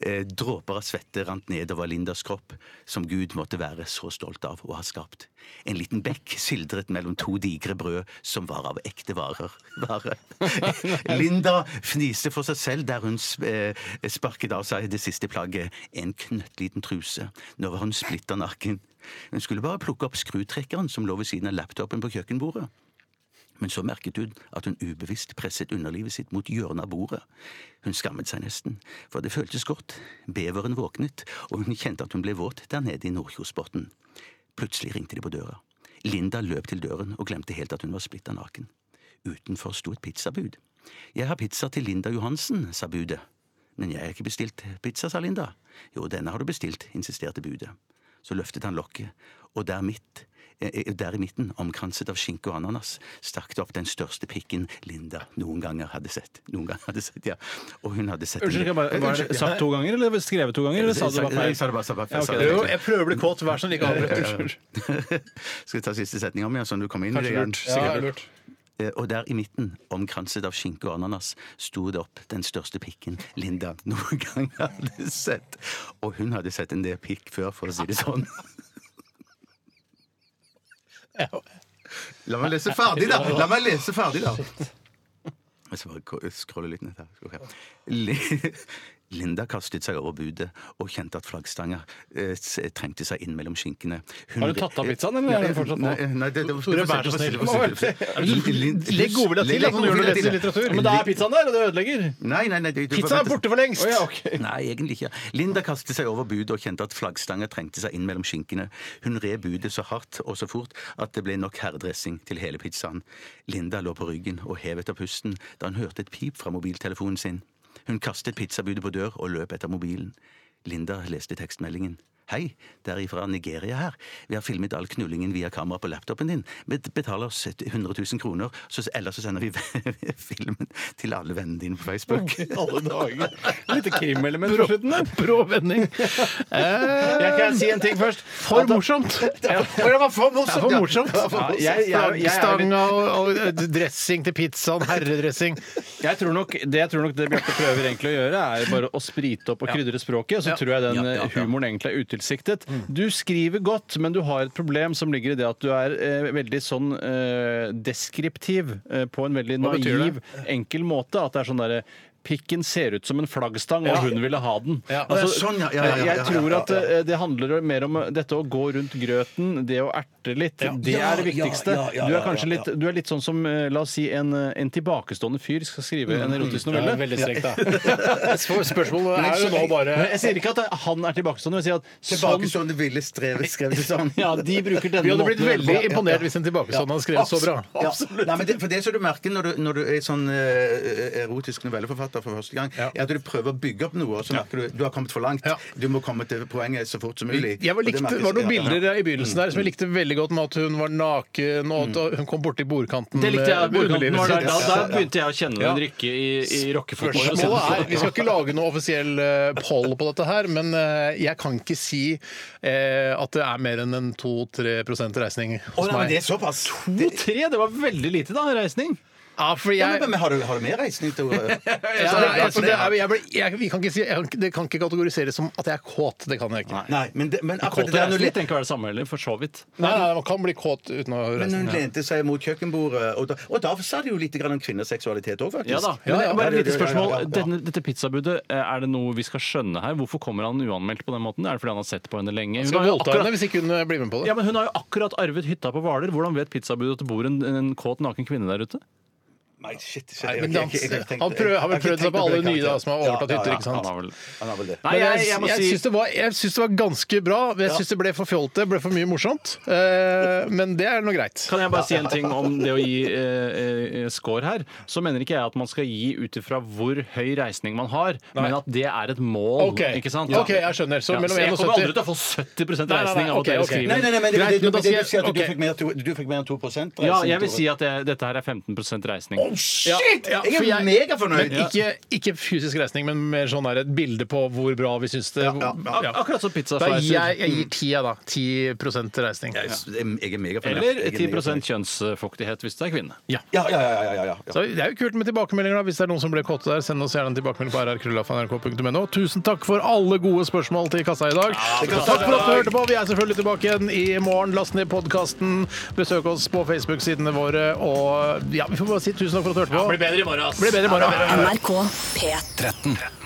Speaker 5: Eh, Dråper av svette rant nedover Lindas kropp, som Gud måtte være så stolt av å ha skapt. En liten bekk sildret mellom to digre brød som var av ekte varer. Vare. Linda fniste for seg selv der hun sp- eh, sparket av seg det siste plagget, en knøttliten truse. Nå var hun splitter naken. Hun skulle bare plukke opp skrutrekkeren som lå ved siden av laptopen på kjøkkenbordet. Men så merket hun at hun ubevisst presset underlivet sitt mot hjørnet av bordet. Hun skammet seg nesten, for det føltes godt. Beveren våknet, og hun kjente at hun ble våt der nede i Nordkjosbotn. Plutselig ringte de på døra. Linda løp til døren og glemte helt at hun var splitter naken. Utenfor sto et pizzabud. Jeg har pizza til Linda Johansen, sa budet. Men jeg har ikke bestilt pizza, sa Linda. Jo, denne har du bestilt, insisterte budet. Så løftet han lokket, og der midt eh, eh, der i midten, omkranset av skinke og ananas, stakk det opp den største pikken Linda noen ganger hadde sett. Noen gang hadde sett, ja. Og hun hadde sett
Speaker 6: Unnskyld, skal jeg bare, var det sagt to ganger, eller skrevet to ganger? Eller sa du bare
Speaker 5: Jeg sa
Speaker 6: feil?
Speaker 5: det bare, sa det bare,
Speaker 6: Ja, ok.
Speaker 5: sa det
Speaker 4: Jo,
Speaker 5: bare.
Speaker 4: jeg prøver å bli kåt. Vær så snill, ikke avbryt.
Speaker 5: Skal vi ta siste setning om igjen, sånn du kommer inn i det
Speaker 6: Kanskje
Speaker 5: igjen?
Speaker 6: lurt. Sikkert lurt.
Speaker 5: Eh, Og der i midten, omkranset av skinke og ananas, sto det opp den største pikken Linda noen gang hadde sett. Og hun hadde sett en del pikk før, for å si det sånn. La meg lese ferdig, da! La meg lese ferdig, da! Jeg skal bare ko- scrolle litt ned her. Skal vi se. Li- Linda kastet seg over budet og kjente at flaggstanga eh, s- trengte seg inn mellom skinkene. Hun- Eh,
Speaker 6: Har du tatt av pizzaen, eller er det
Speaker 5: Nei,
Speaker 6: fortsatt nå?
Speaker 5: nei, nei, det, det, det,
Speaker 4: Tore, vær så snill. Legg godvilja til at man gjør noe
Speaker 5: Legg godvilja
Speaker 4: lett i
Speaker 5: til.
Speaker 4: litteratur.
Speaker 6: Men da er pizzaen der, og det ødelegger.
Speaker 5: Nei, nei, nei, du- du-
Speaker 4: Pizza er
Speaker 5: vent-
Speaker 4: borte for lengst!
Speaker 6: Å ja, ok.
Speaker 5: Nei, egentlig ikke. Linda kastet seg over budet og kjente at flaggstanga trengte seg inn mellom skinkene. Hun red budet så hardt og så fort at det ble nok herredressing til hele pizzaen. Linda lå på ryggen og hevet av pusten da hun hørte et pip fra mobiltelefonen sin. Hun kastet pizzabudet på dør og løp etter mobilen. Linda leste tekstmeldingen. Hei, det er ifra Nigeria her. Vi har filmet all knullingen via kamera på laptopen din. Bet- Betal oss 100 000 kroner, så ellers så sender vi filmen til alle vennene dine på Facebook.
Speaker 6: Alle dager. Et lite krimelement på slutten der.
Speaker 4: Brå vending. Eh,
Speaker 6: Jeg kan si en ting først.
Speaker 4: For morsomt! Det er for morsomt!
Speaker 6: Ja, jeg- jeg- jeg- jeg-
Speaker 4: Stanga og, og dressing til pizzaen, herredressing.
Speaker 6: Jeg tror nok, det jeg tror nok det Bjarte prøver egentlig å gjøre, er bare å sprite opp og krydre språket. Og så tror jeg den eh,
Speaker 5: Ja, ja, ja.
Speaker 6: humoren egentlig er utilsiktet. Du skriver godt, men du har et problem som ligger i det at du er eh, veldig sånn eh, deskriptiv eh, på en veldig
Speaker 4: Hva betyr
Speaker 6: naiv, enkel måte. At det er sånn derre Pikken ser ut som en flaggstang, og hun ville ha den. Altså,
Speaker 4: Ja.
Speaker 5: Sånn, ja, ja, ja, ja,
Speaker 6: jeg
Speaker 5: ja,
Speaker 6: tror
Speaker 5: ja,
Speaker 6: at eh, det handler mer om dette å gå rundt grøten, det å erte litt. Det
Speaker 5: Ja,
Speaker 6: er det
Speaker 5: ja,
Speaker 6: viktigste.
Speaker 5: ja, ja,
Speaker 6: du er
Speaker 5: ja,
Speaker 6: kanskje
Speaker 5: ja,
Speaker 6: litt du er litt sånn som eh, la oss si, en, eh, en tilbakestående fyr skal skrive en erotisk novelle.
Speaker 4: veldig strekt, da. Spørsmålet er jo nå bare
Speaker 6: Men jeg sier ikke at han er tilbakestående. Jeg sier at
Speaker 5: Tilbake
Speaker 6: sånn,
Speaker 5: sånn det ville strevet, skrev det sånn.
Speaker 6: ja, de bruker denne
Speaker 4: Vi hadde blitt
Speaker 6: måten å gjøre det
Speaker 4: veldig
Speaker 6: på.
Speaker 4: imponert hvis en tilbakestående hadde skrevet så bra.
Speaker 5: Ja. Nei, men det, for det som du merker når du, når du er sånn eh, erotisk novelleforfatter, konserter for første gang,
Speaker 4: Ja.
Speaker 5: er at du prøver å bygge opp noe, og så merker du du har kommet for langt.
Speaker 4: Ja.
Speaker 5: Du må komme til poenget så fort som mulig.
Speaker 4: Jeg var
Speaker 5: Og det
Speaker 4: likte,
Speaker 5: merkes-
Speaker 4: var noen
Speaker 5: ja.
Speaker 4: bilder i begynnelsen der som jeg likte veldig godt med at hun var naken, og
Speaker 5: Mm.
Speaker 4: at hun kom borti bordkanten
Speaker 6: Det likte jeg.
Speaker 4: med
Speaker 6: Bordkanten
Speaker 4: underlivet
Speaker 6: var der.
Speaker 4: sitt.
Speaker 6: Da, da begynte jeg å kjenne
Speaker 4: Ja.
Speaker 6: en rykke i, i rockefotballen.
Speaker 4: Spørsmålet er, Vi skal ikke lage noe offisiell eh, poll på dette her, men eh, jeg kan ikke si eh, at det er mer enn en 2-3 reisning
Speaker 5: Å,
Speaker 4: hos
Speaker 5: nei, men
Speaker 4: meg.
Speaker 5: det er såpass. Det,
Speaker 6: To-tre? Det var veldig lite, da, reisning.
Speaker 4: Ja, for
Speaker 5: ja, men,
Speaker 4: jeg...
Speaker 5: men har, du, har du mer reisning til
Speaker 4: Ja, nei, altså, det, er, jeg, ble, jeg, vi kan ikke si, jeg, kan ikke- det kan ikke kategoriseres som at jeg er kåt. Det kan jeg ikke. Nei,
Speaker 5: Nei, men, det, men
Speaker 6: Kåt
Speaker 5: akkurat det der når
Speaker 6: reisning
Speaker 5: du-
Speaker 6: trenger ikke være det samme heller, for så vidt.
Speaker 4: nei, Man kan bli kåt uten å
Speaker 5: Men hun
Speaker 4: reise.
Speaker 5: lente seg mot kjøkkenbordet, og da, og da sa det jo litt grann om kvinners seksualitet òg, faktisk.
Speaker 6: Ja da.
Speaker 4: Ja,
Speaker 6: Men bare
Speaker 4: ja.
Speaker 6: et
Speaker 5: Ja, det-
Speaker 6: lite spørsmål.
Speaker 5: ja, ja, ja.
Speaker 6: Denne, dette pizzabudet, eh, er det noe vi skal skjønne her? Hvorfor kommer han uanmeldt på den måten? Er det fordi han har sett på henne lenge? Hun
Speaker 4: Skal
Speaker 6: har jo
Speaker 4: voldta henne
Speaker 6: akkurat,
Speaker 4: hvis ikke hun eh, blir med på det.
Speaker 6: ja, men hun har jo akkurat arvet hytta på Hvaler. Hvordan vet pizzabudet at det bor en, en kåt, naken kvinne der ute?
Speaker 5: Nei, shit, shit,
Speaker 4: Nei,
Speaker 5: jeg-
Speaker 4: men
Speaker 5: jeg-
Speaker 4: han,
Speaker 5: jeg- jeg- jeg- jeg-
Speaker 4: han prøver, har vel
Speaker 5: jeg- jeg-
Speaker 4: prøvd
Speaker 5: jeg-
Speaker 4: seg på alle
Speaker 5: jeg- jeg-
Speaker 4: nye da, som har overtatt
Speaker 5: Ja, ja,
Speaker 4: hytter.
Speaker 5: ja.
Speaker 4: ikke sant?
Speaker 6: Han har vel...
Speaker 5: Han har vel det.
Speaker 6: Nei,
Speaker 4: Men
Speaker 6: jeg,
Speaker 4: jeg,
Speaker 6: jeg må
Speaker 4: jeg
Speaker 6: si
Speaker 4: syns det, var- jeg syns det var ganske bra. Jeg syns det ble for fjolte, ble for mye morsomt. Eh, men det er nå greit.
Speaker 6: Kan jeg bare si en ting om det å gi eh, eh, score her? Så mener ikke jeg at man skal gi ut ifra hvor høy reisning man har, men at det er et mål.
Speaker 4: Ok.
Speaker 6: Ikke sant?
Speaker 4: Ok, jeg skjønner. Så mellom
Speaker 6: så jeg
Speaker 4: 71
Speaker 6: kommer aldri til å få 70 reisning
Speaker 4: Nei, nei, nei,
Speaker 6: av
Speaker 4: ok,
Speaker 6: at dere
Speaker 4: ok.
Speaker 6: skriver.
Speaker 5: Nei, nei, nei, men det,
Speaker 4: Greit,
Speaker 5: det,
Speaker 4: men
Speaker 5: det,
Speaker 4: da
Speaker 5: det,
Speaker 4: skal
Speaker 5: du
Speaker 4: jeg-
Speaker 5: sier at du
Speaker 4: ok.
Speaker 5: fikk mer, to- du fikk mer enn 2 reisning.
Speaker 6: Ja, jeg vil si at det, dette her er 15 reisning.
Speaker 5: Shit!
Speaker 4: Ja,
Speaker 5: jeg
Speaker 4: for
Speaker 5: er
Speaker 4: jeg-
Speaker 5: megafornøyd.
Speaker 4: Men ikke, ikke fysisk reisning, men mer sånn der, et bilde på hvor bra vi syns det
Speaker 5: ja,
Speaker 6: Ak-
Speaker 4: ja.
Speaker 6: Akkurat som pizza
Speaker 4: Da gir
Speaker 6: slicer.
Speaker 4: jeg, jeg gir ti, jeg, da. 10 reisning.
Speaker 5: Ja, Jeg er megafornøyd.
Speaker 6: Eller
Speaker 5: Jeg er
Speaker 6: 10
Speaker 5: megafornøyd.
Speaker 6: kjønnsfuktighet hvis du er kvinne.
Speaker 5: Ja, ja, ja. ja, ja, ja, ja.
Speaker 4: Så Det er jo kult med tilbakemeldinger. da Hvis det er noen som ble kåte der, send oss gjerne en tilbakemelding på rrkrøllafnrk.no. Tusen takk for alle gode spørsmål til kassa i dag. Takk for at du hørte på. Vi er selvfølgelig tilbake igjen i morgen. Last ned podkasten. Besøk oss på Facebook-sidene våre. Og ja, vi får bare si tusen takk for at du hørte på.
Speaker 6: bedre i morgen, ass.
Speaker 4: Blir bedre i morgen.
Speaker 11: NRK P13.